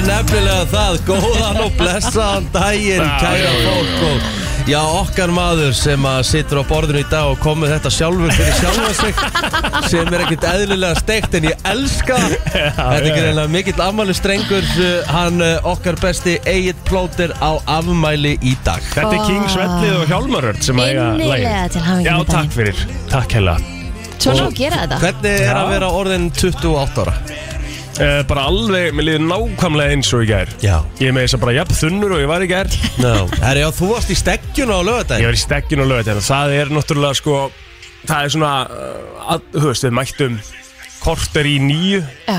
segja það, góðan og blessaðan daginn, Já, kæra já, já, fólk já, já. og já, okkar maður sem að situr á borðinu í dag og komið þetta sjálfur fyrir sjálfa sig sem er ekkert eðlilega steikt en ég elska það. þetta er já. greinlega mikill afmæli strengur hann eh, okkar besti Egil Plóter á afmæli í dag Þetta er King Svellið og Hjálmarörd sem eiga Innilega lagið. til hamingju Já, með daginn. takk fyrir, takk hella Svona og gera þetta Hvernig er að vera orðin 28 ára? uh, Bara alveg, mér liði nákvæmlega eins og í gær Já Ég með þess að bara jafn þunnur og ég var í gær Ég no. Herri, já, þú varst í steggjun á lögadaginn var í stekkin og lögut Það er náttúrulega sko Það er svona, uh, að, þú veist, við mættum korter í nýju Já,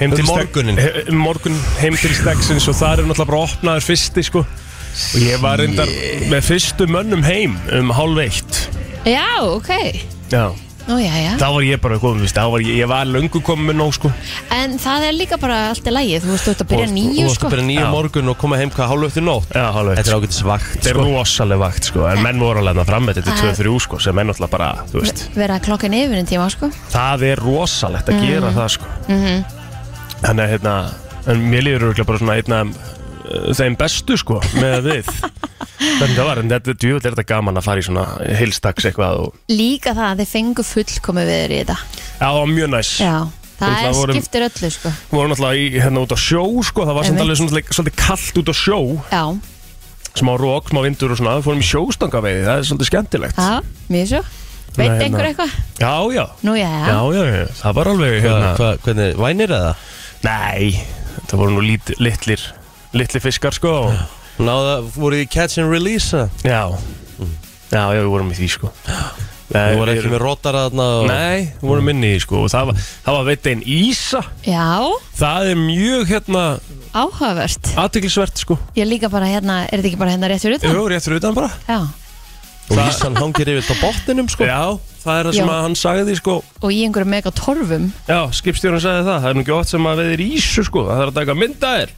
heim Um til stek- morguninn. he- um morgun heim til steksins og það er náttúrulega bara opnaður fyrsti sko og ég var reyndar með fyrstu mönnum heim um hálf eitt já ok já Nú, já, já. þá var ég bara komið, veist, þá var ég, ég var löngu komið með nóg sko En það er líka bara allt í lagi Þú veist, þú ert að byrja nýju Þú varst sko að byrja nýju Já. morgun og koma heim hvað hálf upp til nótt já, hálf eitt Þetta er ágætis vakt Þetta er rosaleg vakt sko, en menn voru alveg fram með þetta Það- 2-3 sko, sem er náttúrulega bara, þú veist, Verða klokkan yfir en tíma sko það er rosalegt Mm. að gera það sko. Mhm. Þannig að hérna, en mér líður örugglega bara svona einna af, uh, þeim bestu sko, með að við. Þannig það var, en þetta djúvill er þetta gaman að fara í svona heilstags eitthvað og, Líka það að þið fengu fullkomi viður í þetta já, það var mjög næs. Já, það Náttúrulega er, vorum- skiptir öllu sko Við vorum náttúrulega í, hérna út á sjó sko, það var samt Einmitt. alveg svona, svolítið kallt út á sjó, Já, smá rók, smá vindur og svona, við fórum í sjóstangaveiði, það er svolítið skemmtilegt. já, mjög svo Veit Nei, hérna. einhver eitthvað? Já, já. Nú, já, já, Já, já, já, það var alveg Hvað, hérna, hvað, hvernig, vænir eða? Nei, þetta voru nú lít, litlir litlir fiskar sko og, Náða, voru þið í catch and release? eða? Já Já, já, við vorum í því sko Þið voru ekki með rótara þarna og... Nei, við vorum inni í því sko og það var, það var veit einn Ísa Það er mjög hérna áhugavert aðtiklisvert sko Ég líka bara hérna, er þetta ekki bara hérna rétt fyrir utan? Jú, rétt fyrir utan bara Já, Og Ísan hangir yfir á botninum sko Já, það er það sem Já. að hann sagði því sko og í einhverju mega torfum Já, skipstjórun sagði það, það er nú ekki oft sem að veðir Ísu sko Það þarf að taka myndaðir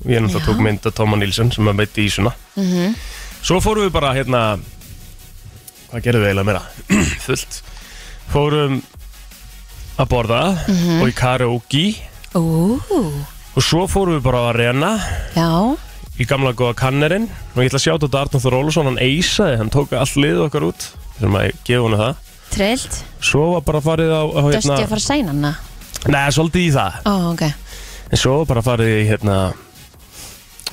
Ég er náttúrulega Já. tók mynda Tóma Nílsen sem að veit Ísuna Mhm. Svo fórum við bara hérna Hvað gerðum við eiginlega meira? Fullt Fórum að borða Mhm. og í karaoke Ú, Og svo fórum við bara að reyna já, Í gamla góða kannerinn Og ég ætla að sjá þetta Arnur Þór Ólafsson Hann eisaði, hann tók allt liðið okkar út Þegar maður gefa hana það trillt Svo var bara farið á, á Dösti hérna að fara sænanna Nei, svolítið í það Ó, ok, En svo bara farið í hérna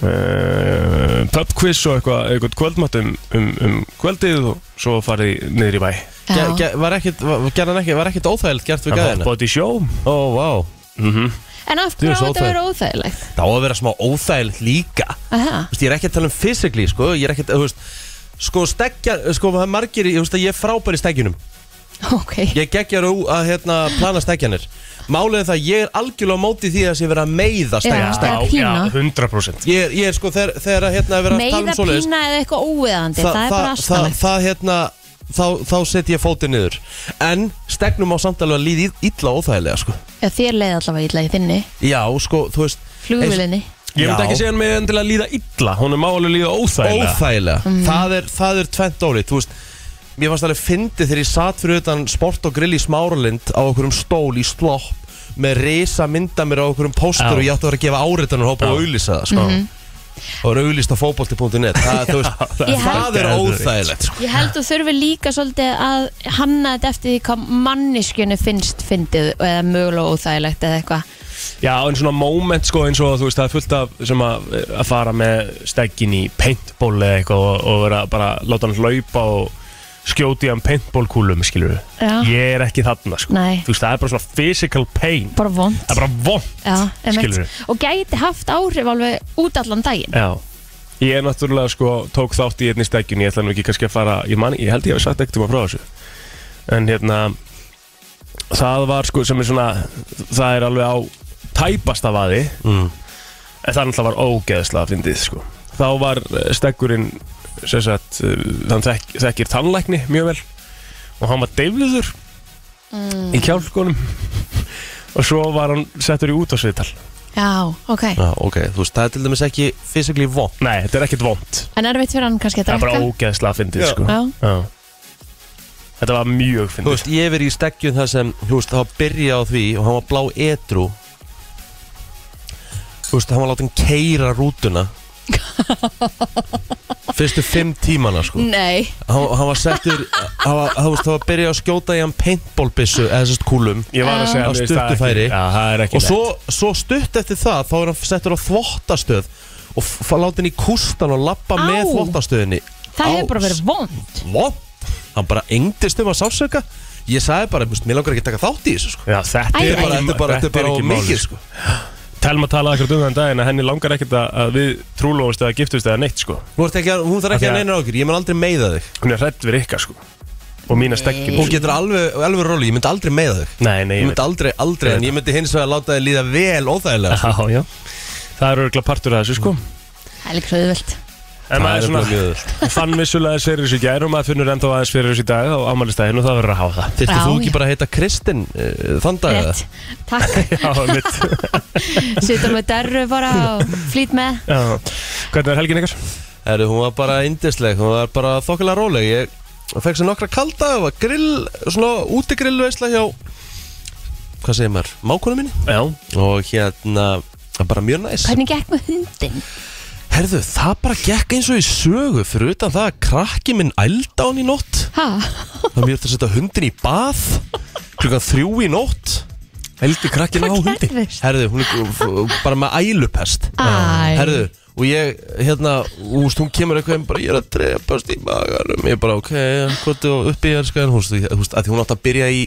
uh, Pub quiz og eitthvað eitthvað kvöldmatt um, um, um kvöldið Og svo farið niður í bæ já, Ge- ge- Var ekkit, var, gerðan ekki, var ekkit óþægilegt gert við Það gæðina? hoppaði út í sjó Ó, vá En af Þú hverju er á svo þetta að vera óþægilegt? Það á að vera smá óþægilegt líka Aha. Þú veist, ég er ekki að tala um physically, sko Ég er ekki að, þú veist Sko, stekja, sko, það er margir, í- þú veist að ég er frábær í stekjunum Ok, Ég geggjar á að, hérna, plana stekjanir Málið er það, að ég er algjörlega á móti því að það sé verið að meiða stekja Já. Stærð pína. 100% Ég er, ég er sko, þegar, þegar að, hérna, er verið að tala meiða um svoleiðis pína eða eitthvað óviðandi Það er bara það, astanlegt það hérna þá, þá setjum ég fótið niður en stegnum á samtalið að líði illa og óþægilega sko. Já, þér leiði allavega illa í þinni já, sko, þú veist Flugvilinni Ég myndi Já. ekki segja hann með endilega líða illa Hún er máli líða óþægilega óþægilega, Mhm. það, er, það er tvent ólít þú veist, mér fannst alveg fyndið þegar ég satt fyrir utan sport og grill í Smáralind á okkurum stól í slopp með risa mynda mér á okkurum póstur Já. og ég átti að vera að gefa áriðanur hópa Já. og auðlýsa það sko. Mhm. og vera auðlýst á fótbolti.net það, þú veist, það er það er geðveikt. óþægilegt sko. Ég held þú þurfi líka svolítið að hanna þetta eftir því hvað manneskjunni finnst fyndið eða mögulega óþægilegt eða eitthvað Já, en svona moment sko eins og þú veist Það er fullt af sem að, að fara með Steggin í paintball eða eitthvað Og, og vera bara láta hann hlaupa Og skjóti hann paintballkúlum Skilur við Já. Ég er ekki þarna sko Nei. Þú veist, það er bara svona physical pain Bara vond Það er bara vond Já, Skilurðu? Eh. emmitt Og gæti haft áhrif alveg út allan daginn Já Ég er náttúrulega sko, tók þátt í einni stegjun Ég ætla nú ekki kannski að fara Ég, man, ég held ég hef sagt ekkert um að prófa þessu En hérna Það var sko sem er svona Það er alveg á tæpasta vaði Mm. En það náttúrulega var ógeðslega að fyndið sko Þá var stegjurinn sem sagt, uh, hann þekk, þekkir tannlækni mjög vel og hann var deyfliður í kjálkunum og svo var hann settur í út á sviðtal Já, ok já, ok, þú veist, það er til dæmis ekki physically von Nei, þetta er ekkert vond En erfitt fyrir hann kannski að Það er bara drekka ógeðslega að fyndið Já. sko Já. Þetta var mjög Þú fyndið veist, ég hef verið í stekkjun þar sem, þú veist, þá byrja á því og hann var blá edru Þú veist, hann var látið keira rútuna Fyrstu fimm tímana sko Nei, Hann, hann var settur Hann var, hann, var, hann var byrjað að skjóta í hann paintballbissu Eða sérst kúlum Ég var að segja Á þú veist, það er stuttu færi. ekki- Já, það er ekki Og svo, svo stutt eftir það Þá er hann settur á þvottastöð Og f- f- látið hann í kústan og lappa Á. með þvottastöðinni það hefur Á, bara verið vond Vont Hann bara engdist um að sásöka Ég sagði bara, "Veistu, mér langar ekki að taka þátt í þessu sko Já, þetta er Æ, æ. bara, Þetta er bara, þetta er bara ekki of málið, mikið sko. sko Telma talaði ekkert um þann daginn að henni langar ekkert að- að við trúlófist eða giftust eða neitt sko Þú ert ekki að, hún þarf ekki Af að því að- neina okkur Ég mun aldrei meiða þig Hún er hrætt við Rikka sko Og mína stekkin sko. Hún getur alveg, alveg róli, ég myndi aldrei meiða þig Nei, nei, Ég ég myndi veit aldrei, aldrei, Ég veit en ég myndi hins vegar láta þið líða vel óþægilega sko. Já, já Það er örgulega partur af þessu sko Það er líka svo auðvelt En maður er bara svona mjög öðvöld Fann vissulega þess fyrir þessu í gær og maður finnur ennþá aðeins fyrir þessu í dag á ámælistæðin og það verður að hafa það Þyrftu Já, þú já. ekki bara að heita Kristinn uh, þann dag eða? Rétt, takk, Já, mitt sittum með derru bara og flýt með Já Hvernig er helgin ykkar? Herru, hún var bara indisleg, hún var bara þokkilega róleg Ég fekk sér nokkra kalda, það var grill, svona útigrill veisla hjá Hvað segir maður? Mákonu minni? Já Og hérna, það var bara mjög næs Hvernig gekk með hundin? Herðu, það bara gekk eins og í sögu Fyrir utan það að krakki minn ælda hann í nótt Ha? Það mér eftir að setja hundin í bað Klukkan þrjú í nótt Eldi krakkin á Hvað hundi gerðist? Herðu, hún er f- f- bara með ælupest Æ. Herðu, og ég, hérna Úst, hún kemur eitthvað en bara Ég er að drepast í maganum Ég bara, ok, hvað þú upp í elskan Hún veist, að því hún átti að byrja í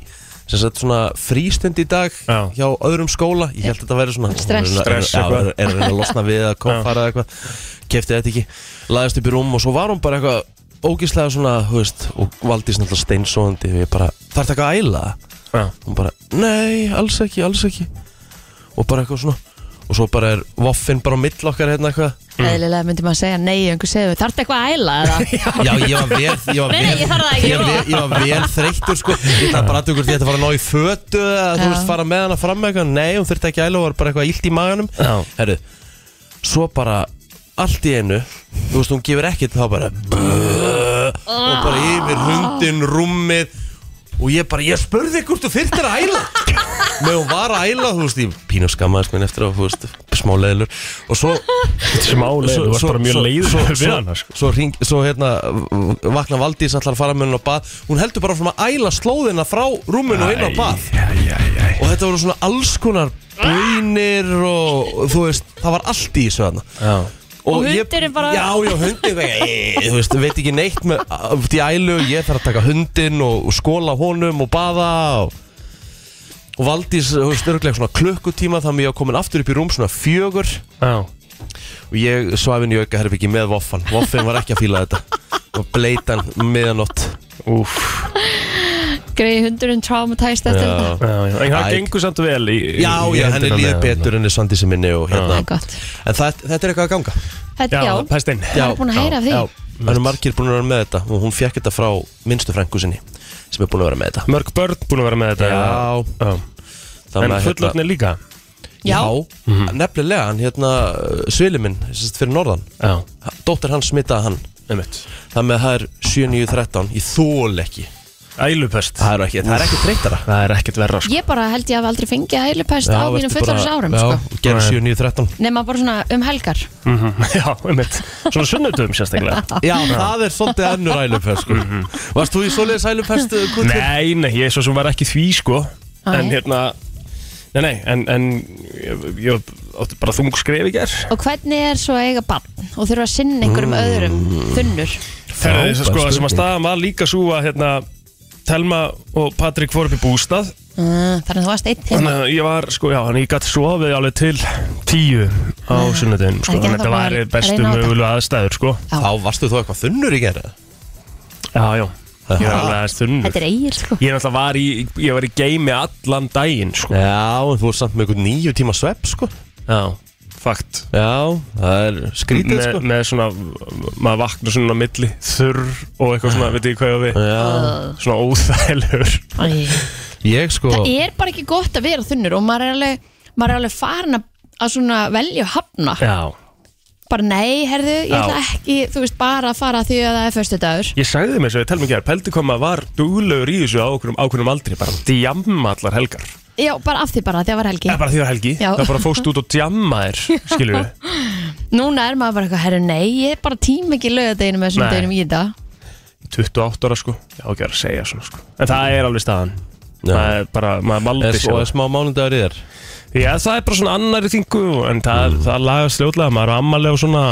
sem sagt svona frístund í dag Já. hjá öðrum skóla, ég held að þetta væri svona Stress. Hún er að- Stress já, eitthvað. er er að reyna að losna við að koffara eða eitthvað kefti þetta ekki, laðist upp í rúm og svo var hún bara eitthvað ógíslega svona, þú veist, og valdi svona steinsóðandi og ég bara, þarf þetta eitthvað að æla Já hún bara, nei, alls ekki, alls ekki og bara eitthvað svona og svo bara er voffin bara á mill okkar hérna eitthvað Eðlilega myndi maður segja nei, einhver segir þarf eitthvað að æla eða? já, ég var vel, ég var Nei, vel nei, ég þarf það ekki, ég var vel, ég var vel þreyttur sko ég þarf bara aðtökur því að þetta var að ná í fötu eða þú Já. veist, fara með hana fram með eitthvað nei, hún þurfti ekki að æla, hún var bara eitthvað illt í maganum Já. herru, svo bara allt í einu, þú veist, hún gefur ekkert þá bara brrrr, og bara yfir hundin, rúmið og ég bara, ég spurði hvort þú þyrftir að æla með hún var að æla, þú veist, ég pínu skammaðist minn eftir að, þú veist, smá leðlur og svo, Smá leið, þú varst bara mjög leið svo, við svo, hana sko svo, hring, svo hérna v- vakna Valdís allar að fara með henni á bað hún heldur bara frá að æla slóðina frá rúminu og inn á bað Æjæjæj og þetta voru svona alls konar bönir og þú veist, það var allt í þessu þarna Já Og ég- hundurinn bara- Já, já, hundir Þú veist, veit ekki neitt með Því ælu, ég þarf að taka hundin og, og skóla honum og baða og, og Valdís, þú veist, örglega svona klukkutíma þannig að ég var komin aftur upp í rúm svona fjögur Já og ég svafin í aukaherbyggi með voffan voffin var ekki að fíla þetta og bleitan miðanótt Úf Greiði hundurinn traumatæst eftir þetta já, Já, já En það Æ. gengur samt vel í í- já, í já henni hendina líður með betur enni Svandísi minni og Það hérna er gott en það, þetta er eitthvað að ganga Þetta, Já, já, pestinn Já. er búin að heyra af því. já, það eru margir búin að vera með þetta og hún fekk þetta frá minnstu frængu sinni sem er búin að vera með þetta Mörg börn búin að vera með þetta Já. En Þannig að, hérna- fullotni líka já, Mhm. nefnilega hann hérna svili minn sem sagt, fyrir norðan Já dóttir hann smitaði hann Einmitt þannig að það er 7.9.13 ég þól ekki Ælupest það er ekki, það er ekki treytara Það er ekkert verra sko ég bara held ég að aldrei fengið hælupest á mínum fullarins árum já, sko. gerðu Nei. 7.9.13 Nefna bara svona um helgar Mhm. Já, einmitt Svona sunnutum sérstaklega Já, það er svolítið ennur ælupest sko. Varst þú í svoleiðis ælupest uh, Guðbjörn? Nei, nei, ég svo sem var ekki því sko Nei. En hérna Nei, nei, en, en ég, ég átti bara þung skref í ger Og hvernig er svo að eiga barn og þurfa að sinna einhverjum Mm. öðrum þunnur Þegar þess að Frábær sko, sem að spurning. staðan var líka svo að hérna Telma og Patrik voru upp í bústað Mm. uh, Þannig að þú varst einn heima Þannig að ég var, sko, já, þannig að ég gætt sofið alveg til tíu á sunnudeginum sko, Ah. ekki Þannig að ennþá þetta búin að var bestu reyna á þetta. mögulega aðstæður sko Já. Þá varstu þú eitthvað þunnur í gera Já, já, ég var alveg aðeins þunnur Þetta er eigir sko Ég náttúrulega var í, ég var í geimi allan daginn sko. Já, en þú er samt með einhvern nýju tíma svepp sko. Já, fakt Já, það er skrítið með, sko. með svona, maður vaknar svona á milli Þurr og eitthvað svona, veit ég hvað ég á við Já, Svona óþægilegur Æ. ég sko Það er bara ekki gott að vera þunnur og maður er alveg, maður er alveg farin að, að svona velja og hafna Já Bara nei, herðu, ég Já. ætla ekki, þú veist, bara að fara því að það er förstu dagur Ég sagði mér svo, ég tel mér ekki að Peldi kom að var duglegur í þessu á okkurum ákveðnum aldri Bara djamma allar helgar Já, bara af því bara, því að var helgi Það er bara því að helgi, Já. það er bara fóst út og djamma þér, skilur við Núna er maður bara eitthvað, herru, nei, ég bara tím ekki lögadeginu með þessum Nei. deginum í dag 28 ára sko, já ekki verið að segja svona sko En það er alveg staðan Já. Það er bara, maður Er, valdi og er sér smá mánudagur í þér Já, það er bara svona annari þingu En það, það lagast fljótlega, maður er ammalega og svona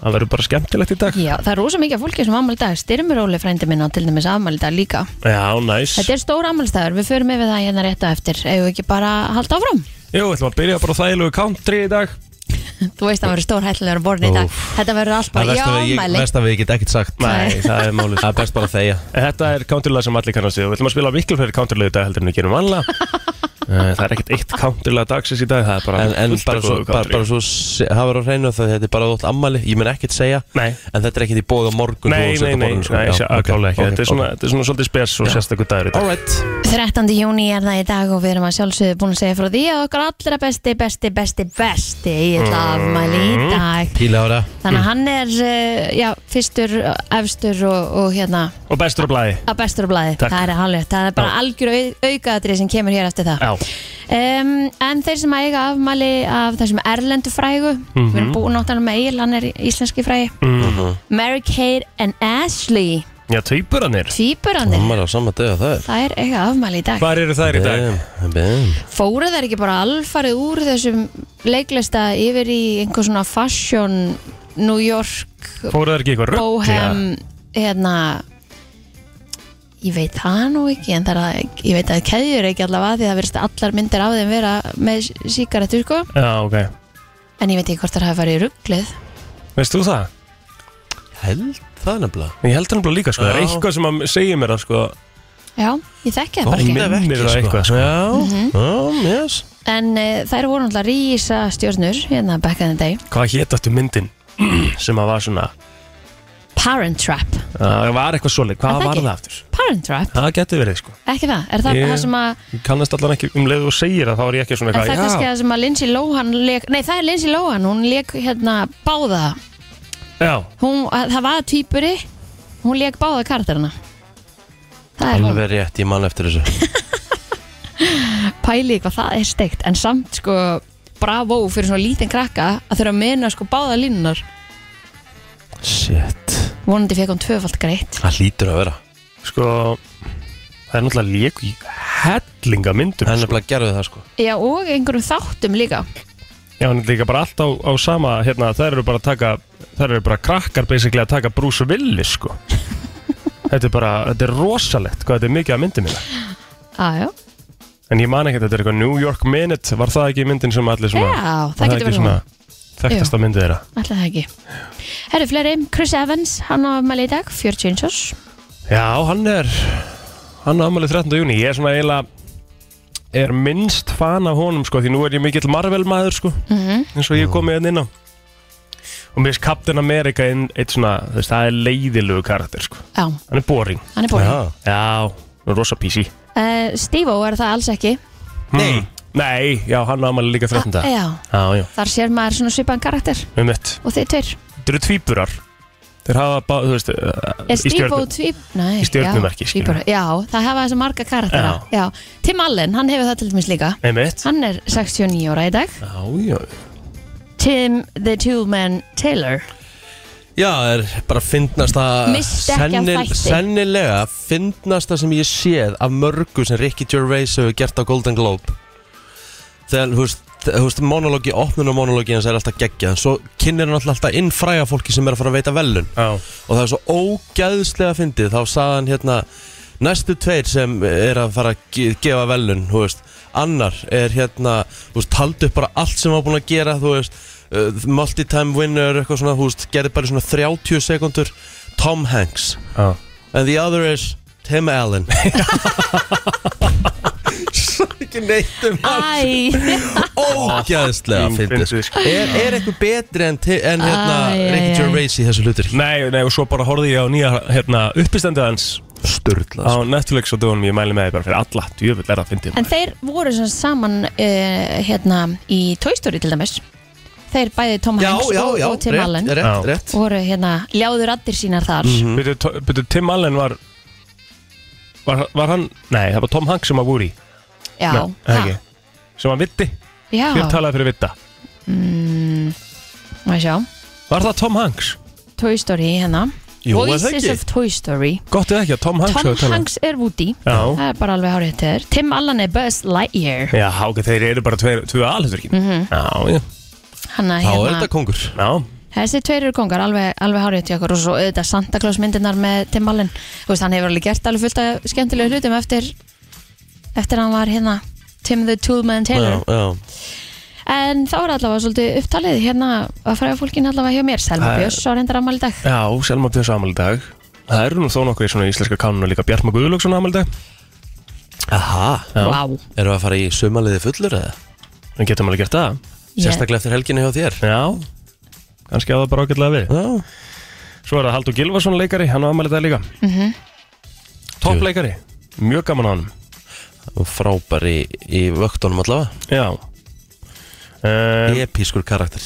Það verður bara skemmtilegt í dag Já, það er rosa mikið af fólki sem ámæli dag Styrmur Óli frændi minn á til dæmis ámæli dag líka Já, næs Þetta er stór ámælstæður, við förum yfir það hérna rétt á eftir Eigum við ekki bara að halda áfram? Jú, ætlum að byrja bara á þægilegu country í dag Þú veist að verður stór hættilegur borðin í dag Úff. Þetta verður allt Það bara, er já, verst að við- ég- ámæli verst að við get ekkert sagt Nei, það er málið Það er sko. best bara að þegja En Þetta er countrylag sem allir kannast við og við ætlum að spila miklu fleiri countrylag í dag heldur en við gerum vanlega Eh, Það er ekkert eitt countrylag dagsins í dag, það er bara En, en fullt af bara svo, góðu bara, country. bara svo se- hafa á hreinu það þetta er bara þótt ammali, ég mun ekkert segja Nei. en þetta er ekkert í bóð á sko. morgun Nei, nei, nei, nei, sjá- klálega ekki Þetta er svona- þetta er svona svolítið spes og sérstakur dagur í dag Alright, 13. júni er það í dag og við erum að sjálfsögðu búin að segja frá því að okkar allra besti, besti, besti, besti Mm. ég ætla að afmæli í dag píla ára þannig Mm. að hann er eh, já, fyrstur, efstur og, og hérna Og bestur á blæði að bestur á blæði, Takk. það er hálfrið það er bara Já. algjör aukaðatrið sem kemur hér eftir það Já, um, en þeir sem að eiga afmæli af þessum erlendu frægu við Mhm. erum búin áttanum með Egil, hann er íslenski frægi Mary-Kate and Ashley já, tvíburannir tvíburandi, Ammar á sama döða það er það er eiga afmæli í dag Hvar eru þær í dag? Bem, bem. fóru þær ekki bara alfarið úr þessum leiklista yfir í einhver svona fashion New York, Fóru þær ekki eitthvað rugg? bohem hérna ég veit það nú ekki en það er að, ég veit að keðjur ekki allavega því það verðist allar myndir af þeim vera með síkaretur sko Já, ok en ég veit ekki hvort það hafa farið í rugglið Veist þú það? Held það nefnilega Ég held hann bara líka, sko, það er Já. eitthvað sem að segja mér það, sko já, ég þekki það bara ekki minnir það eitthvað, sko. Já, Mhm. já, yes en uh, þær voru alltaf rísa stjórnur hérna back in the day Hvað hétt áttu myndin sem að var svona Parent Trap, Það var eitthvað svolít, Er hvað það var ekki? það aftur? Parent Trap Það getur verið, sko ekki það, er það Ég- það sem að Ég kannast allan ekki um leið og segir það, þá er ég ekki svona En það er kannski eitthvað, það sem að Lindsay Lohan leik, Nei, það er Lindsay Lohan, hún leik hérna báða já, já, hún, að- Það var týpuri, hún leik báða karakterina Það er hún Alveg rétt, ég man eftir þessu pæli hvað það er steikt En samt sko, bravo fyrir svona lítinn krakka Að þurfa að mena sko báða línunar Shit, Vonandi fekk hún tvöfald greitt það hlýtur að vera sko Það er náttúrulega lék í hellinga myndum En sko. nefnilega gerðu það sko Já, og einhverjum þáttum líka Já, hann er líka bara allt á, á sama hérna, þær eru bara að taka þær eru bara krakkar basically að taka Bruce Willis sko Þetta er bara, þetta er rosalegt hvað þetta er mikið að myndum minna Aðjó, En ég man ekki þetta er eitthvað New York Minute var það ekki myndin sem allir svona já, var það getur verið hún þekktasta myndið þeirra Ætla það ekki Herru, fleiri, Chris Evans, hann á afmæli í dag 40 árs Já, hann er hann er aðmælið 13. júni ég er svona eiginlega er minnst fan af honum sko því nú er ég mikill Marvel maður sko mm eins og ég komið hérna inn á og mér finnst Captain America einn eitt svona, þú veist, það er leiðilegu karakter sko. Já, hann er boring hann er búin Já. já, hann er rosa PC uh, Steve-O er það alls ekki Nei. nei, já, hann ámæli líka 13. Ah, dag Já, já, já, þar sér maður svona svipaðan karakter um mitt og þið tveir þeir eru tvíburar þeir hafa, bá, þú veist, uh, er Steve og Tvíb Nei, í stjörnumerki, já, skilur. tvíburar. já, það hafa þessu marga karaktera já. Tim Allen, hann hefur það til dæmis líka um mitt hann er 69 ára í dag já, já, Tim the Two-Man Taylor Já, það er bara fyndnasta Missti ekki af þætti. Sennilega fyndnasta sem ég séð af mörgu sem Ricky Gervais hefur gert á Golden Globe Þegar, þú veist, þú veist, monologi, opnun og monologi hans er alltaf geggjað Svo kynir hann alltaf inn fræga fólki sem er að fara að veita velun já. og það er svo ógæðslega fyndið þá sagði hann hérna næstu tveir sem er að fara að ge- gefa velun, þú veist annar er hérna, þú veist, taldi upp bara allt sem hann var búin að gera, þú veist uh, multi-time winner, eitthvað svona, þú veist gerði bara í svona 30 sekundur Tom Hanks, já. and the other is Tim Allen Svo ekki neitt um hann Æ, ógæðslega Fín fyndið fyndið, sko. er, er eitthvað betri en, ti- en hérna, Æ, æ, Ricky æ. Gervais í þessu hlutur Nei, nei, og svo bara horfði ég á nýja hérna, uppistendið hans Sturla, á Netflix og dögunum, ég mæli með þið bara fyrir alla djöfull er það fyndið en þeir voru sem sagt saman uh, hérna í Toy Story til dæmis þeir bæði Tom Já, Hanks já, og, já, og Tim Allen rétt, Já. rétt, rétt. voru hérna ljáður addir sínar þar Byrju, to- byrju, Tim Allen var, var var hann, nei, það var Tom Hanks sem að voru í já, Nei, það ekki. sem var Vitti, já, hver talaði fyrir Vitta mm, maður sjá Var það Tom Hanks? Toy Story hérna Jú, er það Voices ekki? of Toy Story Gott eða ekki að Tom Hanks Tom hafi talað? Hanks er Woody Já, það er bara alveg hárið til þér Tim Allen er Buzz Lightyear já ok, þeir eru bara tveir, tveir alhutverkin mm Mhm. -hmm. Já, já, hann er Þá er þetta hérna kongur já, þessi tveir eru kongar alveg, alveg hárið til okkur og svo auðvitað Santa Claus myndirnar með Tim Allen Þú veist, hann hefur alveg gert alveg fullt af skemmtilegu hlutum eftir eftir hann var hérna Tim the Toolman Taylor Já, já en þá er allavega svolítið upptalið hérna að fræða fólkin allavega hjá mér Selma Það er- Björns á reyndar afmæli í dag já, Selma Björns afmæli í dag Það eru nú þó nokkur í svona íslenska kánuna líka Bjartma Guðlöksson afmæli í dag Aha, Já. wow. erum við að fara í sumaliði fullur eða? Við getum alveg gert það Sérstaklega eftir helginni hjá þér Já, kannski á það bara ágætlega við Já, Svo er það Haldur Gilvarsson leikari, hann á afmæli í dag líka mm -hmm. Toppleikari, mjög gaman á hann frábær í, í vöktunum allavega Já uh, Episkur karakter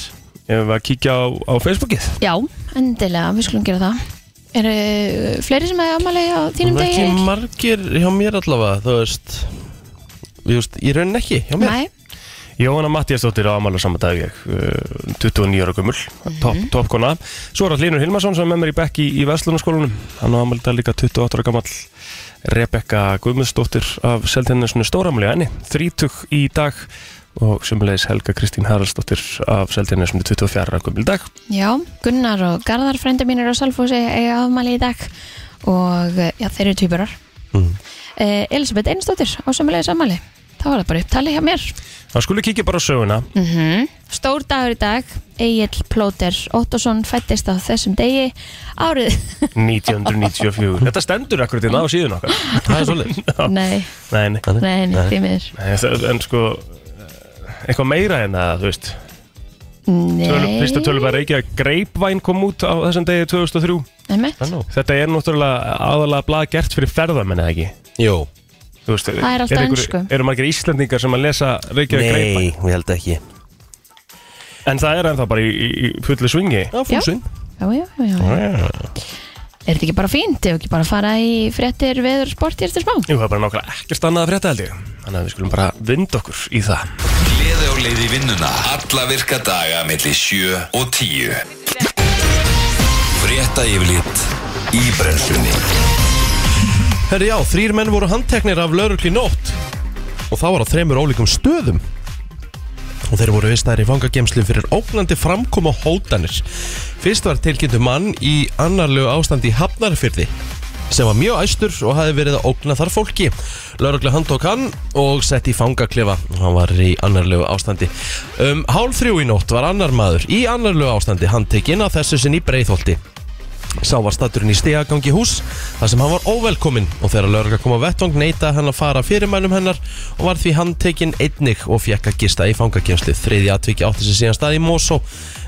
Ef við að kíkja á, á Facebookið Já, endilega, við skulum gera það Eru uh, fleiri sem hefur afmæli á þínum Það er degi? ekki margir hjá mér allavega Þú veist Þú veist, í raunin ekki hjá mér Nei, Jóhanna Mattiasdóttir á afmæli á saman dag ég, uh, 29 ára gummul topp, toppkona Svo er það Hlynur Hilmarsson sem er með mér í bekk í, í Vestlunarskólanum hann á afmæli í dag líka 28 ára gammal Rebekka Guðmundsdóttir af Seltenninsinu Stóramæli henni 30 í dag og sumulegis Helga Kristín Haraldsdóttir af Seltenninsinu 24 ára gummul dag já, Gunnar og Garðar frendi mínir á Salfósi eiga afmæli í dag og eh, já, þeir eru týpurar Mm. Mhm. eh, Elisabeth Einsdóttir á sömulegis afmæli þá var það bara upptalið hjá mér Það skulle kíkja bara á söguna mm Stór dagur í dag Egil Plóter Óttarsson fættist á þessum degi árið 1994 Þetta stendur akkurat í það á síðun okkar Það er svolítið Nei, Nei, nei nei, nei, því miður Nei, það- En sko eh, Eitthvað meira en það, þú veist Tölu, Nei, Fyrsta tölum var Reykjavík Greipvæn kom út á þessum degi 2003 einmitt. Þannig Þetta er náttúrulega aðalega blað gert fyrir ferðamenn eða ekki Jú, Þú veist, Það er alltaf eru einhver- ensku. Eru margir Íslandingar sem að lesa Reykjavík Greipvæn nei, ég held ekki En það er ennþá bara í, í, í fullu svingi Já, Já. fúsin já, já, já, já. Er þetta ekki bara fínt? Ef ekki bara fara í fréttir, veður, sport, ég eftir smá? Jú, það er bara nákvæmlega ekkert annað að frétta held ég Þannig að við skulum bara vinda okkur í það Gleði og leiði vinnuna Alla virka daga melli 7 og 10 Frétta yfirlit í brennslunni Herri já, þrýr menn voru handteknir af laurugli nótt og það var á þremur ólíkum stöðum og þeir voru vistaðir í fangagemslu fyrir ógnandi framkoma hótanir. Fyrst var tilkynntu mann í annarlegu ástandi í Hafnarfyrði sem var mjög æstur og hafi verið að ógna þar fólki. Laurugla handtók hann og sett í fangaklefa og hann var í annarlegu ástandi. Um hálf þrjú í nótt var annar maður í annarlegu ástandi handtekinn að þessu sinni í Breiðholti. Sá var staturinn í stegagangi hús þar sem hann var óvelkominn og þegar lörga kom á vettvang neyta hann að fara fyrir mænum hennar og var því handtekinn einnig og fekk að gista í fangakjenslu. Þriði atviki átti sér síðan stað í Mosó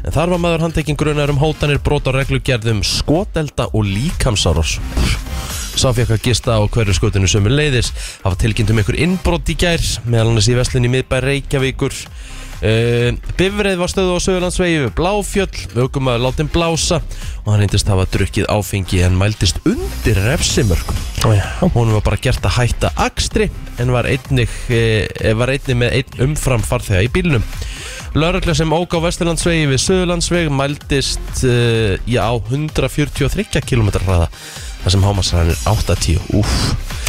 en þar var maður handtekinn grunar um hótanir, brot á reglugerðum, skotelda og líkamsáros. Sá fekk að gista á hverju skotinu sömu leiðis. Það var tilkynnt um ykkur innbrot í gær, meðal annars í veslinni miðbæ Reykjavíkur. Uh, Bifreið var stöðu á Söðurlandsvegi við Bláfjöll, aukumæður látin blása og hann reyndist hafa drukkið áfengi en mældist undir refsimörkum. Hún var bara gert að hætta akstri en var einnig, uh, var einnig með einn umfram farþega í bílnum. Lörgla sem óg á Vesturlandsvegi við Söðurlandsveg mældist uh, já, á 143 km hraða þar sem hámasræðan er 80 Úf.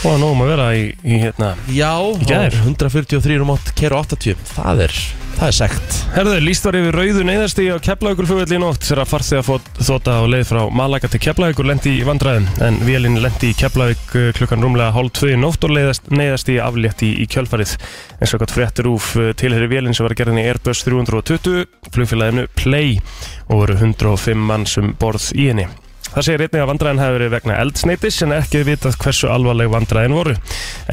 Og nú um að vera í, í hérna Já, gær. 143 og mátt kera 80 Það er, það er sekt Herðu, líst var yfir rauðu neyðarstíði á Keflavíkur flugvelli í nótt þegar farþið að þóta á leið frá Malaga til Keflavíkur lendi í vandræðum en vélinn lendi í Keflavík eh, klukkan rúmlega hálf tvö í nótt og leiðast, neyðarstíði aflétt í, í kjölfarið eins og eitthvað fréttur úf tilheri vélinn eh, sem var gerðin í Airbus 320 flugfélaginu Play og voru 105 mann sem borð í henni. Það segir einnig að vandræðin hefur verið vegna eldsneitis en ekki er vitað hversu alvarleg vandræðin voru.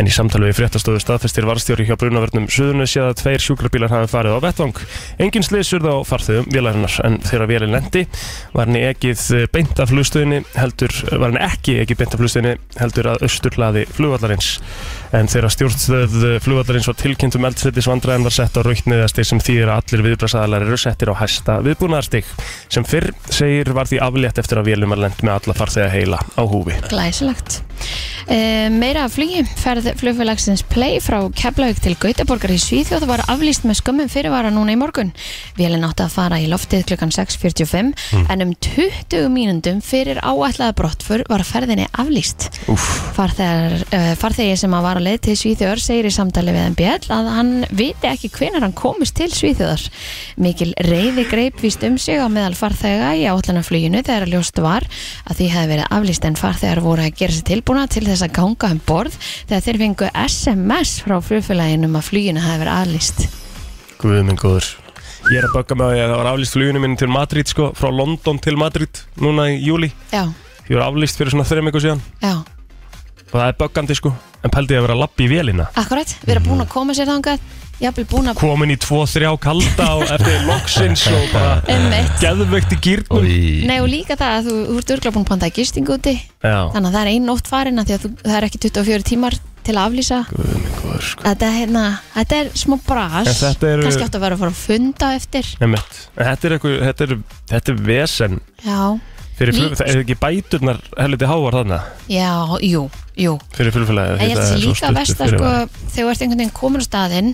En í samtali við fréttastöðu staðfestir varstjóri hjá brunavörnum suðunni séð að tveir sjúkrabílar hafi farið á vettvang. Engin sliðsur þá farþöðum vélarinnar en þegar vélin lendi var henni ekið beint af flugstöðinni heldur, var henni ekki ekið beint af flugstöðinni heldur að austurlaði flugvallarins. En þegar stjórnstöð flugvallarins var tilkynnt um eldsneitis vandræðin var sett á rautniðastig sem þýðir að allir viðbrasaðalar eru settir á hæsta viðbúnaðarstig sem fyrr segir var því aflétt eftir að vélum var lent með alla farþega heila á húfi. Glæsilegt Eh, meira af flugi, ferð flugfélagsins Play frá Keflavík til Gautaborgar í Svíþjóð var aflýst með skömmum fyrirvara núna í morgun. Vélinn átti að fara í loftið klukkan 6.45 en um 20 mínundum fyrir áætlaða brottfur var ferðinni aflýst. Farþegar- eh, Farþegi sem að var að leið til Svíþjóðar segir í samtali við MBL að hann viti ekki hvenar hann komist til Svíþjóðar. Mikil reyði greip víst um sig á meðal farþega í átlunafluginu þegar ljóst var að því hefði verið aflýst en farþegar voru að gera sig tilbúna til þess að ganga um borð þegar þeir fengu SMS frá flugfélaginu um að fluginu hefði verið aflýst. Guð minn góður Ég er að bögga með því að það var aflýst fluginu minn til Madrid sko, frá London til Madrid núna í júli Já, Ég var aflýst fyrir svona þreim eitthvað síðan já, og það er böggandi sko en pældi ég að vera að lappa í vélina akkurat, við erum búin að koma sér þangað, jafnvel búin að komin í 2-3 kalda og eftir loksins og bara ummitt. geðveikt í gýrnum Nei og líka það að þú, þú ert örgla búin að panta gistingu úti Já, þannig að það er ein nótt farin að því að þú, það er ekki 24 tímar til að aflýsa guð minn góður sko þetta er, hérna, þetta er smá bras En þetta eru- kannski áttu að vera að fara að funda á eftir Einmitt. En Þetta er, eitthvað, þetta, er, þetta er vesen já, fyrir Lí- flug, það er ekki bæturnar helviti hávar þarna já, jú, jú fyrir flugfélagi en ég held þessi líka vest að sko þegar þú ert einhvern veginn komin á staðinn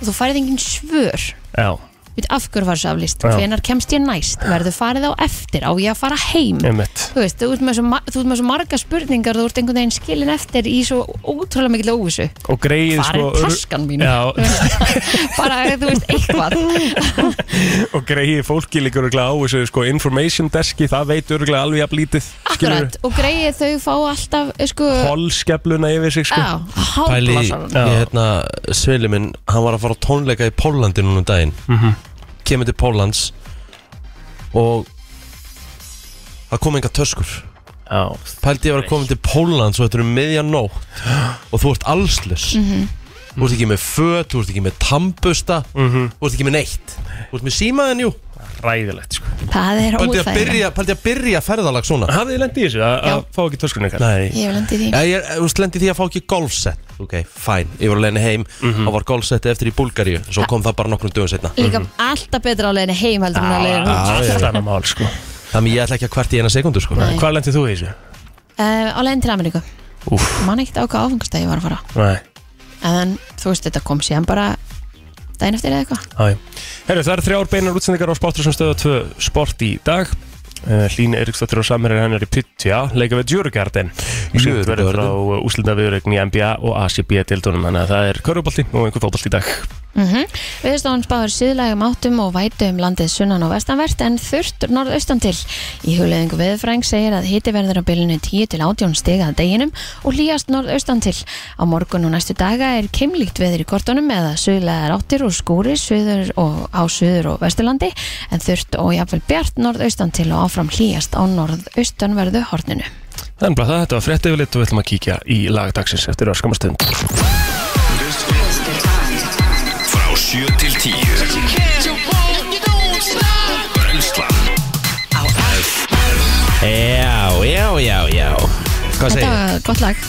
og þú færið engin svör Já, við af hverju var þessu aflýst, Já. hvenar kemst ég næst verður farið á eftir, á ég að fara heim einmitt þú veist, þú ert með svo, ma- þú ert með svo marga spurningar þú ert einhvern veginn skilin eftir í svo ótrúlega mikil óvissu Og greið hvar sko er taskan mín Já, bara, þú veist, eitthvað og greiði fólki líka örgulega á þessu sko, information deski, það veit örgulega alveg að blítið Akkurat, og greið þau fá alltaf eh, sko, holskefluna yfir sig sko. á, Pæli, ég, hálflasar hérna, sveili minn, hann var að fara á tónleika í Pólandi núna um daginn Kemur til Póllands Og það kom enga töskur Já. Pældi ég var að koma til Pólans og þetta eru miðja nótt Og þú ert allslaus Þú ert ekki með föt, þú ert ekki með tambusta Þú ert ekki með neitt Þú ert með símaðin, jú ræðilegt sko. það er Pældi ég að óþægilegt byrja, pældi ég að byrja ferðalag svona hafið þið lendið í þessu að- að Já. fá ekki töskunni ykkar Nei ég vil endi því Já, ég, eh, þú veist, lendi því að fá ekki golfsett Ok, fæn, ég var að leiðin heim mm og var golfsetti eftir í Búlgaríu Svo kom það bara nokkrum dögum setna líka alltaf betra á leiðinni heim heldur Ah. en á leiðinni út allt annað mál sko. Þannig ég ætla ekki að hvert í eina sekundu sko Nei. hvað lendið þú í þessu? Eh, á leiðin til Ameríku Úff. man ekkert á hvað áfengastæði ég var að fara Nei. en þú veist, þetta kom síðan bara daginn eftir eða eitthvað Já, já. Herru, það eru þrjár beinar útsendingar á sportur sem stöða tvö sport í dag Uh, Hlín Eriksdóttir og samherjar hennar í Pytja leika við Djurgarden og sýnt verður frá úslita viðurreikn í NBA og ACB dildunum þannig að það er körfubolti og einhver fótbolti í dag Mm -hmm. Viðstofan spáður síðlægum áttum og vætu um landið sunnan og vestanvert en þurft norðaustan til. Í hugleðingu viðfræng segir að hiti verður á bylunu 10 til 18 stiga að deginum og hlýjast norðaustan til. Á morgun og næstu daga er keimlíkt veður í kortunum eða suðlægar áttir og skúri suður og á suður og vesturlandi en þurft og jafnvel bjart norðaustan til og áfram hlýjast á norðaustanverðu horninu. Þannig að þetta var frett yfirleitt og við ætlum að kíkja í lagdagsins eftir öskamastund Frá 7 til 10 Brenslan Já, já, já, já Hvað segir Þetta ég? var gott lag.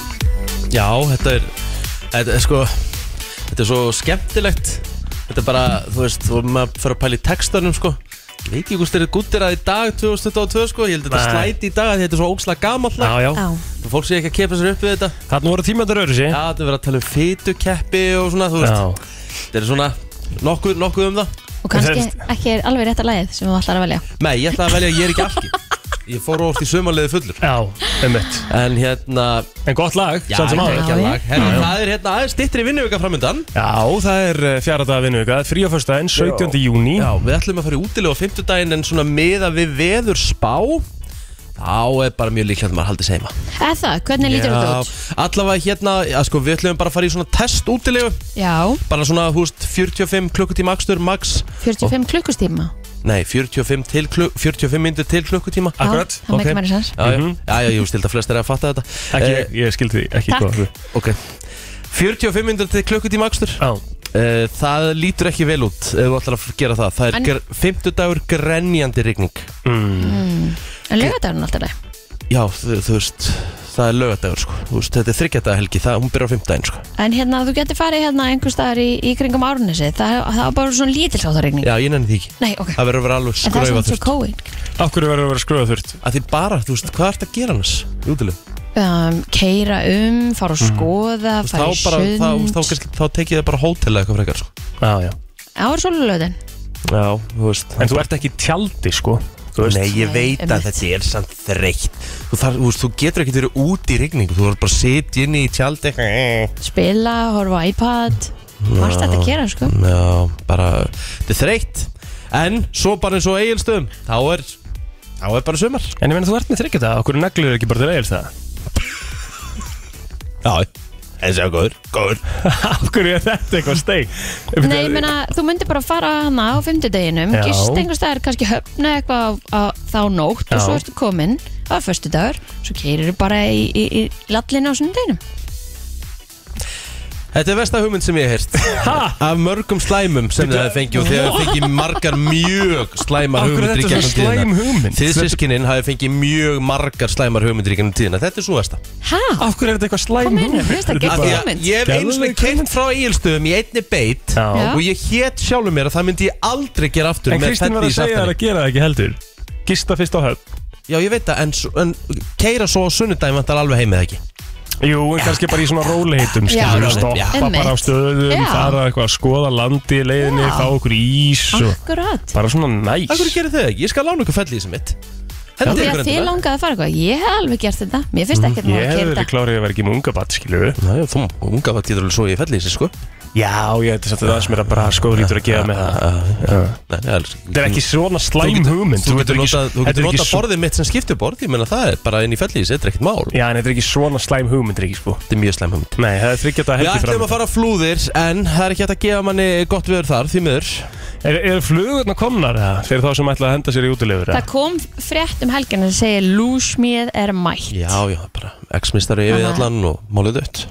Já, þetta er, þetta er sko Þetta er svo skemmtilegt Þetta er bara, þú veist, þú maður fyrir að pæla í textanum sko Ég veit ekki hvort þeir eru gúttir að í dag 2022 sko, ég held að þetta Nei. slæti í dag að Þetta er svo ógslag gamall Já, já, Já. Fólk sé ekki að kepa sér upp við þetta þannig voru tímandar öðru sér Já, þetta er verið að tala um fytukeppi og svona, þú veist Þetta er svona nokkuð, nokkuð um það Og kannski ekki er alveg rétt að lagið sem við ætlar að velja. Nei, ég ætla að velja að ég er ekki alki Ég fór óvart í sömarleiði fullur Já, einmitt En hérna En gott lag, Já, samt sem ég áður ekki að lag Herra, Já, já. það er hérna aðeins stittri vinnuvika framöndan Já, það er eh, fjara daga vinnuga, frí á föstudaginn, 17. júni Já, við ætlum að fara í útilegu á fimmtudaginn En svona meða við veður spá Þá er bara mjög líklega að maður haldi seima Eða það, hvernig lítur þetta út? allavega hérna, já, sko, við ætlum bara að fara í svona test útilegu Já, Bara svona, húst, 45 klukkutíma akstur, max 45 klukkustíma Nei, 45, til kluk 45 myndir til klukkutíma Já, Akkurat, Það ok. meikir mér sens Já, já, já, já, ég stildi að flestir að fatta þetta Ekki, ég, ég skildi því, ekki Takk. góð Ok 45 minnir til klukkutíma akstur Já, uh, Það lítur ekki vel út ef þú ætlar að gera það Það er En- en... fimmtudagur grenjandi rigning En lögadagurinn alltaf leið Já, þú, þú veist Það er lögadagur sko Þú veist, Þetta er þryggjadaga helgi, það, hún byrjar á fimmtudaginn sko En hérna, þú getur farið hérna einhver staðar í, í kringum árnesi Það, það var bara svona lítilsáttarregning Já, ég nenni því ekki Nei, ok Það verður að vera alveg En það er skröfa svona svo þurft kóin af hverju verður að vera skröða þurft? Að því bara, þú veist, hvað ert að gera annars? Júdilu um, keira um, fara og skoða Þú veist, fara í Mm. þá bara, þá, þú veist, þá, sund kannski, þá tekið það bara hótel eða eitthvað frekar sko. Já, já ára svolulöðin Já, þú veist En þú ert ekki í tjaldi, sko Þú veist Nei, ég Nei, veit að einmitt. þetta er samt þreytt þú, þar, þú, veist, þú getur ekkert verið út í rigningu Þú verður bara að sitja inn í tjaldi spila, horfa á iPad margt þetta að gera sko Já, bara, þetta er þreytt En svo bara eins og eigilstöðum Þá er, þá er bara sumar En ég meina þú ert með þryggja það Okkur neglur ekki bara til eigils það Já, en séu góður, góður Okkur er þetta eitthvað steik Nei, ég meina, þú myndir bara fara hana á fymtudeginum, Já. gist einhver staðar kannski höfna eitthvað á, á þá nótt og Já. svo ertu komin á föstudagur svo keirir bara í, í, í lallinu á sunnudeginum Þetta er versta hugmynd sem ég hef heyrt Af mörgum slæmum sem þið hafið fengið Og þið hafið fengið margar mjög slæmar Af hverju hugmyndir í þetta er gegnum svo slæm hugmynd? Þið sískinin hafið fengið mjög margar slæmar hugmyndir í gegnum tíðina Þetta er svo versta Hæ? Okkur er þetta eitthvað Hvað slæm meinarðu? hugmynd? Finnst það Þetta Af er gegn- bara- því að hugmynd. Ég hef eins og Geðveik kynnt frá eigilstöðum í einni beit Já. Já. Og ég hét sjálfur mér að það myndi ég aldrei gera aftur En með Kristín þetta var að í segja það saftanum. að gera það ekki heldur Gista fyrst á höfn Já ég veit það en, s- en keira svo á sunnudaginn vantar alveg heim eða ekki Jú, en kannski bara í svona róliheitum Já, skilur, já, stoppa einmitt. bara á stöðum Já. fara eitthvað að skoða landi í leiðinni, Já. fá okkur ís og Akkurat bara svona næs Akkur gerir þau ekki? Ég skal lána ykkur fellið sem mitt Hendi Því ykkur að þið endilega. langaði að fara eitthvað Ég hef alveg gert þetta, mér finnst ekkert Mm, Ég maður að hefði keira verið þetta klárið að vera ekki með unga bat, skilur við Já, já, þú unga hvað getur alveg svo í fellið sér sko Já, ég hefði sagt að það sem er að bara skoðlítur að gefa með það Ah, Nei, nei, alls Þetta er ekki svona slæm hugmynd Þú getur þetta er ekki- notað, þú þetta getur er ekki notað svo- borðið mitt sem skiptuborð Ég meina það er bara inn í fellið, þetta er ekkert mál Já, en þetta er ekki svona slæm hugmynd, er ekki sko Þetta er mjög slæm hugmynd Nei, það er þryggjata Við helgi ætlum fram að fara á flúðir En það er ekki hægt að gefa manni gott viður þar Því miður Er, er flugurna komnar það? Fyrir þá sem ætla að henda sér í útilegur Það kom frétt um helgina sem segir Lúsmið er mætt Já, já, bara X-mistari yfir Aha. allan og málið dött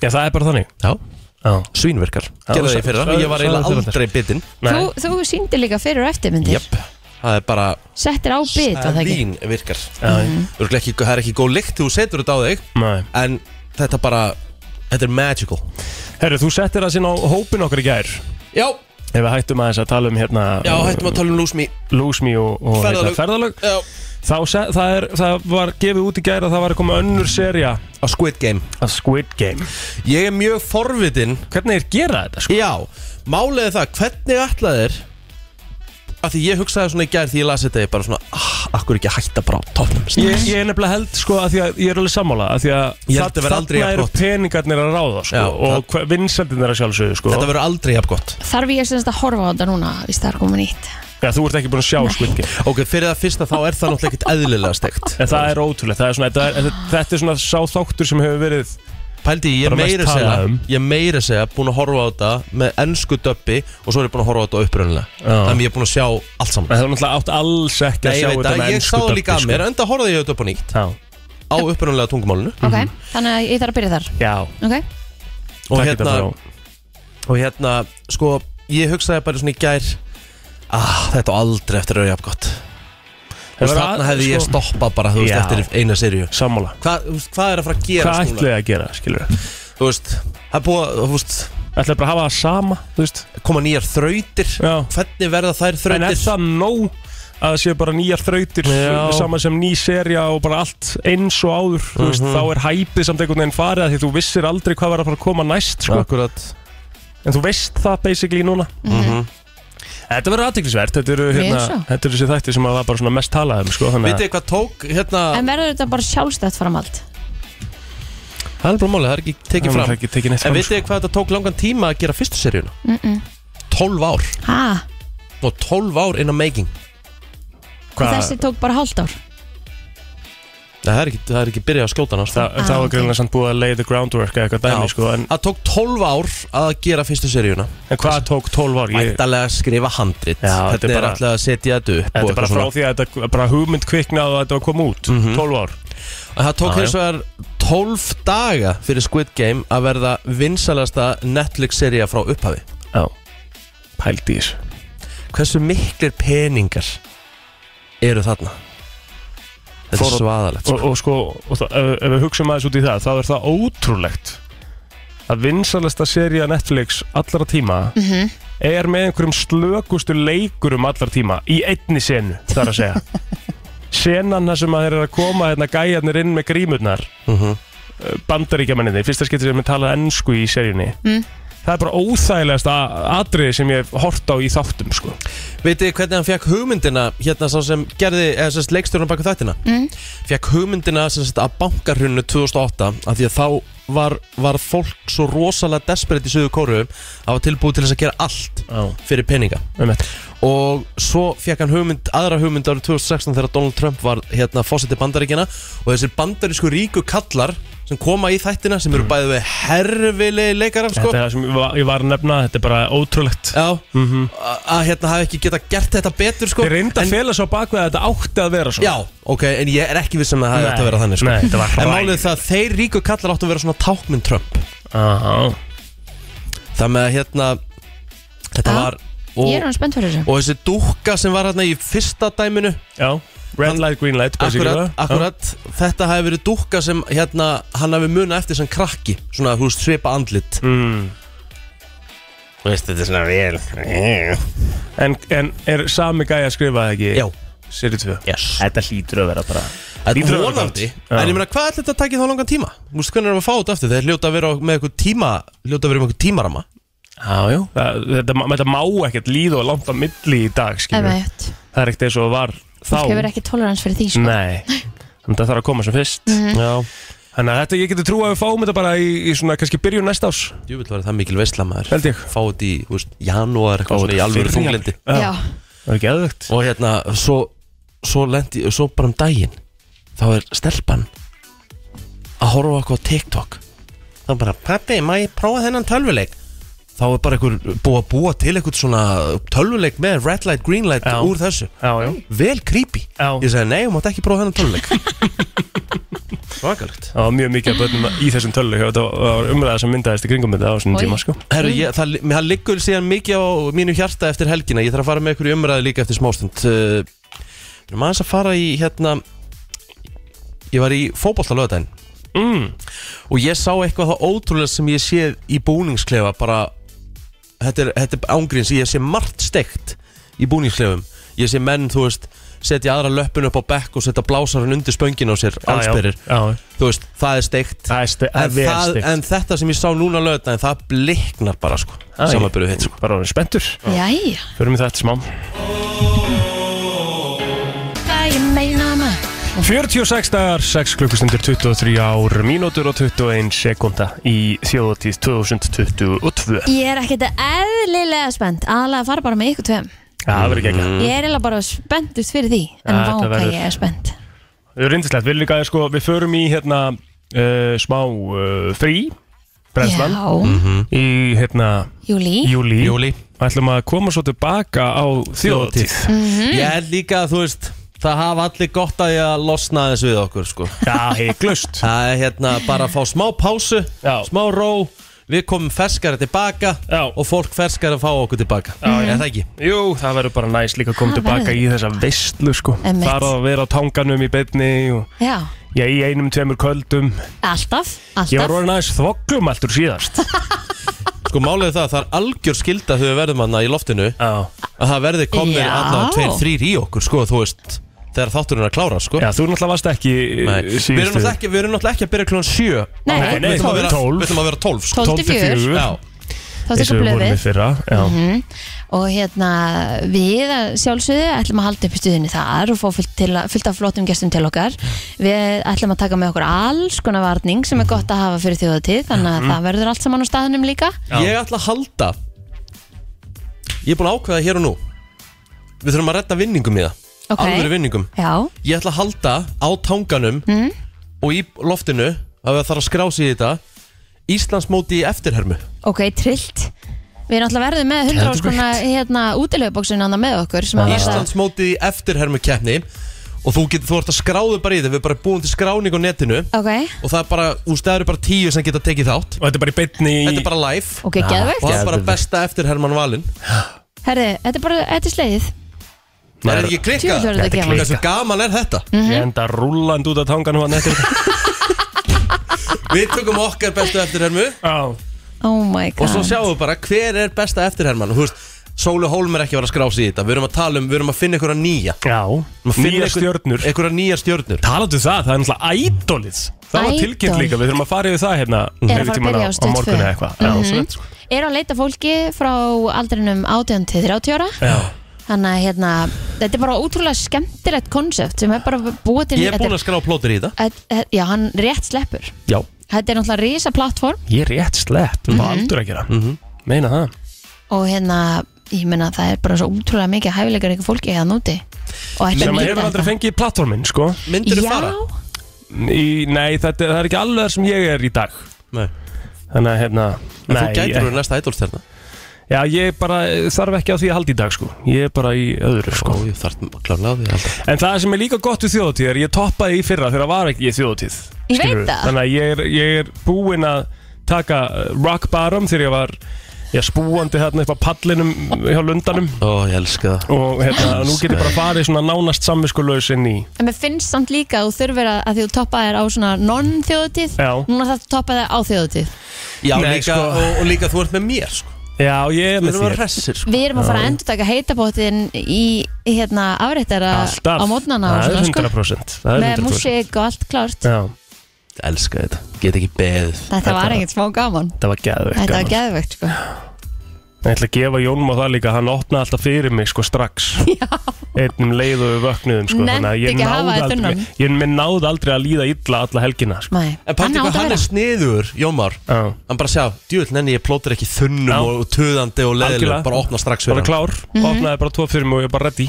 Já, það er bara þannig Já, Já svínverkar Já, Gerðu það sagði- í fyrra sagði- Ég var sagði eiginlega þér aldrei bitinn Nei, Þú, þú sýndir líka fyrir og eftirmyndir Jöp Það er bara Settir á bit, var það ekki? Lín virkar já, Örugglega ekki- Það er ekki góð lykt þegar þú setur þetta á þig nei En þetta bara Þetta er magical Herru, þú settir það sinna á hópin okkar í gær Já, Ef við hættum aðeins að tala um hérna já, hættum að tala um lúsmi Lúsmi og, og Ferðalög. hérna, ferðalög. Já Þá, se- það, er, það var gefið út í gær að það var að koma önnur seria Á Squid Game af Squid Game Ég er mjög forvitin Hvernig er gera þetta sko? Já, málega það, hvernig ætlað er Af því ég hugsaði svona í gær því ég las þetta Ég bara svona, ah, akkur ekki að hætta bara á topnum Ég, ég er nefnilega held sko að því að ég er alveg sammála að því að Ég held að vera aldrei þarna jafn eru gott. peningarnir að ráða sko Já, og vinsendin er að sjálfsögðu sko Þetta verður aldrei jafn gott Þarf ég semst að horfa á þetta núna, viðst það er komið nýtt Já, þú ert ekki búin að sjá Squid Game Ok, fyrir það fyrsta þá er það náttúrulega ekkert eðlilega steikt En það er ótrúlegt, það er svona, þetta, er, þetta er svona sá þáttur sem hefur verið Pældi, ég er Bara mest meira að segja talað um. Ég er meira að segja búin að horfa á þetta með ennsku döppi og svo er ég búin að horfa á þetta upprunnilega Já. Þannig ég er búin að sjá allt En saman það er náttúrulega átt alls ekki Nei, að ég sjá um veit þetta að ég með sá ennsku það líka að dubbi, mér enda horfði ég þetta upp á nýtt sko. á upprunnilega tungumálinu Ok, Mhm. þannig að ég þarf að byrja þar Já, Ok, og hérna, takk þetta frá og hérna, sko, ég hugsaði bara svona í gær ah, þetta á aldrei eftir að vera jafn gott Þú veist, var Þarna að- hefði ég sko- stoppað bara, þú veist, Já. eftir eina serju Sammála Hvað, þú veist, hvað er að fara að gera Hvað ætlaði að gera, skilur við? Þú veist, það er búið að, þú veist, Ætlaði bara að hafa það sama, þú veist koma nýjar þrautir Já. Hvernig verða þær En er þrautir? það nóg að það séu bara nýjar þrautir Já. Saman sem ný serja og bara allt eins og áður þú veist, Þá er hæpið samt einhvern veginn farið af Því þú vissir aldrei hvað var að fara að koma næst sko. Akkurat En þú veist það basically núna Mm. Þetta verður aðtiklisvert Þetta eru Mjög svo. hérna, þetta eru þessi þætti sem að var bara svona mest talað um sko, Þannig Vitið að þið hvað tók, hérna, en verður þetta bara sjálfstætt framhald? það er bara málið, það er ekki tekið það er fram ekki tekið neitt En fram vitið sko. þið hvað þetta tók langan tíma að gera fyrstu seríuna? Mm -mm. 12 ár Ha, Og 12 ár in a making og Hvað- þessi tók bara hálft ár Nei, það er ekki, það er ekki byrjað að skjóta sko. hann Þa, Ah, Það var ok. greinlega samt búið að lay the groundwork eða eitthvað dæmi Já. sko, en, Það tók 12 ár að gera fyrstu seríuna en hvað tók 12 ár? Ég, Ættalega að skrifa handrit Já, þetta Þetta er er bara- alltaf að setja þetta upp og þetta er bara eitthvað frá svona. Mhm. því að þetta bara hugmynd kviknaði og þetta var kom út 12 ár En Það tók Já, já. hins vegar 12 daga fyrir Squid Game að verða vinsalasta Netflix-sería frá upphafi Já Pældi í þessu Hversu miklir peningar eru þarna? Þetta Fór- er svaðalegt og, og sko, og það, ef, ef við hugsaum aðeins út í það þá er það ótrúlegt að vinsalesta seria Netflix allra tíma er með einhverjum slökustu leikurum allra tíma í einni senu, þar að segja senan þar sem að þeir eru að koma hérna gæjarnir inn með grímurnar uh Mhm. bandaríkjamenninni, fyrsta skipti sem ég tala ennsku í seríunni Mm. það er bara óþægilegasta atriði sem ég hef hort á í þáttum sko. Vitið þið hvernig hann fekk hugmyndina hérna sá sem gerði, eða sérst leikstjórnum baku þættina Mm. fekk hugmyndina sérst að bankarhrunnu 2008 af því að þá var, var fólk svo rosalega desperate í söðu kóru að var tilbúið til þess að gera allt oh. fyrir peninga um og svo fekk hann hugmynd, aðra hugmynd árið 2016 þegar Donald Trump var hérna fósetti bandaríkjana og þessir bandarísku ríku kallar sem koma í þættina sem eru Mhm. bæðið við herfilegi leikarar sko. Þetta er það sem ég var, ég var að nefna, þetta er bara ótrúlegt Já, að að hérna hafi ekki geta gert þetta betur sko. Þeir reynda En- að fela svo bakveg að þetta átti að vera svona Já, ok, en ég er ekki vissum að það Nei, ætti að vera þannig sko. nei, þetta var En hræðilegt. málið er það að þeir ríku kallar áttu að vera svona tákmynd Trump Já, Það með að hérna Þetta Ah, var og, Ég er hann spennt fyrir þessu og þessi dúkka sem var hérna í fyrsta dæminu já, red Hann- light, green light basically, Akkurat, já. akkurat Þetta hafi verið dúkka sem hérna Hann hafi munað eftir sem krakki Svona, þú veist, svipa andlit mm. Þú veist, þetta er svona vel en, en er sami gæja að skrifa það ekki? Já, Seri 2 yes Þetta hlýtur að vera bara Þetta Lítur er að vera vonandi, gott. Já. en ég meina hvað ætlir þetta að taki þá langan tíma? Þú veist hvernig erum við að fá þetta aftur? Þeir hljóta að vera á- með eitthvað tíma, hljóta að vera með eitthvað tímarama Já, já það, þetta, ma- þetta má ekkert líða og langt á milli í dag Ef skilur. veitt, Það er ekkert eins og það var þá fólk hefur ekki tolerans fyrir því sko. Mhm. Nei Þannig að það þarf að koma sem fyrst Já, Þannig að þetta ég getur trú að við fáum þetta bara í, í svona kannski byrjun næsta ás djúvill var það mikil veisla maður Held ég. Fá þetta í, þú veist, janúar eitthvað svona í alvöru þunglindi Já, Það er ekki aðvögt Og hérna, svo, svo lendi, svo bara um daginn Þá er stelpan Að horfa á eitthvað á TikTok Þá bara, pappi, má ég prófa þennan tölvuleik? Þá er bara einhver búið að búa til eitthvað svona tölvuleik með red light, green light Já. úr þessu Já, já Vel creepy Já. Ég sagði, nei, þú mátt ekki prófa þennan tölvuleik Svakalegt Það var mjög mikið að börnum í þessum töllu og það var umræða sem myndaðist í kringum þetta á svona Oj. tíma sko Herru, ég, það, mér- það liggur síðan mikið á mínu hjarta eftir helgina Ég þarf að fara með ykkur í umræðu líka eftir smástund Uh, Við erum aðeins að fara í hérna Ég var í fótbolta lögadaginn mm. Og ég sá eitthvað það ótrúlega sem ég séð í búningsklefa Bara, þetta er, þetta er ángríns Ég sé margt steikt í búningsklefum Ég sé menn, þú veist, setja aðra löppun upp á bekk Og setja blásarinn undir spöngin á sér Allsperir, Ah, Já, já. þú veist, það er steikt Það er ste- það En, er vel það, steikt. en þetta sem ég sá núna lögðan það bliknar bara sko Æ. samanbyrðu hitt sko Bara orðin spenntur jæja Förum við þetta smá Það ég meina maður 46 dagar, 6 klukkustundir 23 ár, mínútur og 21 sekunda í þjóðatíð 2022 Ég er ekkert eðlilega spennt aðalega að fara bara með ykkur tveim Já, það verður ekki ekki Mm. Ég er eiginlega bara spenntust fyrir því en Ja, Mm. vá þetta hvað verður- ég er spennt Það er reyndislegt, við líka, sko, við förum í hérna uh, smá uh, frí, brennslan, Mhm. Já, í hérna júli júli. Júli Ætlum að koma svo tilbaka á þjóðatíð. Ég held líka að þú veist Það hafa allir gott að ég að losna aðeins við okkur sko Já, heiklust. Það er hérna bara að fá smá pásu Já. Smá ró Við komum ferskara tilbaka Já. Og fólk ferskara að fá okkur tilbaka Já, Er það ekki? Jú, það verður bara næst líka að koma Það tilbaka í þessa veistlu, sko. Einmitt. Þar að vera á tanganum í beinni og Já, já, í einum, tveimur köldum. alltaf, Ég var alltaf orðin aðeins þvoglum alltur síðast. Sko málið er það að það er algjör skilda þegar við verðum hana í loftinu Já. Að það verði komið Já. allavega tveir, þrýr í okkur sko Þú veist Þegar þátturinn er að klára sko já, þú náttúrulega varst ekki Nei. Við Nei. erum síðustu. náttúrulega ekki, við erum náttúrulega ekki að byrja klón 7 Nei, Nei, nei, Við tólf. ætlum að vera 12 sko 12 til 4 Já, Þá eins og tekur við vorum í blöfið fyrra. Já. Mhm. og hérna við að sjálfsögðu ætlum að halda upp í stuðinni þar og fá fullt, til, fullt af flottum gestum til okkar við ætlum að taka með okkur alls konar varning sem er gott að hafa fyrir þjóðatíð þannig Mhm. að það verður allt saman á staðunum líka Já. Ég ætla að halda Ég er búin að ákveða hér og nú Við þurfum að redda vinningum í það Ok. Alvöru vinningum já, Ég ætla að halda á tanganum Hmm? Og í loftinu að það þarf að skrá sig í þetta Íslandsmóti í eftirhermu ok, trillt við erum alltaf verðið með 100 árs konar hérna útilegubóksin annað með okkur Ah. sem að verða Íslandsmóti í eftirhermu keppni Og þú, getur, þú ert að skráðu bara í þetta Við erum bara búin til skráning á netinu ok, Og það er bara, úr stæður eru bara tíu sem geta tekið þátt Og þetta er bara í beinni í... Þetta er bara live ok, Og það geðvegt er bara besta eftirherman valin herri, þetta er bara, þetta er slegið Það er ekki tjúður klikkað verður þetta Þetta er gefað Hversu gaman er þetta? Mhm. Ég enda rulland út af tanganum hann eftir Við tökum okkar bestu eftirhermu Já, oh my og svo god, sjáum við bara hver er besta eftirherman og þú veist, Sólu Hólm er ekki að vera að skrási í þetta Við erum að tala um, við erum að finna einhverja nýja Já, Við erum að finna nýja einhver- stjörnur Einhverja nýja stjörnur Talandu það, það er náttúrulega ædolið Það var Idol. tilkynnt líka, við þurfum að fara yfir það hérna Er að einhvern fara tímann að byrja á Mhm. Stöð á morgun tvö. eða eitthvað Já, svo þetta, sko. Er að leita fólki frá aldrinum 18 til 30 ára Já. Þannig að hérna, þetta er bara ótrúlega skemmtilegt konsept sem er bara búið til Ég er búin þetta að skrá plótur í þetta er- þetta- Já, hann rétt sleppur Já, Þetta er náttúrulega risa plattform ég er rétt slepp Það Mhm. var aldur að gera Mhm. Meina það og hérna, ég meina það er bara svo ótrúlega mikið hæfileikar ykkur fólki hérna úti og ætti að Sem að nýta hefur aldrei þetta. fengið plattformin, sko Myndir Já, fara? í, Nei, þetta, það er ekki alveg þar sem ég er í dag Nei, Þannig að, hérna En þú nei, gætur ég, verið næsta ædolsterna Já, ég bara þarf ekki á því að halda í dag, sko Ég er bara í öðru, Ó, sko ég þarf klálega á því alltaf En það sem er líka gott við þjóðatíð er ég toppaði í fyrra þegar var ekki í þjóðatíð Ég veit skilurðu. það. Þannig að ég er, ég er búinn að taka eh, rock bottom þegar ég var ég spúandi þarna upp á pallinum hjá lundanum Ó, ég elska það og hérna, nú get ég bara farið svona nánast samviskulaus inn í En mér finnst samt líka að þú þurfir að, að því þú toppaðir á svona non-þjóðutíð Já. Núna það toppaði á þjóðutíð Já, Nei, líka, sko. og, og líka þú ert með mér sko. Já, ég er Við með erum að þér hressir sko. Við erum að fara að endur taka heitabóttin í hérna afréttara Alltaf á mótnana og Það er svona sko 100% Það er 100% Með músík og allt klárt Já, Elska þetta, get ekki beðið Þetta var ekkert smá gaman það var geðveikt Þetta var gaman. geðvegt sko Ég ætla að gefa Jónum á það líka Hann opnaði alltaf fyrir mig sko strax Einnum leið og við vöknuðum sko Nennti þannig að ég ekki að hafa náði þetta aldrei- undan. Ég mér náði aldrei að líða illa alla helgina sko. Nei, En pæti átti hvað að hann vera. er sniður, Jómar Já, Hann bara sjá, djúvill nenni ég plótur ekki þunnum Já. og töðandi og leðileg Algjörlega. Bara opna strax bara fyrir hann klár Mhm. Opnaði bara tvo fyrir mig og ég er bara ready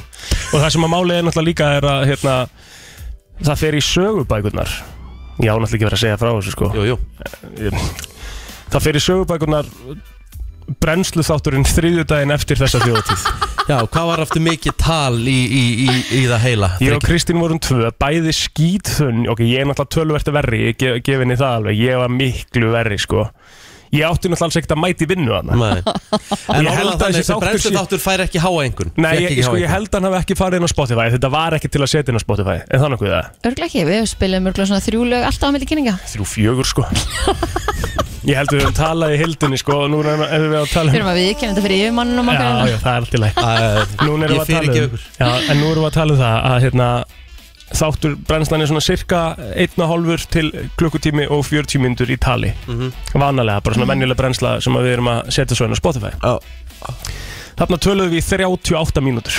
Og það sem að málið er náttúrulega líka er að hérna, Það fer í sögubækurnar Já, náttúrulega ekki verið að segja frá þessu sko Jú, jú, Það fer í sögubækurnar brennslu þátturinn þriðjudaginn eftir þessa þjóðatíð já, hvað var aftur mikið tal í, í, í, í það heila? Ég og Kristín vorum tvö, bæði skýtþunn Ok, ég er náttúrulega tölvert verri, ég gef, gef henni það alveg Ég var miklu verri, sko Ég átti náttúrulega alls ekkert að mæti vinnu hana Nei. En Ég orðan held þannig að þessi sem þáttur brennslu þáttur fær ekki háa einhvern Nei, Fékk ég, ekki háa sko, ég einhvern. held að hann hafi ekki farið inn á Spotify Þetta var ekki til að setja inn á Spotify En þannig hvað það, Örugglega ekki, við spilum örglega svona þrjú lög alltaf á milli kynninga þrjú fjögur, sko Ég held við höfum talað í hildinni, sko Og nú erum erum við að tala Fyrir um maður við kemur þetta fyrir yfirmannunum okkar Já, já, það er allt í læg Æ, Nú erum Ég við að tala fyrirgef um ykkur. já, En nú erum við að tala um það að hérna, Þáttur brennslan er svona cirka einna hálfur til klukkutími og 40 myndur í tali Vanalega, bara svona venjuleg brennsla sem að við erum að setja svo inn á Spotify Já. Þarna töluðum við í 38 mínútur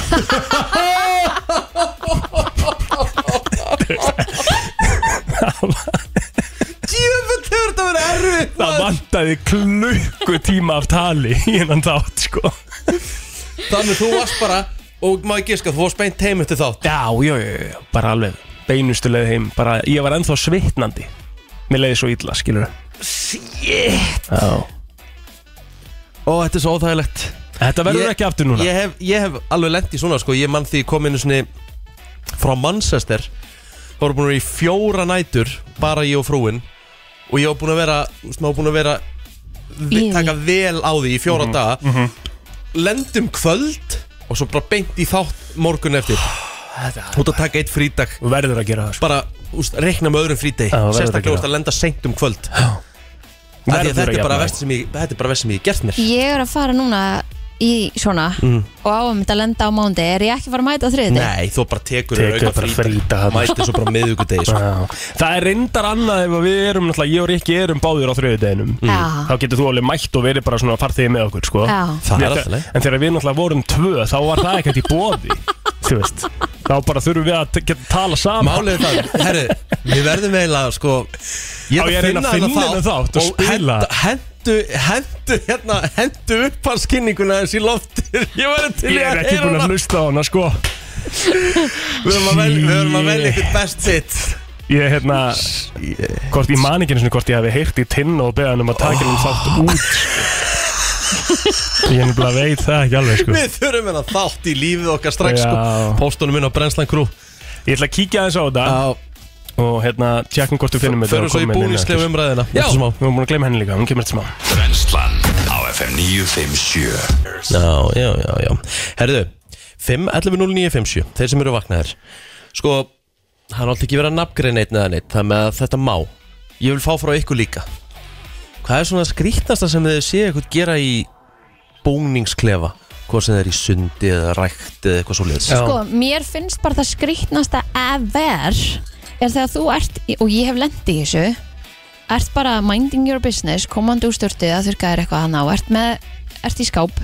Djöfull hefur þetta verið erfið Það vantaði klukkutíma af tali innan þátt sko Þannig þú varst bara, og maður gíska, þú varst beint heim eftir þátt Já, já, já, já, bara alveg beinustu leið heim bara, Ég var ennþá svitnandi Mér leiði svo illa, skilur Shit Já Ó, þetta er svo óþægilegt Þetta verður Ég- ekki aftur núna ég hef, ég hef alveg lent í svona sko Ég mann því ég kom einu svona Frá Manchester Það voru búin að vera í fjóra nætur Bara ég og frúin Og ég var búin að vera Má búin að vera Í vi- því. Taka vel á því í fjóra Mhm, daga Lendum kvöld Og svo bara beint í þátt morgun eftir Ah, Þú ert að taka eitt frídag Þú verður að gera það sko. Bara úst, reikna með öðrum frídegi Já, verður að Sérstaklega gera úst, að lenda seint um kvöld Af því Verður að Þetta er jafna bara þig. verst sem ég- þetta er bara vest sem ég hef gert mér Ég er að fara núna í svona Mm. og áum þetta að lenda á mándi Er ég ekki að fara að mæta á þriðið? Nei, þú bara tekur Tekur auka bara frídag. frídag þarna. Mætir svo bara miðugudegi sko. Já. Það er reyndar annað ef að við erum náttúrulega, ég og Rikki erum báðir á þriðudeginum Já. þá getur þú alveg mætt og verið bara svona að fara þig með okkur sko. Já. Það er Þetta- alltaf leið. En þegar við náttúrulega vorum tvö þá var það ekkert í bóði þú veist, þá bara þurfum við að t- geta tala saman Málið er það, herri, við verðum eiginlega sko Á, ég reyna að finna þennan þennan þátt og spila. henda- hendu, hendu, hérna, hendu upp hans kynninguna þessi loftir Ég verður til Ég í er ekki heyra búin að hana. hlusta á hana sko Við verðum að velja- við verðum að velja Shit. eitthvað best sitt Ég er hérna Hvort ég man ekki einu sinni hvort ég hefði heyrt í tinn og beðan um að taka henni þátt út sko. Ég er nefnilega veit það ekki alveg sko. Við þurfum hennar þátt í lífið okkar strax sko Já. Póstunum minn á Brenslan Crew Ég ætla að kíkja aðeins á þetta og hérna tjekkum hvort þú finnum þetta Förum og svo í komum inn búningslegu aftur. umræðina Já, við erum búin að gleyma henni líka, hún kemur eftir smá Brennslan á FM 957 Já, já, já, já Herðu, 5.11.09.57 Þeir sem eru vaknaðir Sko, hann átti ekki verið að nafngreina neitt neða neitt Það með að þetta má Ég vil fá frá ykkur líka Hvað er svona skrítnasta sem þið séu eitthvað gera í búningsklefa hvort sem það er í sundi eða rækt eða eitthvað svo liðs Já. Já, sko, mér finnst bara það skrýtnasta ever er þegar þú ert, í- og ég hef lendi í þessu ert bara minding your business komandi úr störtu að þurrka þér eitthvað hann á ert, með, ert í skáp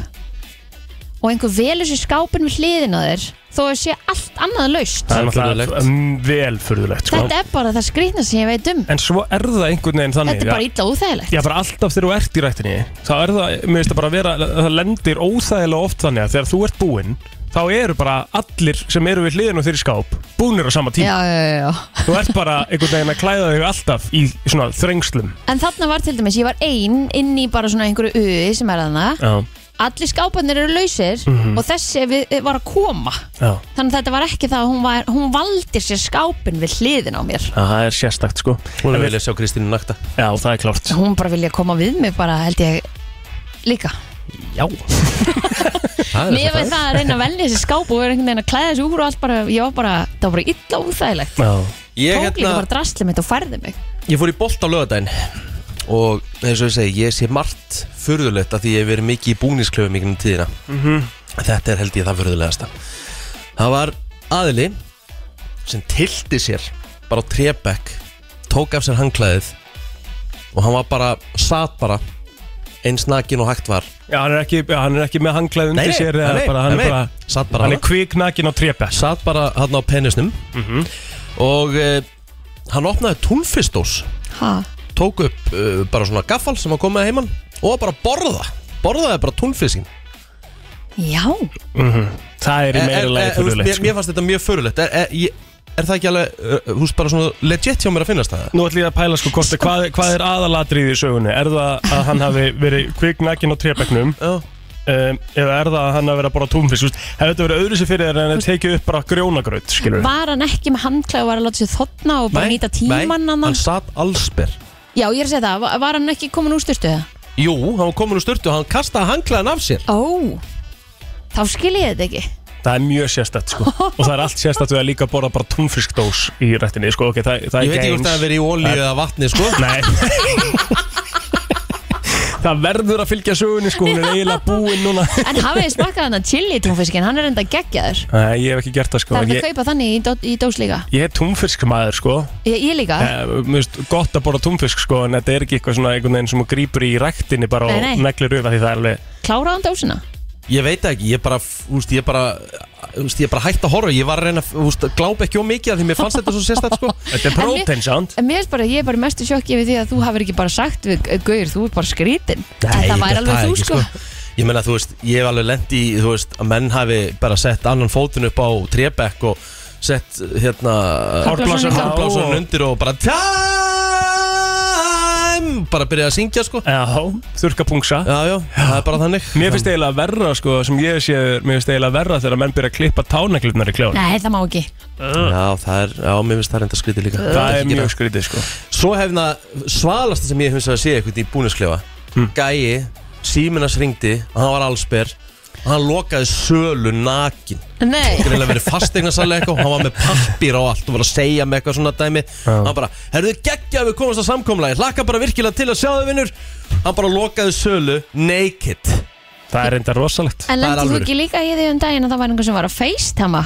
og einhver velur sér skápin við hliðin á þér þó að sé allt annað laust Það er er náttúrulega furðulegt. mm, vel furðulegt sko. þetta er bara það skrýtnasta sem ég veit um En svo er það einhvern veginn þannig þetta er bara að- illa óþægilegt Já, bara alltaf þegar þú ert í rættinni þá er það, mér finnst það bara að vera það lendir óþægilega oft þannig að þegar þú ert búinn þá eru bara allir sem eru við hliðin og þeir í skáp búnir á sama já, tíma já, já, já. Þú ert bara einhvern veginn að klæða þig alltaf í svona þrengslum en þarna var til dæmis, ég var ein inn í bara svona einhverju uði sem er þarna Já, Mhm. allir skápanir eru lausir og þessi við, var að koma já Þannig að þetta var ekki það að hún, var, hún valdi sér skápin við hliðin á mér Það er sérstakt sko hún En er við- vel að sjá Kristínu nakta Já, það er klárt Hún bara vilja koma við mig bara held ég líka Já Það Mér veið það að reyna að velja þessi skáp og vera einhvern veginn að klæða þessu úr og allt bara Ég var bara, það var bara illa úþægilegt Já Ég, Tók líka hérna, bara drastlið mitt og færði mig ég fór í bolt á lögadaginn og eins og ég segi, ég sé margt furðulegt af því ég hef verið mikið í búningsklöfum í gegnum tíðina Mhm. Þetta er held ég það furðulegasta Það var aðili sem tilti sér bara á trébekk tók af sér hangklæðið og hann var bara, satt bara eins nakin og hægt var Já, hann er ekki, já, hann er ekki með hanglaði undir sér eða bara, hann, er bara, satt bara hann hann er kviknakin á trépess satt bara hann á penisnum Mhm. og eh, hann opnaði túnfistós ha. tók upp uh, bara svona gaffal sem að koma með heimann og var bara að borða borðaði bara túnfiskin Já, Það er í meira Eh, þú lagi veist, furðulegt mér, sko. mér fannst þetta mjög förulegt er, er, ég- er það ekki alveg uh, hús bara svona legit hjá mér að finnast það Nú ætlum ég að pæla sko kosti, hvað, hvað er aðalatriðið í sögunni? Er það að hann hafi verið kviknakin á trépeknum Já. um, eða er það að hann hafi verið að bora túnfisk? Hefur þetta verið öðru sér fyrir þér en að tekið upp bara grjónagraut, skilur við? var hann ekki með handklæð og var að láta sér þotna og bara nýta tímann nei, annan hann satt allsber Já, ég er að segja það, var- var hann ekki komin úr styrstu það? Jú, hann var komin úr styrtu og hann kastaði hangklæðan af sér Ó, þá skil ég þetta ekki Það er mjög sérstætt sko og það er allt sérstætt við að líka bora bara túnfiskdós í rættinni sko, ok, það, það Ég er veit ekki hvort eins. það hafi verið í olíu eða vatni sko Nei Það verður að fylgja sögunni sko, hún er eiginlega búin núna En hafið þið smakkað hann að chili túnfiskin, hann er enda geggjaður Nei, ég hef ekki gert það sko Það er en hægt að ég, kaupa þannig í, dó, í dós líka ég er túnfiskmaður sko Ég, ég líka, Eh, Mér finnst gott að borða túnfisk sko en þetta er ekki eitthvað svona einhvern veginn sem þú grýpur í ræktinni bara Nei, nei. og neglir auðvitað því það er alveg kláraði hann dósina Ég veit það ekki, ég bara, úst, ég bara úst, Ég bara hætti að horfa, ég var að reyna úst, Glápa ekki of mikið af því mér fannst þetta svo sérstætt sko Þetta er En mér- protein sound En mér er bara, ég er bara í mestu sjokki yfir því að þú hafir ekki bara sagt við eh, Gaur, þú er bara skrítin En það væri alveg er þú ekki, sko Ég meina, þú veist, ég hef alveg lent í, þú veist, að menn hafi bara sett annan fótun upp á trébekk og sett, hérna, Hárblásarinn á. hárblásarinn undir og bara time, bara byrjaði að syngja, sko. Já, þurrka pungsa Já, já, það er bara þannig. Mér finnst eiginlega verra sko sem ég sé Mér finnst eiginlega verra þegar menn byrja að klippa tánaglirnar í kljána Nei, það má ekki Já, það er, já, mér finnst það reynda skrítið líka. Það Ekki er gera. mjög skrítið sko Svo hefna svalasta sem ég hef finnst að sé eitthvað í búnisklefa Hmm. Gæi, síminas ringdi og hann var allsber og hann lokaði sölu nakin Nei, greinilega verið fastegnarsali eitthvað og hann var með pappir og allt og var að segja með eitthvað svona dæmi hann bara, herðu geggja að við komast að samkomlega hlakka bara virkilega til að sjá þau vinnur hann bara lokaði sölu naked Það er enda rosalegt en Það er lendir þú alvöru. ekki líka í því um daginn að það var einhver sem var að facetama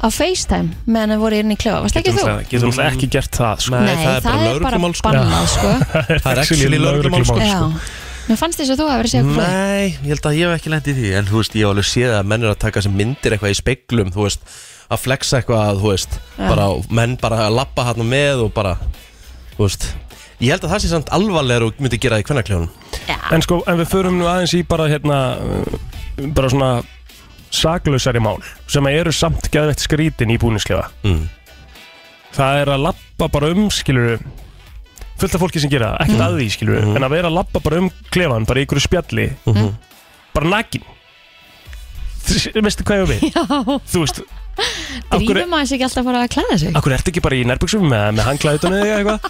Á facetime, meðan þau voru inn í klefa Varst ekki Getum þú? það- Getum það ekki gert það sko Nei, það er bara lögreglumál, sko. bannað sko það er actually lögreglumál, sko. Já, mér fannst þess að þú hafir að segja okkur frá því. Nei, ég held að ég hef ekki lendið því En þú veist, ég hef alveg séð að menn er að taka sem myndir eitthvað í speglum Þú veist, að flexa eitthvað, þú veist bara, Menn bara að lappa hann með og bara Þú veist Ég held að það sé samt alvarlegur og myndi gera það í kvennarkljónum En sko, en við förum nú aðeins í bara hérna uh, bara svona saklausari mál sem eru samt geðveitt skrítin í búninsklefa Mm. Það er að lappa bara um, skilur fullt af fólki sem gera það, ekkert að því, skilur en að vera að lappa bara um klefan, bara í ykkur spjalli Mhm. bara nakin Þú- Veistu hvað ég á við? Já, Þú veist af hverju- drífum aðeins ekki alltaf bara að klæða sig Akkur ertu ekki bara í nærbuksum með, með hanglaðutunni eða eitthvað?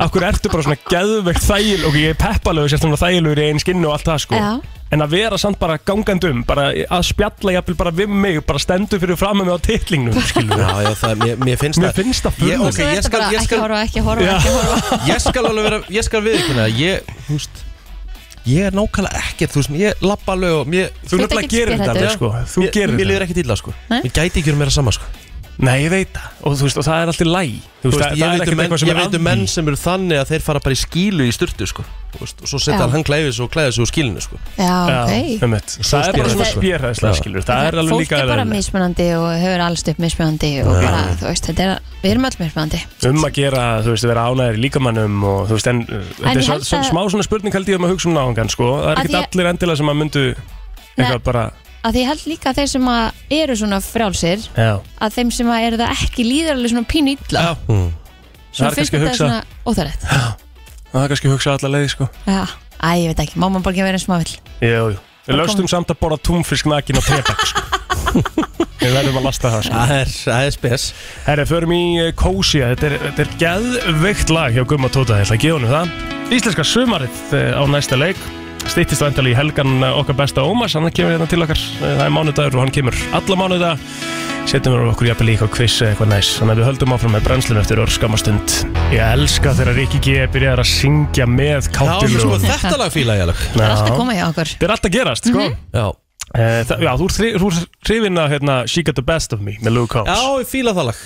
Akkur ertu bara svona geðvegt þægil og ég er peppalögur sér svona þægilegur í einn skinnu og allt það sko Já. En að vera samt bara gangandum, bara að spjalla jafnvel bara við mig, bara stendur fyrir fram með á titlingnum, skilur Já, já, það, mér, mér finnst Mér finnst það Ég- furðulegt. ok, Svo er ég þetta skal, bara ég ekki skal, horfa, ekki horfa, Já. ekki horfa ég skal alveg vera Ég skal við ekki, ég, þú veist Ég er nákvæmlega ekkert, þú veist, ég labba alveg og mér, ert þú nefnilega ekkert gerir þetta spéhræddur. alveg, sko. Þú Mér- gerir Mér þetta. líður ekkert illa sko Nei. Ég gæti ekki um meira sama sko Nei, ég veit það Og þú veist, og það er alltaf læg Þú Þú veist, veist, ég það, það er veit um ekkert menn, eitthvað sem ég er veit um að menn sem eru þannig að þeir fara bara í skílu í sturtu sko Þú veist, og svo setja Já. hann klæðið svo og klæðið svo úr skílinu sko Já, Já, ok einmitt. Það er spérar bara svona þetta. spjörhæðslega, Já. skilur Það er alveg Fólk líka er bara eðlilegt. mismunandi og hefur allst upp mismunandi og bara, þú veist, þetta er, við erum öll mismunandi um að gera, þú veist, að vera ánægir í líkamannum og þú veist, en, uh, þetta ég er svo, held svo, að- smá svona spurning held ég um að hugsa um náðungan, sko, það er Að ekkert ég- allir endilega sem að myndu eitthvað bara, að því ég held líka að þeir sem að eru svona frjálsir já, að þeim sem að eru það ekki líður alveg svona pínu illa Já. Mm. svona Það er finnst kannski að þetta hugsa- svona óþærætt það er kannski að hugsa alla leiði, sko Já, æ, ég veit ekki, má maður bara ekki vera smávill Jú, jú, við Bara löstum samt að borða túnfisk nakin á trefak, sko Við verðum að lasta það, sko Það er, það er spes Herra, förum í uh, Kósia, þetta er, þetta er geðveikt lag hjá Gumma Tóta, ég ætla að gefa hennu það Íslenska sumarið uh, á næsta leik Stýttist vendali í helgan uh, okkar besta Ómars, hann kemur hérna til okkar, Uh, það er mánudagur og hann kemur alla mánuda Setjum við okkur jafnvel í eitthvað quiz eða eitthvað næs Þannig að við höldum áfram með brennslun eftir örskamastund Ég elska þegar Rikki G. byrjar að syngja með Já, sko, káttilugum þetta lag fíla ég alveg Það er allt að koma hjá okkur Þetta er allt að gerast, sko Já, Eh, það- Já, þú ert hri- þú ert hrifin að hérna, She Got The Best Of Me með Luke Combs já, ég fíla það lag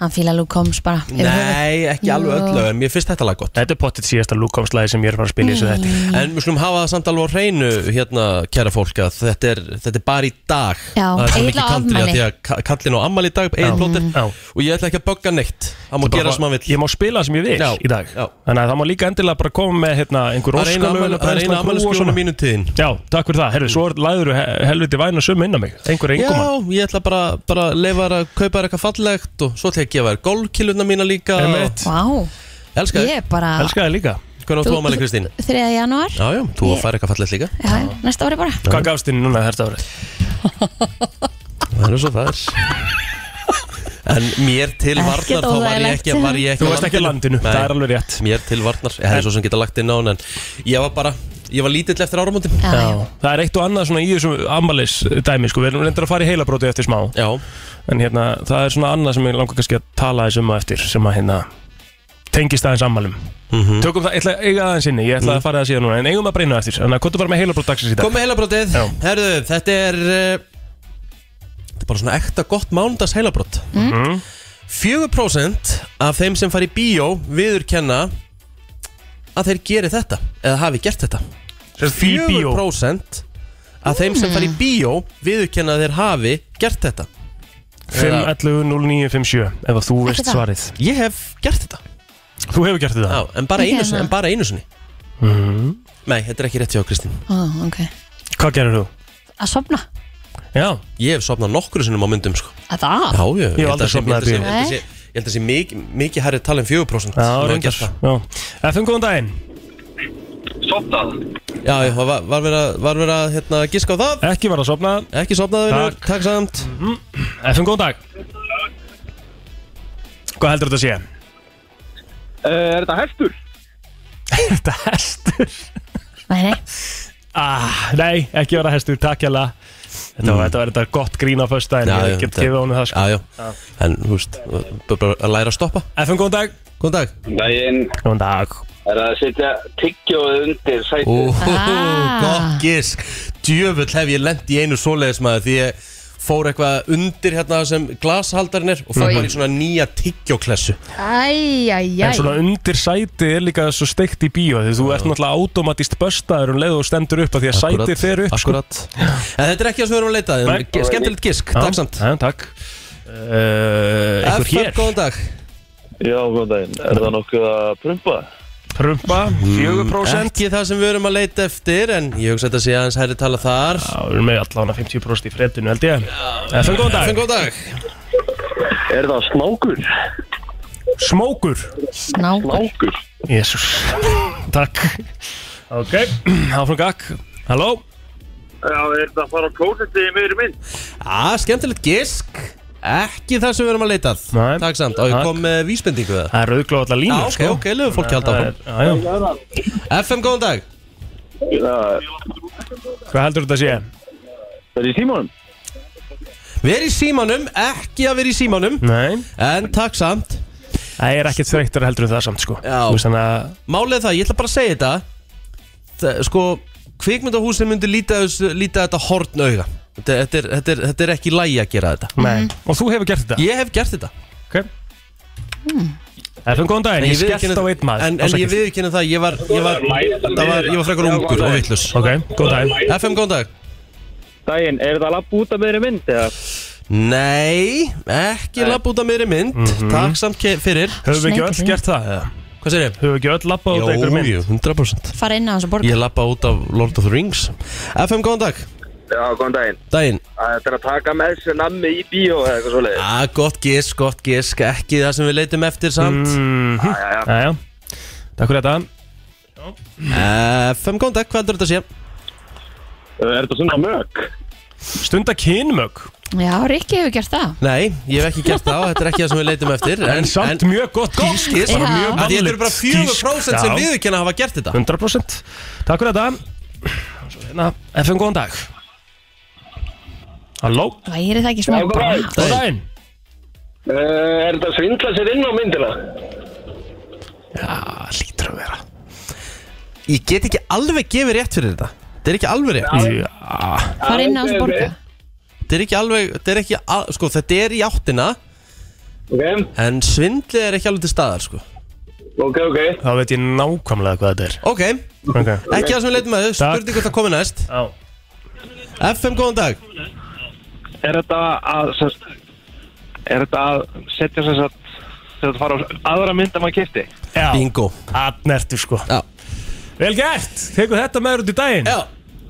Hann fíla Luke Combs bara yfir höfuð. Nei, ekki alveg Jú. öll lög, en mér finnst þetta lag gott Þetta er pottitt síðasta Luke Combs lagi sem ég er bara að spila í þessu þetta En við skulum hafa það samt alveg á hreinu hérna, kæra fólk, að þetta er, þetta er bara í dag Já, Það er svo Egill mikið á country, af afmæli. því að ka- kallinn á ammali í dag, eigin plóter Já. Mm. Og ég ætla ekki að bögga neitt, það má Bara gera fá- sem hann vill Ég má spila það sem ég vil Já, í dag já. Þannig að það má líka endilega bara koma með hérna, einhver Það er eina óskalög ammæli- það er eina ammæliskjónu mínu tíðin Já, takk fyrir það Herru, svo læður þú helviti væna sömu inn á mig Einhver Já, eingumann ég ætla bara, bara að leifa þær að kaupa þær eitthvað fallegt og svo ætla ég að gefa þær golfkiluna mína líka Einmitt. Vá, og- Elska þér, ég er bara Elskar það líka hvernig á þú ámæli Kristín? 3. janúar Já, já, þú Ég- að færa eitthvað fallegt líka Já, næsta ári bara Hvað gafst þín núna þetta árið? Það er svo það er En mér til varnar Ekkert þá var ég óþægilegt. ekki, var ég ekki Þú varst ekki á landinu, Nei. það er alveg rétt Mér til varnar, ég hefði svo sem geta lagt inn á hann En ég var bara, ég var lítill eftir áramóndin Já, já. Það er eitt og annað svona í þessu ammalis dæmi sko. Við erum reyndar að fara í heilabróti eftir smá Já, En hérna, það er svona annað sem ég langar kannski að tala þessum á eftir Sem að hérna tengist aðeins ammalum Mhm. Tökum það, ég ætla að eiga aðeins inni Ég ætla að fara það síðan núna En eigum að breyna eftir Þannig að hvað bara með heilabrót dagsins í dag kom með heilabrótið Já. Herðu, þetta er uh, Þetta er bara svona ekta gott mánudags heilabrót Mhm. 4% af þeim sem fari í bíó viðurkenna að þeir geri þetta eða hafi gert þetta Sem sagt, í bíó. 4% af þeim sem fari í bíó viðurkenna að þeir hafi gert þetta 511-0957 ef að þú veist það. svarið Ég hef gert þetta Þú hefur gert þetta Já, en bara Ég einu gerði sinni, það. en bara einu sinni Mhm. Nei, þetta er ekki rétt hjá Kristín Ó, ok Hvað gerir þú? Að sopna, Já, Ég hef sopnað nokkru sinnum á myndum sko. að það Já, ég, Ég hef held að aldrei sé- sofnað held að sé- í bíó. Ég held að sé- ég held að sé mikið, mikið hærri tal en 4% já, sem hafa reyndar gert það. Já. FM, góðan daginn sopnað Já, já, var, var verið að, var verið að hérna, giska á það Ekki var að sofna Ekki sopnaði vinnur, takk samt FM, góðan dag Hvað heldur þetta að sé? Eh, Er þetta hestur? Þetta hestur Nei, nei, ah, Nei, ekki vera hestur, takk jæla Þetta var, þetta var þetta gott grín á föstu daginn Mm. Já, Ég já, get þetta- gefið honum það sko Já, já, en þú veist, bara- bara að læra að stoppa FM, góðan dag Góðan dag Daginn Góðan dag er að setja tyggjóð undir sætið. Ah. Gott gisk Djöfull hef ég lent í einu svoleiðis maður Því ég fór eitthvað undir hérna sem glashaldarinn er Og fór bara í svona nýja tyggjóklessu æjæjæj En svona undir sæti er líka svo steikt í bíó Því þú ert náttúrulega automatist böstaður um leið og þú stendur upp af Því að sætið fer upp sko. Akkurat En þetta er ekki það sem við erum að leita að, Nei. en ge- Skemmtilegt gisk, Já, takk samt já, Takk uh, Einhver FM, hér góðan dag Já, góðan daginn. Er það nokkuð að prumpa? Prumpa, Mm. 4% Ekki það sem við erum að leita eftir En ég hugsa þetta sé aðeins hærri tala þar Já, við erum með allavega 50% í fredinu held ég FM, FM, góðan dag góðan dag Er það snákur? Smókur Snákur Snákur? Jésús Takk Ok, áfram gakk Halló Já, er það að fara á klósetti í miður minn? Á, skemmtilegt gisk Ekki það sem við erum að leita að. Nei. Takk samt, og ég Takk. kom með vísbendingu það Það er auðglóð allar Já, línu ok, ok, lögum fólki að halda áfram áfram FM, góðan dag Það Hvað heldur þetta að sé? er í símanum. Verið í símanum, ekki að vera í símanum Nei En takk samt Það er ekkert þreyttur heldur en það samt sko Já. Þú veist þannig að Málið er það, ég ætla bara að segja þetta Þa, Sko, kvikmyndahús sem myndi líta, þessu- líta þetta horn auga þetta, þetta, er, þetta, er, þetta er ekki lægi að gera þetta Nei. Og þú hefur gert þetta? Ég hef gert þetta Ok FM, góðan daginn, ég skellt viðurkenni- á einn maður En, en ég afsakið. viðkynna það, ég var, ég var, það var, ég var frekar ungur og vittlus Ok, góðan daginn FM, góðan dag Daginn, er það lapp út af meðri mynd eða? Nei, ekki lapp út af meðri mynd Mhm. Takk samt ke- fyrir Höfum við ekki Snakið. öll gert það? eða? Hvað segir ég? Höfum við ekki öll lappað Eh, út einhver mynd? jú, 100% fara inn á þessu borg Ég lappa út af Lord of the Rings FM, góðan dag Já, góðan daginn. Daginn Þetta er að taka með sér nammi í bíó eða eitthvað svoleiðið. ah, Gott gísk, gott gísk Ekki það sem við leitum eftir samt Mhm. Já, já, Jæja, takk fyrir þetta Mm. FM, Eh, góðan dag, hvað heldur þetta að sé? Eh, Er það svona mök? Stunda kynmög já, Rikki hefur gert það Nei, ég hef ekki gert það og þetta er ekki það sem við leitum eftir En, samt mjög gott gísk gísk bara Já. mjög Af Því þetta eru bara mannlegt 4% sem gísk, já. við ekki hafa gert þetta 100% Takk fyrir þetta Svo hérna, FM góðan dag Halló væri það ekki smá Já, bra góðan Góðan daginn Eh, Er þetta að svindla sér inn á myndina? Já, lítur að vera Ég get ekki alveg gefið rétt fyrir þetta Þetta er ekki alveg rétt Já, fara inn á þessu borg Þetta er ekki alveg, þetta er ekki, al, sko þetta er í áttina Ok, En svindli er ekki alveg til staðar, sko ok, ok. þá veit ég nákvæmlega hvað þetta er Ok, ekki Ok það sem við leitum að þau, Takk. spurði hvort það komi næst Já FM, góðan dag Er þetta að, sérst, er þetta að setja sérst að þetta að fara á aðra mynd að maður kipti? Já, Bingo atnertu sko Já. Vel gert, tekur þetta með þér út í daginn Já,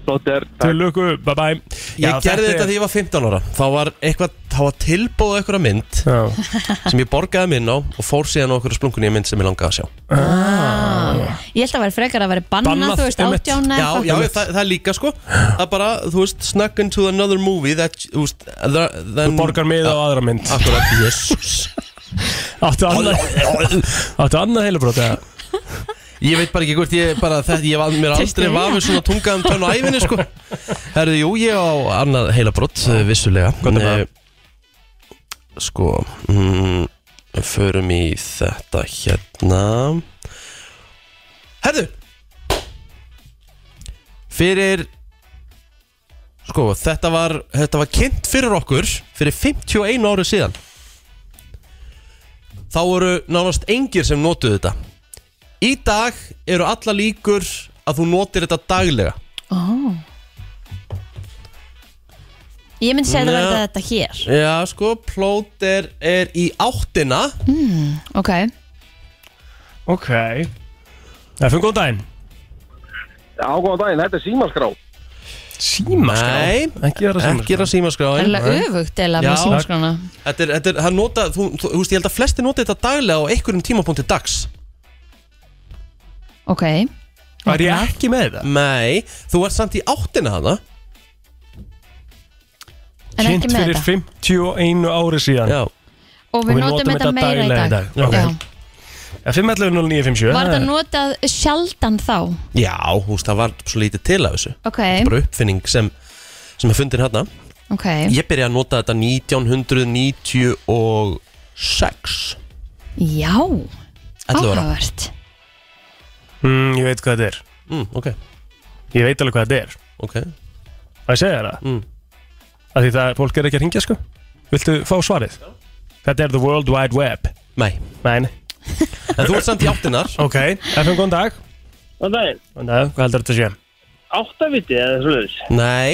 Dóttir, Til lukku, bye bye ég gerði þetta því ég var 15 ára Þá var eitthvað, þá var tilbúð eitthvað mynd Já, sem ég borgaði minn á og fór síðan á okkur splunkunni mynd sem ég langaði að sjá Ah. ég held að það væri frekar að vera bannað, Bannað, þú veist, einmitt. átjána Já, já, það, það er líka sko Það er bara, þú veist, snuck into another movie that, þú veist, that, then, borgar mig á aðra mynd Akkurat, jésús Áttu annað Áttu annað heilabrót eða? Ég veit bara ekki hvort ég bara þetta, ég var mér aldrei Treystirðu því? vafið svona tungaðum tönn á æfinni sko Herðu, jú, ég á annað heila brott, vissulega Hvað er það? Eh, Sko, mm, förum í þetta hérna Herðu Fyrir, sko, þetta var, þetta var kynnt fyrir okkur fyrir 51 ári síðan Þá voru nánast engir sem notuðu þetta Í dag eru alla líkur að þú notir þetta daglega Ó. ég myndi segja að það Já. væri þetta hér Já, sko, plót er, er í áttina ok, Ok FM, góðan daginn Já, góðan daginn, þetta er símaskrá. Nei, Ekki vera símaskrá ekki er að er símaskráin það öfugt eða Já. með símaskrána Þetta er, þetta er, hann nota, þú, þú, þú veist, ég held að flesti nota þetta daglega á einhverjum tímapunkti dags ok, Var ég ekki með það? Nei, þú ert samt í áttina hana en ekki Kynnt með fyrir þetta 51 ári síðan Já, og við notum þetta meira í dag í dag. Já. FM, 11, 0957 var það notað sjaldan þá já, þú veist, það var svo lítið til af þessu ok, Bara uppfinning sem, sem er fundin hérna ok Ég byrjaði að nota þetta 1996 já, 11 ára áhugavert mm, Ég veit hvað þetta er mm, Ok, Ég veit alveg hvað þetta er ok Það segja þér það Mm. Af Því það fólk er ekki að ringja sko Viltu fá svarið? Þetta er the world wide web Nei, Nei, nei. en þú ert samt í áttinar ok FM, góðan dag Góðan daginn, Góðan dag, hvað heldur þetta að sé? áttaviti eða svoleiðis? Nei,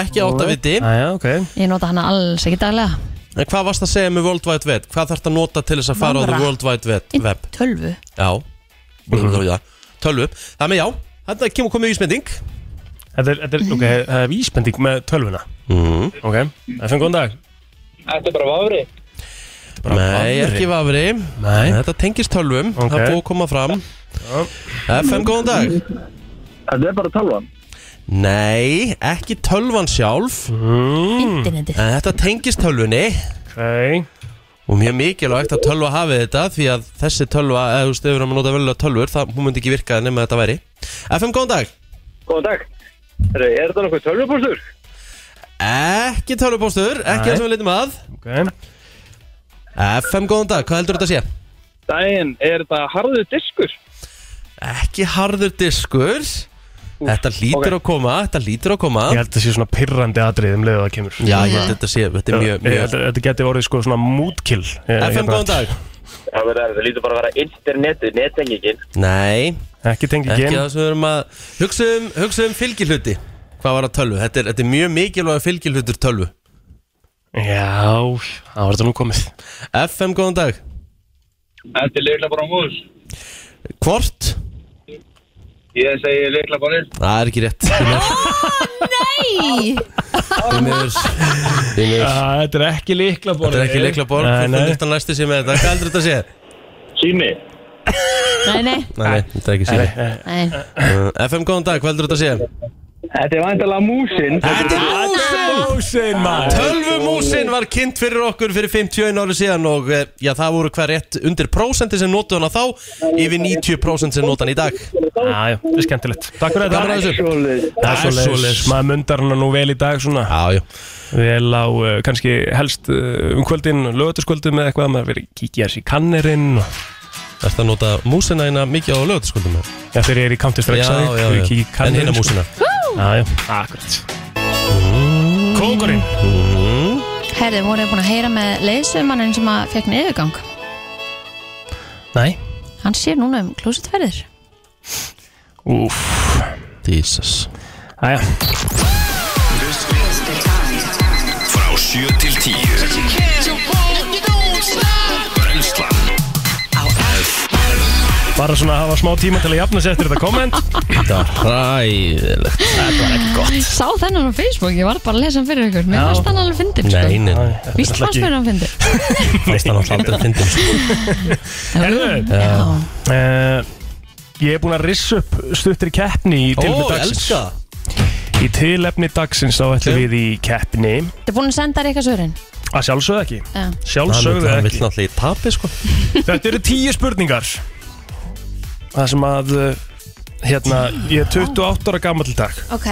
ekki áttaviti Æja, ok ég nota hana alls ekki daglega En hvað varst að segja með World Wide Web? Hvað þarf að nota til þess að fara á Vafra. The World Wide Web? Í Web? tölvu Já, já. tölvu Þannig já, þetta kemur komið ísmynding Þetta er, þetta er, ok, það er vísbending með tölvuna mm. Ok, FN, góðan dag Þetta er bara vafri. Bara Nei, vafri. ekki vafri Nei. Þetta tengist tölvum, Ok. það er búið að koma fram FM, góðan dag Þetta er bara talvan. Nei, ekki tölvan sjálf internetið En þetta tengist tölvunni Ok, Og mjög mikilvægt að tölva hafi þetta Því að þessi tölva, eða þú veist, ef við erum að nota velulega tölvur Það hún myndi ekki virka nema þetta væri FM, góðan dag Góðan dag. Er, er þetta nokkuð tölvupústur? Ekki tölvupóstur, ekki Nei. það sem við leitum að ok FM, góðan dag, hvað heldur þetta að sé? Daginn, er þetta harðu diskur? Ekki harður diskur Þetta lítur að koma, þetta lítur að koma Ég held að það sé svona pirrandi atrið um leiðu það kemur Já, ég held að þetta sé, þetta er mjög, Ég held mjög að Þetta geti orðið sko svona mútkill FM, góðan dag Það verður- það lítur bara að vera internetið, nettengingin Nei, Ekki tengi ekki gen það sem við erum að hugsa um, hugsa um fylgihluti Hvað var að tölvu? Þetta er, þetta er mjög mikilvæg fylgihlutur tölvu Já, það var þetta nú komið FM, góðan dag Þetta er leikla bara múl Hvort? Ég segi leikla bara inn Það er ekki rétt Nei, Því miður. Því miður. Þetta er ekki líkla borð Þetta er ekki leikla borg Nei, Þú nei. finnir þetta næstu sem er þetta Hvað heldur þetta sé? Sími nei, nei, Nei, nei, þetta er ekki sími nei. Uh, FM, góðan dag, hvað heldur þetta sé? Þetta er vandalega músin Þetta er Ósein maður Tölvumúsin var kynnt fyrir okkur fyrir 51 ári síðan og eh, já, það voru hver rétt undir prósenti sem notu hana þá yfir 90% sem nota hana í dag Já, já, það er skemmtilegt Takk fyrir Gaman að þetta þessu Það er svo leiðis Maður myndar hana nú vel í dag svona Já, já, Vel á uh, kannski helst uh, um kvöldin Lögatuskvöldum eða eitthvað Maður verið kíkja þessi í kannerinn og- þetta nota músina hérna mikið á lögutaskuldum Já, þegar ég er í Counter-Strike Já, sagði, já, ég já. kíkja í en kannerinn hérna sko. músina Já, já, akkurat Kóngurinn Herði, voruð þið búin að heyra með leiðsögumannin sem að fekk niðurgang Nei Hann sér núna um klósitverðir Úff Jesus Æja, Frá 7 til 10 Brenslan bara svona að hafa smá tíma til að jafna sér eftir þetta komment Þetta var hræðilegt Sá þennan á Facebook, ég var bara að lesa hann fyrir ykkur Mér Já. fannst hann alveg fyndin Nei, sko. nei, nei, Víst fannst mér hann fyndin fannst hann alltaf aldrei fyndin sko. Herðu. Já. Uh, ég er búinn að rissa upp stuttri keppni í tilefni Ó, dagsins elska Í tilefni dagsins þá ætlum við í keppni Þetta er búin að senda þér eitthvað svörin að sjálfsögðu ekki Já. Hann vill Sjálfsögðu ekki náttúrulega í tapi, sko Þetta eru tíu spurningar Það sem að uh, hérna, ég er 28 ára gammal í dag Ok,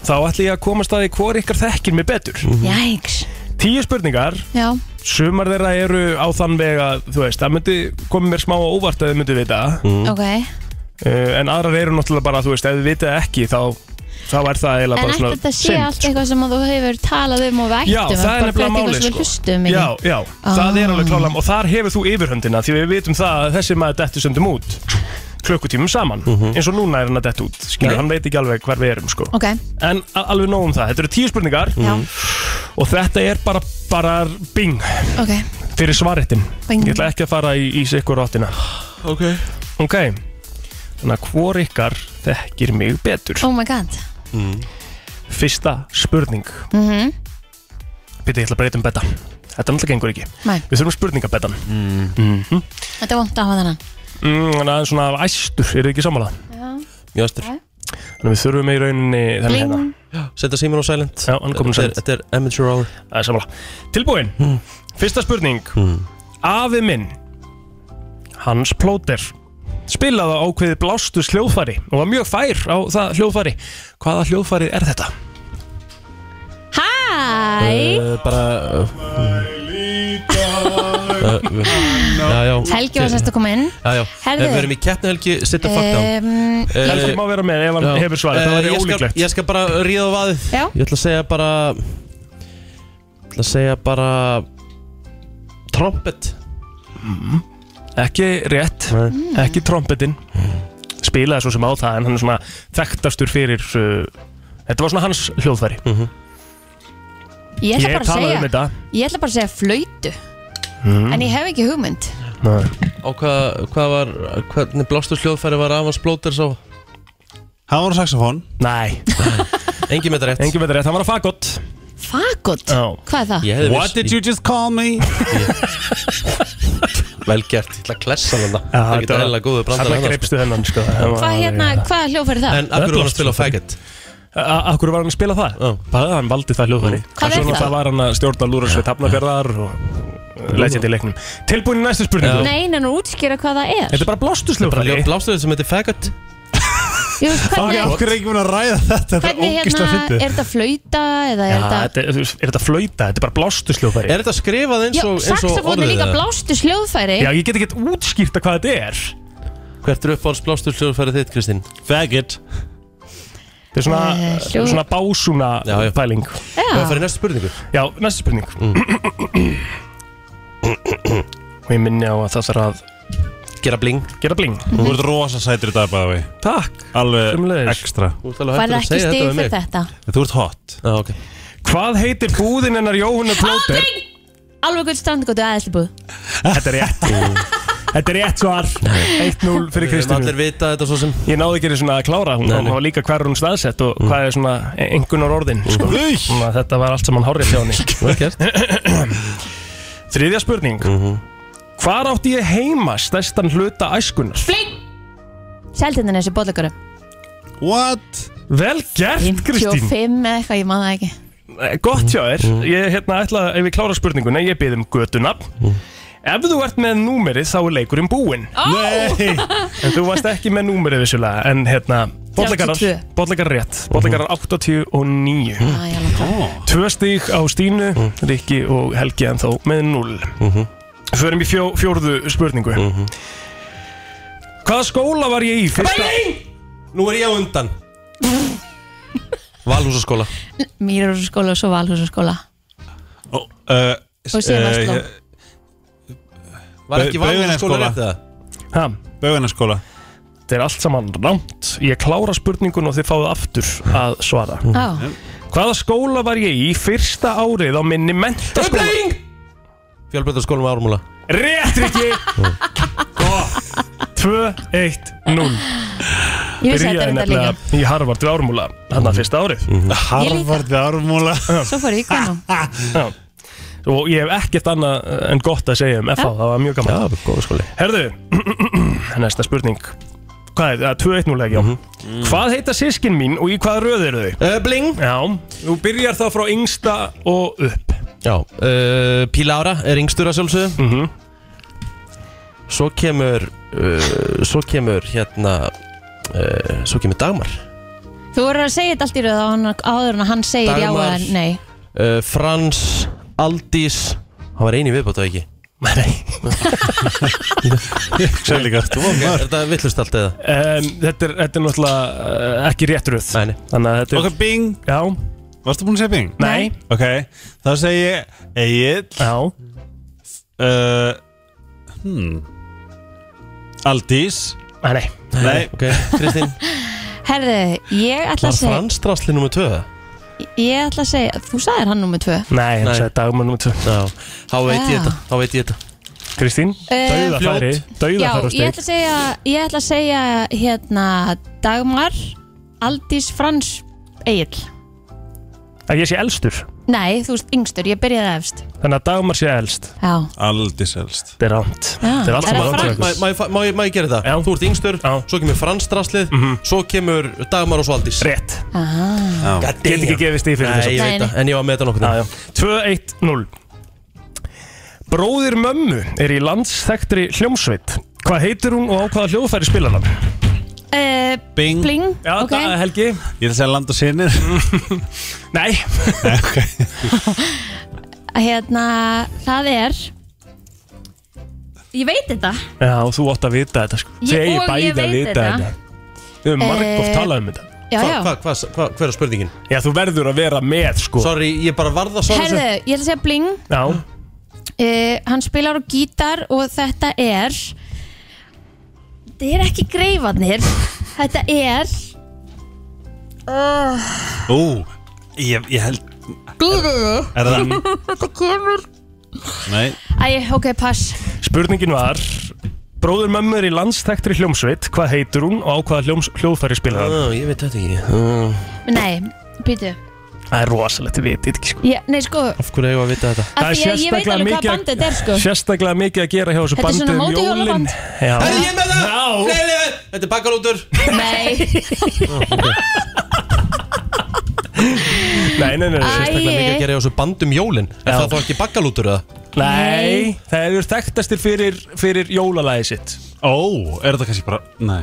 þá ætlum ég að komast að því hvor ykkar þekkir mig betur Mm. jæks Tíu spurningar, Já, sumar þeirra eru á þann veg að þú veist, það myndi komið mér smá á óvart að þið myndi vita Mm. ok uh, en aðrar eru náttúrulega bara, þú veist, ef þið vitið ekki þá, þá er það eiginlega En bara ætti svona þetta sé synd, allt eitthvað sem að þú hefur talað um og vættum Já, það er nefnilega málið sko. Þetta er eitthvað sem við hlustum Já, ekki já, það er alveg klálam og þar hefur þú yfirhöndina því við vitum það að þessi maður dettur söndum út klukkutímum saman eins og núna er hann að detta út skilur, hann veit ekki alveg hvar við erum sko Ok, en a- alveg nóg um það, þetta eru tíu spurningar já, og þetta er bara, bara bing ok fyrir svarettin Bing. ég ætla ekki að fara í, í sikkur ráttina Ok ok, þannig að hvor ykkar þekkir mig betur Oh my god fyrsta spurning mm Pítur, ég ætla að breyta um betta Þetta náttúrulega gengur ekki Nei, Við þurfum spurningabettan mm. Mm -hmm. þetta er vont að hafa þennan Þannig aðeins svona af æstur, eru þið ekki sammála? Mjöstur Þannig að við þurfum í rauninni þannig Bling, hérna Setta síminn á silent Já, hann komin Þetta er- sætt Þetta er amateur hour Það er sammála Tilbúin Hmm. Fyrsta spurning Afi minn Hans Plóter Spilaði á ákveðið blástu sljóðfæri og var mjög fær á það hljóðfæri Hvaða hljóðfæri er þetta? Hæ Uh, bara uh, uh, Já, já Helgi var sérst að koma inn Já, já Herðu. Við erum í keppni Helgi Sitt að fuck down um, Eh, Helgi má vera með ef hann já. hefur svarið, Eh, það væri ég skal- ólíklegt Ég skal bara ríða á vaðið Já. Ég ætla að segja bara Ég ætla að segja bara Trompet Ekki rétt Nei. ekki trompetin spilaði svo sem á það en hann er svona þekktastur fyrir uh, þetta var svona hans hljóðfæri Mm. Ég ætla ég bara að talaði um segja þetta Ég ætla bara að segja flöytu En ég hef ekki hugmynd Á hvað hva var Hvernig blástur hljóðfæri var Avans Blóter sá Hann var á saxofón nei, Engi með þetta rétt engin veit rétt, hann var að fagott Fagot, Já. hvað er það? Ég hefði What did you just call me? Vel gert Ég ætla að klessa hann þarna. Það þetta getur var- eðla góðu brandar þarna hann, sko. greipstu hennan sko. Hann var- Hvað hérna, hvað hljófari það? En akkur var hann að spila á faggot A- af hverju var hann að spila það? Já. bara hann valdi það hljóðfæri Mm. Hvað En svo er það? náttúrulega var hann að stjórna lúra sveit hafnafjörðar og leggja til leiknum tilbúin í næstu spurningu Nei, en hann útskýra hvað það er þetta er bara blástusljóðfæri Blástur sem heitir faggot Ég veist Ok, hvernig, okkur er ekki búin að ræða þetta Þetta hvernig er hérna, ógislega fyndið er þetta flöyta eða er þetta er þetta flöyta, þetta er bara blástusljóðfæri Er þetta skrifað eins Já, og, eins og saxofón er orðið líka eða? blástu sljóðfæri Eh. já, ég get ekki útskýrt að hvað þetta er Hvert er uppáhalds blástur hljóðfæri þitt, Kristín? Faggot Þetta er svona, Eh, hljóð- svona básúna Já, já. pæling Það Ah. Já, fyrir næstu spurningu Já, næsta spurning Mm. Og ég minni á að það þarf að Gera bling gera bling Þú ert rosa sætur í dag bæði við Takk Alveg Sömuleiðis. ekstra Þú ert alveg Færðu hættur að ekki segja stig þetta við fyrir mig þetta Þú ert hot Já, ok Hvað heitir búðin hennar Jóhannu Plóter? Alveg gutt strandgótu aðeinslubúð Þetta er rétt Þetta er rétt svar 1-0 fyrir Við erum Kristínu allir vita þetta svo sem Ég náði ekki einu svona að klára hún, Nei, hún nei. Mm. var líka hvar er hún staðsett og hvað er svona engunar orðin sko. Þannig að Þetta var allt saman hárið hjá henni Vel gert Þriðja spurning Hvar átti ég heima stærstan hluta æskunar? Seldindan er þessi bóðleikur What? Vel gert Kristín 55 eða eitthvað, ég maður það ekki Eh, Gott hjá þér Ég hérna ætla að ef ég klára spurninguna Ég byrð um götunafn Ef þú ert með númerið þá er leikurinn búinn Nei En þú varst ekki með númerið vissulega En hérna Bollekarar 32. Bollekarar rétt Bollekarar 89 Æ, ég alveg klár. Tvö stík á Stínu, Rikki og Helgi en þá með 0 Förum í fjó, fjórðu spurningu Hvaða skóla var ég í fyrsta? Nú er ég á undan Valhúsaskóla Mýrarhúsaskóla og svo Valhúsaskóla Ó, uh, Og síðan eh, Versló. Var ekki Bau- valhúsaskóla Bauginnesskóla. rétt það? Ha, Bauðinaskóla þetta er allt saman rámt Ég klára spurningun og þið fáið aftur að svara Á, Hvaða skóla var ég í fyrsta árið á minni mentaskóla? Fjölbreytarskólum ármúla Rétt, Rikki! Gott 2, 1, 0 ég vissi þetta þetta líka í Harvard við ármúla Þannig að fyrsta árið Harvard við Ármúla Svo fór ég í kvennum Já. Og ég hef ekkert annað en gott að segja um FH, það var mjög gaman. Já, góða skóli Herðu, næsta spurning. Hvað er eh, það? 2-1-0 ekki, já. Hvað heita sískin mín og í hvaða röð eru þau? uh, Bling Já, þú byrjar þá frá yngsta og upp. Já uh, Píla Ára er yngstur að sjálfsögðu Mm Svo kemur uh, Svo kemur hérna uh, Svo kemur Dagmar Þú voru að segja þetta allt í röð á hann- áður en hann segir já Dagmar. eða nei uh, Frans Aldís Hann var eini viðbót að ekki Nei. Sér líka Þú var Er mörg þetta villust allt eða? Um, þetta, er, þetta er náttúrulega uh, ekki rétt röð. Nei, nei. Þannig að þetta er... Ok, bing Já, Varstu búin að segja bing? nei, Ok, þá segi ég Egil já, uh, hmm. Aldís nei, nei. Nei, Ok, Kristín Herðu, ég ætla Var að segja Frans drasli nummer 2? Ég ætla að segja, þú sagðir hann nummer 2 Nei, hann Nei. sagði dagmann nummer 2. Já, þá veit ég Já. þetta Þá veit ég þetta Kristín, dauðafæri, Eh, Já, dauðafæri og ég steg. ætla að segja, ég ætla að segja hérna Dagmar Aldís Frans Egil Að ég sé elstur, Nei, þú veist yngstur, ég byrjaði efst þannig að dagmar sé elst. Já, Aldís elst Þetta er rámt. Já. Þetta er allt Er saman það rámt. hjá Frans? ykkur. Má- má ég fa- Má ég- má ég gera þetta? Já. Þú ert yngstur Já. Svo kemur Frans draslið Svo kemur Dagmar og svo Aldís Rétt, God get ekki damn. gefið stíð fyrir Nei, þessu ég Nei, veit það En ég var með þetta nokkur Já, já. 2-1-0 Bróðir mömmu er í landstæktri hljómsveit Hvað heitir hún og á hvaða hljóðfæri spilar hann? uh, Bing Bling, Já, ok okay. Helgi Ég ætla að segja land og sinir Nei, Hérna, það er Ég veit þetta já, þú átt að vita þetta sko. Ég- Þið eigið og ég bæði veit að vita þetta. þetta Við höfum margóft Eh, talað um þetta Já, já Hva, hva, hva, hver er spurningin? Já, þú verður að vera með sko Sorry, ég bara varða svo Herðu, ég ætla að segja Bling Já, uh, Hann spilar á gítar og þetta er Þetta er ekki greifarnir Þetta er Ú, ég, ég held Er það Það kemur Nei, Æ, ok, pass spurningin var Bróðir mömmu er í landstæktri hljómsveit Hvað heitir hún og á hvaða hljóms, hljóðfæri spilar hann? Ég veit þetta ekki Ah, Nei, býtu Það er rosalegt, við veitum ekki sko Já, Nei, sko, af Af hverju hefur að vita þetta? Það er því að ég veit sérstaklega alveg hvað mikið- bandið þetta er, sko Sérstaklega mikið að gera hjá þessu Þetta er bandi svona um jólin móti-jólaband. Herðu, Já, ég er með það Já. Nei, nei, nei, Þetta er bakkalútur Nei, nei, nei, nei, nei. Sérstaklega mikið að æ, gera í þessu bandum jólin Er Já. það þá ekki bakkalútur eða? Nei, það eru þekktastir fyrir, fyrir jólalæði sitt ó, er það kannski bara Nei,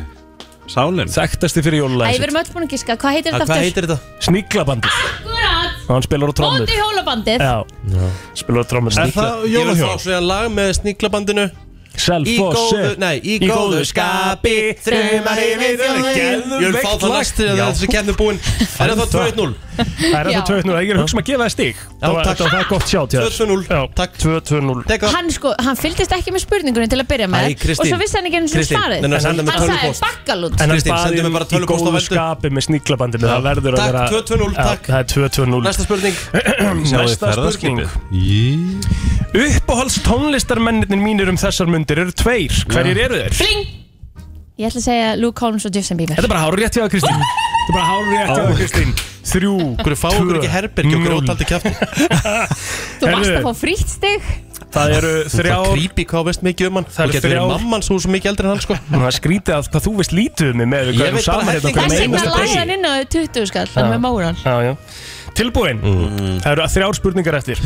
sálin Þekktastir fyrir æ, jólalæði við sitt erum öll búin að gíska Hvað heitir þetta Hvað aftur? heitir þetta? Sníklabandið Akkurat, Og hann spilar á trommur móti hólabandið Já, spilar á trommur Er það Ég vil jólahjól? fá svo lag með sníklabandinu Í Selfossi góðu, nei, í góðu skapi Þrjumar yfir þjóðin Ég vil fá það næst til Já. þessi kemni búin Er það 2-0? Það er Já. þetta 2-0, ég er að hugsa um að gefa það stig Já, Það var- takk. þetta var gott sjá til 2-0, takk. 2-2-0 Teka Hann sko, hann fylgdist ekki með spurningunum til að byrja með Æ, Kristín. Og svo vissi hann ekki einu svona Kristín, svarið nei, nei, senda mér Hann sagði tölvupóst. En bakkalút hann Kristín, baði sendu mér um bara í tölvupóst á góðu veldu. skapi með sníklabandinu Það verður að Takk, vera 2-2-0, Já, takk. Það er 2-2-0 Næsta spurning Næsta spurning Uppáhalds tónlistarmenninir mínir um þessar mundir eru tveir Hverjir eru þeir? Bling Ég ætla að segja Luke Holmes og Justin Bieber Þetta er bara hár rétt hjá þér, Kristín Þetta er bara hár rétt hjá þér, Kristín Þrjú Hverju fá okkur ekki herbergi og núll. grótaldi kjafti Þú varst Herðu. að fá frítt stig Það eru Það þrjár creepy hvað þú veist mikið um hann Það er Það getur verið þrjár- mamman svo svo mikið eldri en hann sko Nú, Það er skrítið að hvað þú veist lítið um mig með við Ég hverjum veit bara saman hérna helling. hverjum Þess vegna einasta lagði degi. hann inn á 20 skall Það með móran Já, já. Tilbúin Það eru þrjár spurningar eftir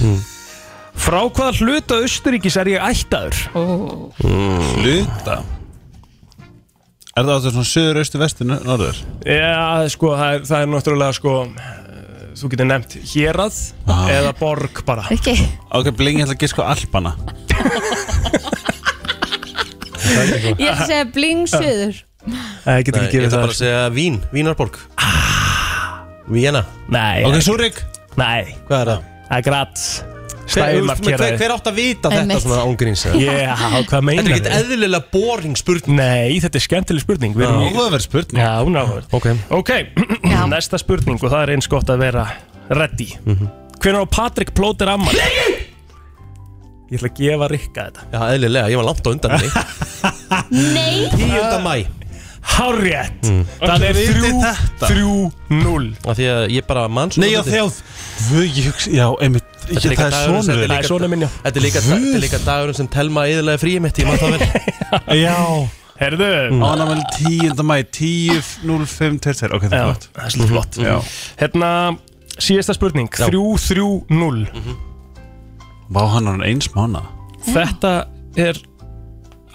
Frá hvaða hluta Östuríkis er ég ættaður? Hluta Er það áttur svona söður, austur, vestur, norður? Já, sko, það er, það er náttúrulega sko eh, Þú getur nefnt hérað Eða borg bara Ekki Ok, blingi ætla að gíska á Alpana Ég ætla að segja bling suður Nei, Það getur ekki Ég gefið ætla það Ah. bara að segja Vín, Vínarborg Víena, Nei, Ok, Súrik nei, hvað er það? það er grætt Hver, Stæðum að hver, kera hver, hver átt að vita þetta Einmitt. svona ángríns eða? Já, hvað Þetta meinar er ekki eðlilega boring spurning Nei, þetta er skemmtileg spurning Við erum í Óverð spurning Já, hún er áhverð Ok. Ok, næsta spurning og það er eins gott að vera ready mm -hmm. Hvernig á Patrik Plóter ammar? Ég ætla að gefa Rikka þetta Já, eðlilega, ég var langt á undan henni Nei 10. mæ Hárrétt Það er viti 3 þetta? 3 0 Af því að ég bara mann svo Nei, já, lítið. þjáð Vö, ég hugsa, já, einmitt Ég, líka dagurinn það er sem svona þetta Það er svona minni Þetta er líka, þetta er líka dagurinn sem Telma eðilega fríið mitt, ég maður það vel Já Herðu Mm. Ánamæli 10. mæ 10.05.22 Ok, það er Já, gott það er svolítið flott Já. Hérna, síðasta spurning 3 3 0 Vá, hann var hann eins mánu Þetta er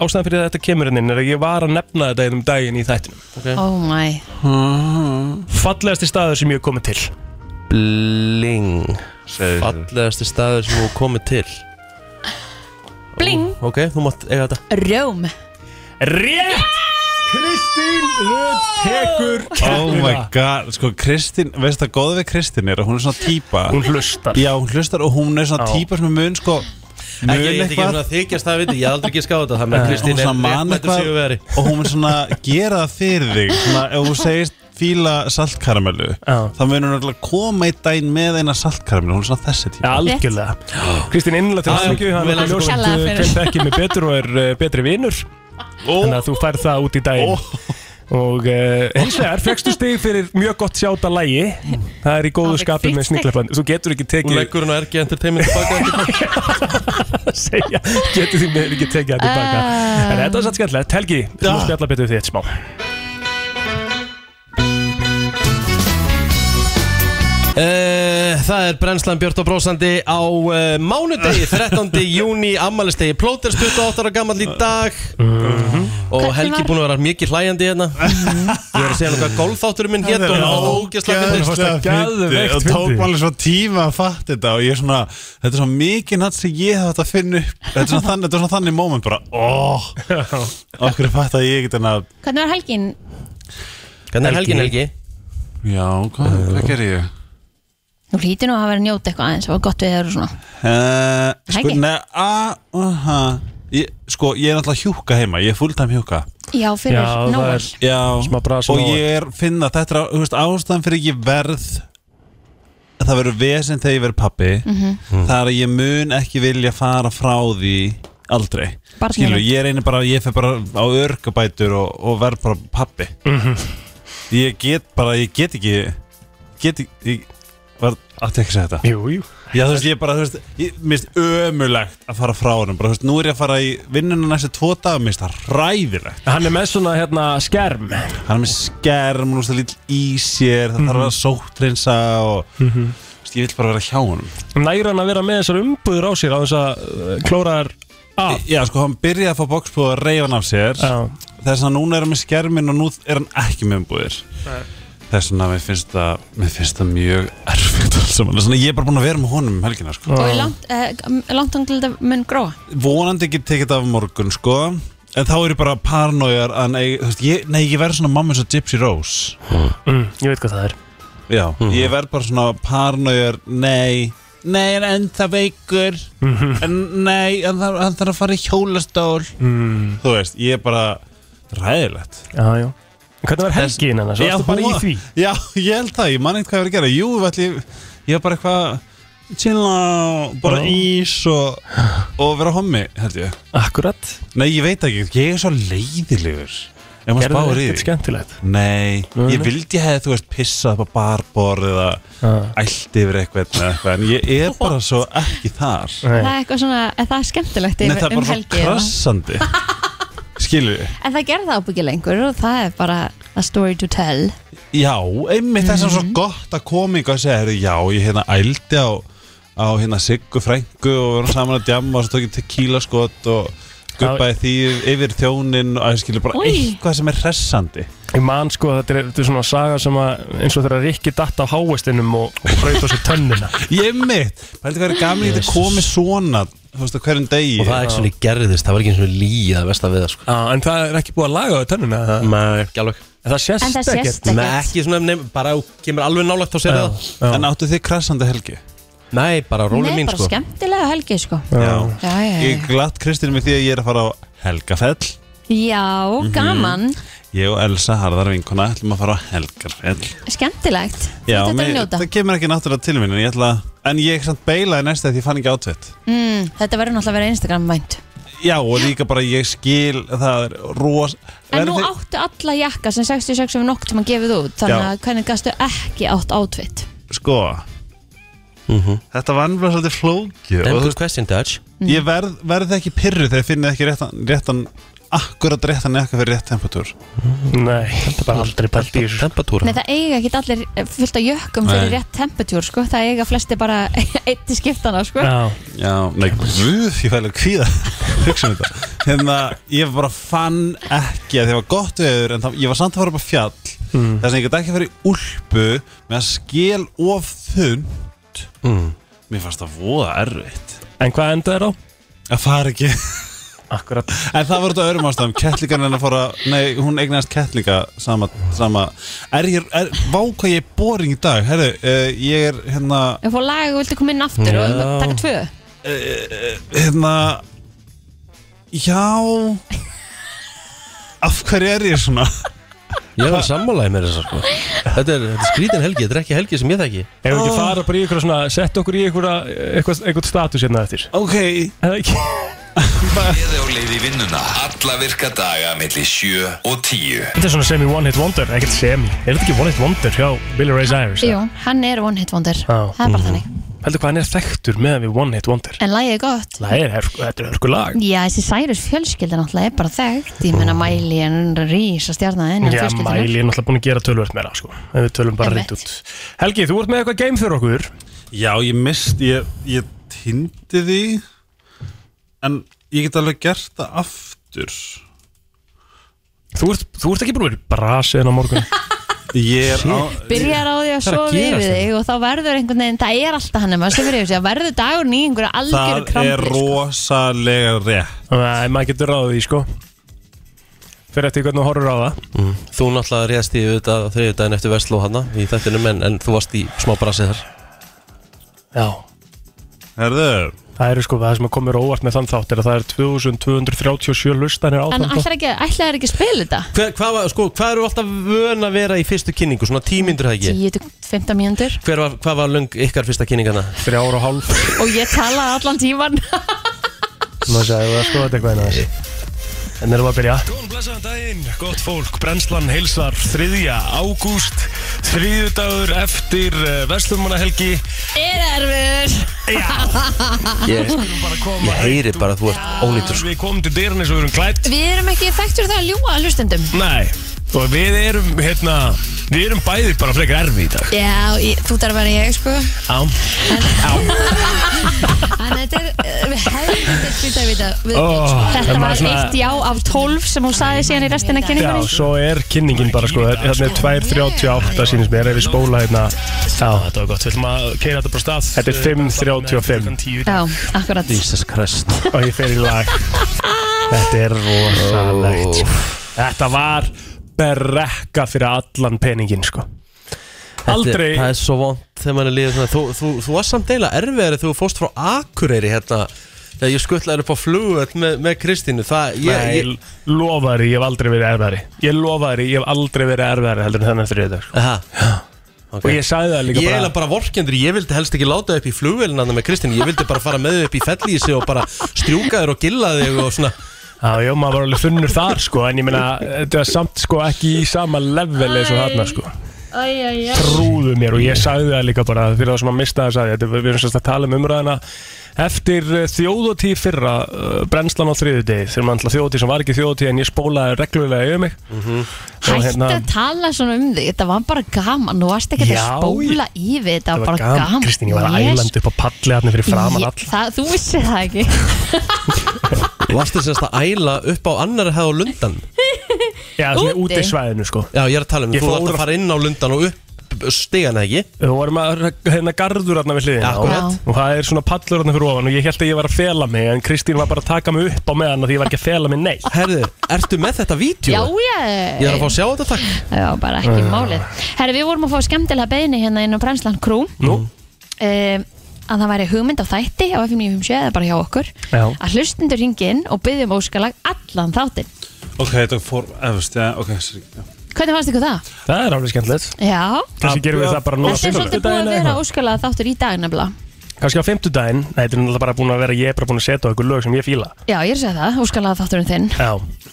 ástæðan fyrir að þetta kemur inn er að ég var að nefna þetta einum daginn í þættinum Oh my Fallegasti staður sem ég hef komið til Bling Fallegasti staður sem þú komið til Bling Ok, þú mátt eiga þetta Róm Rétt! Kristín Rödd tekur Oh my keppnina god, sko Kristín, veist það góð við Kristín er að hún er svona típa Hún hlustar Já, hún hlustar og hún er svona Já. típa sem er mun sko mun Ekki, ég veit ekki eitthvað. hún að þykjast það, veit ég, ég hef aldrei ekki skáð þetta Þannig að hún Kristín svona er man réttmættur eitthvað sigurvegari og hún mun svona gera það fyrir þig svona ef þú segist fíla saltkaramellu Já. þá mun hún alltaf koma í daginn með eina saltkaramellu, hún er svona þessi típa Algjörlega Kristín innlega til Já, já, aðsmyggju Hann vel er aftur. ljóst Kærlega uh, fyrir. hver þekkir mig betur og er uh, betri vinur Þannig að þú færð það út í daginn Og uh, hins vegar, fegstu stig fyrir mjög gott sjáta lægi Það er í Það góðu er skapi fínt með stig. sniklafland Þú getur ekki Hún tekið leggur hún á RG Entertainment tilbaka eftir segja, Getur því meður ekki tekið það tilbaka Ah. En þetta er satt skemmtilegt Helgi, við Ah. erum að spjalla betur við því eitt smá Eh, Það er brennslan Björn og Brósandi á uh, mánudegi 13. júni, ammælistegi Plóter 28 ára gammal í dag Mhm. og Hvernig Helgi var- búin að vera mikið hlæjandi hérna Ég var að segja hvað golfþátturinn minn hétt og það var ógæslega Ógeðslega fyndið. fyrsta fyndið geðveikt og tók fyndið. maður svo tíma að fatta þetta og ég er svona, þetta er svona mikið natt sem ég þátt að finna upp þetta er svona þannig, þetta er svona þannig moment bara óh, okkur fatt að ég get en að Hvernig var helgin? Hvernig er Helgin Helgi? já, hvað, hvað ger ég? Nú hlýti nú að hafa verið að njóta eitthvað aðeins Það var gott við þeir og svona Uh, sko, Helgi? neða, uh, ég, sko, ég er náttúrulega hjúka heima, ég er fulltime hjúka Já, fyrir Já, það Nóel er- Já, Smá bras og og nóg. ég er finna þetta er á- þú veist, ástæðan fyrir ég verð að það verður vesinn þegar ég verð pappi það er að ég mun ekki vilja fara frá því aldrei Barnið. Skilu, ég er einu bara, ég fer bara á örgabætur og, og verð bara pappi ég get bara, ég get ekki get ekki ég, var, átti ekki að segja þetta Jú, jú Já, þú veist, ég bara, þú veist, ég mist ömulegt að fara frá honum, bara, þú veist, nú er ég að fara í vinnuna næstu tvo daga, mist það ræðilegt Hann er með svona hérna skerm hann er með skerm og lítill í sér það þarf að sóttrinsa og Vist, ég vil bara vera hjá honum Næra hann að vera með þessar umbúður á sér á þess að uh, klóra þær af já sko hann byrjaði að fá bókspóð að reyfa hann af sér Ah. Já. þess að núna er hann með skermin og nú er hann ekki með umbúðir þess vegna mér finnst það mér finnst það mjög erfitt alls saman. Svona, ég er bara búin að vera með honum um helgina sko. Og í langt, eh, langt angl þetta mun gróa vonandi ekki tekið þetta af morgun sko en þá er ég bara paranojar að nei, þú veist, ég, nei, ég verð svona mamma eins og Gypsy Rose mm, Ég veit hvað það er já, ég verð bara svona paranojar nei, nei, en ennþá veikur en nei, hann þarf, hann þarf að fara í hjólastól mm, þú veist, ég er bara ræðilegt Já, já En Hvernig var helgin hennar? Svo ertu bara í því já, ég held það, ég man eitthvað að vera að gera jú, við ætli, ég var bara eitthvað chilla, bara Já. ís og, og vera hommi, held ég Akkurat Nei, ég veit ekki, ég er svo leiðilegur Ef maður Gerðu spáir í ekkert því skemmtilegt Nei, Nei, ég nei. vildi hefði, þú veist, pissað upp á barborð eða Ah. ælt yfir eitthvað, eða eitthvað en ég er bara svo ekki þar Nei, Það er eitthvað svona, er það er skemmtilegt yfir, það er um bara svo helgi eða? krassandi Skilur við? En það gerði það ábyggja lengur og það er bara a story to tell Já, einmitt þess að svo gott að koma ykkur að segja, heyrðu, já, ég hérna ældi á, á hérna Siggu frængu og við vorum saman að djamma og svo tók ég tequila skot og guppaði því yfir þjónin og skilur bara Oj. eitthvað sem er hressandi Ég man sko að þetta er, þetta er svona saga sem að eins og þegar Rikki datt á háestinum og, og braut á sér tönnina Ég er mitt, pældi hvað er gaman ég þetta komið svona Þú veist að hverjum degi Og það er ekki svona gerðist, það var ekki svona líið að vest að við það sko ah, En það er ekki búið að laga á tönnina það, Nei, ekki alveg En það sést En það sést Nei, ekkert. ekki svona, nefn, bara ef þú kemur alveg nálægt á sér Já, það já. En áttu þið krassandi helgi? Nei, bara róli Nei, mín bara sko skemmtilega helgi sko Já. Já, já, já. Ég glatt Kristínu með því að ég er að fara á Helgafell Já, gaman, Ég og Elsa Harðar vinkona ætlum að fara á Helgafell skemmtilegt Já, Þetta er að mér- njóta það kemur ekki náttúrulega til mín En ég ætla En ég samt beilaði næst því ég fann ekki átvett mm, Þetta verður náttúrulega að vera Instagram vænt Já, og líka bara ég skil Það er ros En nú Verður þið- áttu alla jakka sem 66 hefur nokk sem að gefið út Þannig Já. að hvernig gastu ekki átt átvitt Sko Þetta var nefnilega svolítið flókið Damn og þú good question, Dutch Ég verð, verð ekki pyrru þegar ég finn ekki réttan, réttan akkurat réttan ekka fyrir rétt tempatúr Nei, það er bara aldrei pælt í þessu Temperatúra Nei, það eiga ekki allir eh, fullt af jökkum fyrir Nei. rétt temperature sko Það eiga flesti bara eitt í skiptana sko Já, Já, nei, guð, ég fæli að kvíða hugsa um þetta hérna, ég bara fann ekki að því var gott veður en það, ég var samt að fara upp á fjall Mm. þess að ég gæti ekki að fara í úlpu með að skil of þund mm. mér fannst það voða erfitt en hvað enda þér á? að fara ekki Akkurat En það var þetta öðrum ástæðum, kettlingar hennar fóra, nei, hún eignast kettlinga sama, sama, er ég, er, vá hvað ég er boring í dag, herru, uh, ég er hérna, Ef fór lag og viltu koma inn aftur og Já. taka tvö hérna, já, af hverju er ég svona? Ég er alveg sammálaði með þessar sko Þetta er, þetta er skrítin helgi, þetta er ekki helgi sem ég þekki Ef við ekki fara bara í ykkur svona Sett okkur í ykkur eitthvað, eitthvað status hérna eftir Ok, Er það ekki? Eða á leið í vinnuna Alla virka daga millir 7 og 10 Þetta er svona semi one hit wonder Ekkert semi Er þetta ekki one hit wonder hjá Billy Ray Cyrus? Jú, hann er one hit wonder Já. Það er bara þannig Heldur hvað hann er þekktur meðan við one hit wonder En lagið er gott Það er, hörku- þetta er hörku lag Já, þessi Cyrus fjölskylda náttúrulega er bara þekkt Ég meina Mæli en rísa stjarnar en Já, Mæli er náttúrulega búin að gera tölvöld meira sko. Ef við tölum bara Einmitt. reynd út Helgi, þú ert með eitthvað game fyrir okkur já, ég mist, ég, ég tindi því, en ég get alveg gert það aftur. Þú ert, þú ert ekki búin að vera í brasiðin á morgun Ég er á, Byrjar á því að er að sofa gerast yfir hérna. þig og þá verður einhvern veginn, það er alltaf hann ef maður sefur yfir sig, það verður dagurinn í einhverja algjöru sko. það er krampi rosalega rétt. Nei, maður getur ráðið því sko Fyrir eftir hvernig þú horfur á það Þú náttúrulega réðst í auðvitað þriðið daginn eftir Vestló hana í þættinum en, en þú varst í smá brasið þar Já Herðu, Það eru sko það sem að komir óvart með þann þátt er að það er 2237 lustanir á En þann þátt ætlar ekki, ætlar ekki að spila þetta? Hva- Hvað var- sko, hvað eru alltaf vön að vera í fyrstu kynningu, svona tímyndur það ekki? 10-15 mínútur Hver var, hvað var löng ykkar fyrsta kynningana? Þrjár og hálf og ég talaði allan tíman Nú sagði ég sko? að skoða þetta eitthvað einn aðeins En erum við að byrja Góðan blessaðan daginn, gott fólk, brennslan heilsar 3. ágúst Þriðjudagur eftir eh, Vestlumannahelgi Er erfiður Ég, ég heyri bara að þú ert ónýtur sko. Við komum til dyrun eins og við erum klætt Við erum ekki þekktur það að ljúa að hlustendum Nei, og við erum hérna Við erum bæði bara frekar erfi í dag Já, ég, þú þarf að vera ég sko Á, En þetta er, eh, við hefum þetta skýrt að vita við, Ó, Þetta en var maður svona- eitt já af 12 sem hún saði síðan í restina Já, kynningunni svo er kynningin bara sko Hérna er 2.38 sínist mér Ef við spóla hérna Já, þetta var gott Við ætlum að keira þetta bara stað Þetta er 5.35 Já, akkurat Jesus Christ Og ég fer í lag Þetta er rosalegt sko. Þetta var berekka fyrir allan peningin sko Aldrei Þetta- Það er svo vond þegar mann er líður svona Þú, þú, þú varst samt deila erfiðari þegar þú fóst frá Akureyri hérna Þegar ég skuttlaði upp á flugvöld með, með Kristínu Það, ég, Nei, ég, ég lofa þér, ég hef aldrei verið erfæri Ég lofa þér, ég hef aldrei verið erfæri heldur en þannig eftir þetta sko. aha, Og ég sagði það líka Ég bara eiginlega bara vorkendur, ég vildi helst ekki láta þig upp í flugvélina með Kristínu Ég vildi bara fara með þig upp í fellísi og bara strjúka þér og gilla þig og svona Já, já, maður var alveg þunnur þar sko En ég meina, þetta var samt sko ekki í sama level eins og þarna sko Trúðu mér og ég sagði það líka bara Fyrir það sem að mista það sagði ég, þetta, Við erum sérst að tala um umræðina Eftir þjóðotíð fyrra uh, Brennslan á þriðudegi Þegar maður alltaf þjóðotíð sem var ekki þjóðotíð En ég spólaði reglulega yfir mig mm Mhm. Hætti að tala svona um þig, þetta var bara gaman Þú varst ekki að Já, spóla í við Þetta Það var var bara gaman, gaman Kristín, ég var Yes. ælandi upp á palli hann fyrir framan Ég- all það- Þú vissir það ekki Varstu sérst að æla upp á annar hefð á lundan Já, svona Úti. úti svæðinu sko Já, ég er að tala um, Ég þú fór þarft úr- að fara inn á lundan og upp stigana ekki Við vorum að hérna gardur hérna við hliðina Akkurat. og, og það er svona pallur hérna fyrir ofan og ég held að ég var að fela mig en Kristín var bara að taka mig upp á meðan af því ég var ekki að fela mig neitt Herðu, ertu með þetta vídeo? Já, Ég já, er að fá að sjá þetta takk já, bara ekki málið Herri, við vorum að fá skemmtilega beðni hérna inn á Brænslan Krú Nú, um, að það væri hugmynd á þætti á FM 957 eða bara hjá okkur Já. að hlustundur ringin og byggjum óskalag allan þáttinn. Ok, þetta fór, efast, já, ok, sorry já. Hvernig fannst ykkur það? það er alveg skemmtilegt Já, Kanski gerum við það bara núna þetta er svolítið búið að vera óskalag þáttur í dag nefnilega Kanski á fimmtudaginn, nei þetta er náttúrulega bara búin að vera ég er bara búin að setja á einhver lög sem ég fíla Já, ég er að segja það, óskalag þátturinn þinn Já,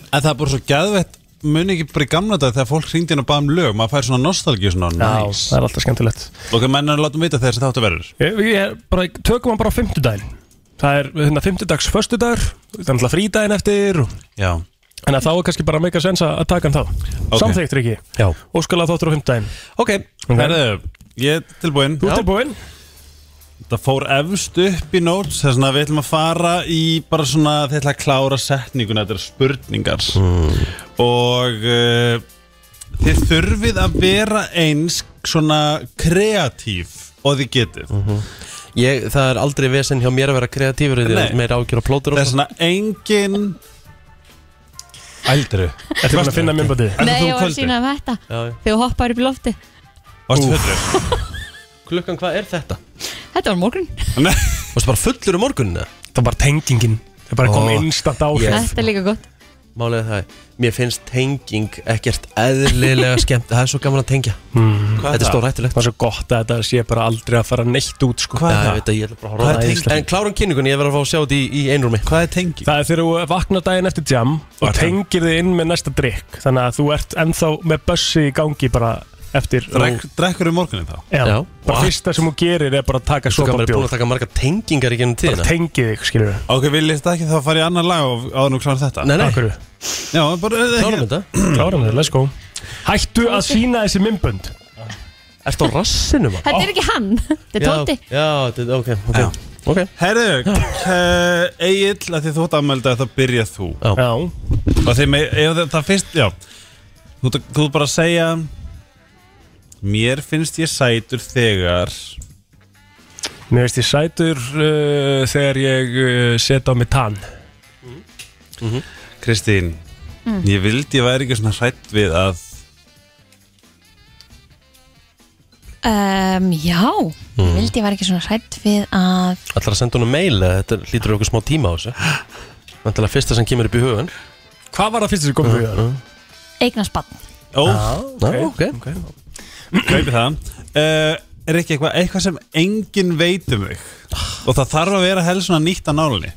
En það er bara svo gæðvett Muni ekki bara í gamla dag þegar fólk hringdi inn og baða um lög Maður fær svona nostalgíu svona já, Næs það er alltaf skemmtilegt Ok, menn er að láta mig vita þegar þessi þáttu verður Ég, ég er bara, tökum hann bara á fimmtudaginn Það er hérna fimmtudags föstudagur, það er alltaf frídaginn eftir og Já En að þá er kannski bara meika sens að að taka hann þá okay. Ok. Samþykkt Ríki Já. Óskalega þáttur á fimmtæðin Ok, Herðu, ég er tilbúinn Þú ert tilbúinn? Það fór efst upp í notes Þess vegna við ætlum að fara í bara svona Þeir ætla að klára setninguna Þetta er spurningar Og uh, Þið þurfið að vera eins Svona kreatív Og þið getið ég, það er aldrei vesen hjá mér að vera kreatífur Þið Nei. er meira ágjör og plótur Það og er svona engin Ældru Ertu búinn að finna minnbandið? Ætlar Nei, þú ég var að kvöldu? sína um þetta Já, já. þegar þú hoppar upp í lofti Varstu fötru? Klukkan, hvað er þetta? Þetta var morgun Nei, Varstu bara fullur um morguninu? Það var tengingin Það bara kom Ó, instant áhrif yes. Þetta er líka gott Málega það er, mér finnst tenging ekkert eðlilega skemmt Það er svo gaman að tengja hvað Þetta er stór hættulegt Það var svo gott að þetta sé bara aldrei að fara neitt út sko. Já, það? ég veit að ég ætla bara að horfa á Hvað er það. tenging? En klárum kynningunni, ég verð að fá að sjá þetta í, í einrúmi Hvað er tengi? Það er þegar þú vaknar daginn eftir jam og Var það? tengir þig inn með næsta drikk Þannig að þú ert ennþá með bussi í gangi bara eftir Drekk, drekkur um morgunin þá? Já, Já. bara What? fyrsta sem þú gerir er bara að taka Svo gaman sopa er búin bjór að taka marga tengingar í gennum Bara tíðina tengið þig, skilur við Ok, viljið þetta ekki þá að fara í annar lag og áður nú klára þetta? Nei, nei, Akkur, Já, bara klárum þetta klárum þig, let's go Hættu að sína þessi mymbönd Ertu á rassinu maður? Þetta er ekki hann, Mm. þetta er Tóti Já, já, þetta- ok, ok, Já. okay. Herru, uh, Egil, að því þú ert afmælda þá byrja þú Já, Og þeim, ef það, það fyrst, já Þú, ert- þú ert bara að segja Mér finnst ég sætur þegar mér veist ég sætur uh, þegar ég uh, set á mig tann Kristín Ég vildi ég væri ekki svona hrætt við að um, Já, Mm. vildi ég var ekki svona hrætt við að Ætlar að senda honum mail eða þetta lítur okkur smá tíma á þessu Þannig að fyrsta sem kemur upp í hugan Hvað var það fyrst sem kom fyrir það? eignast bann Ó, Já, ok, kaupi það uh, Er ekki eitthvað, eitthvað sem engin veit um mig Og það þarf að vera helst svona nýtt að nálinni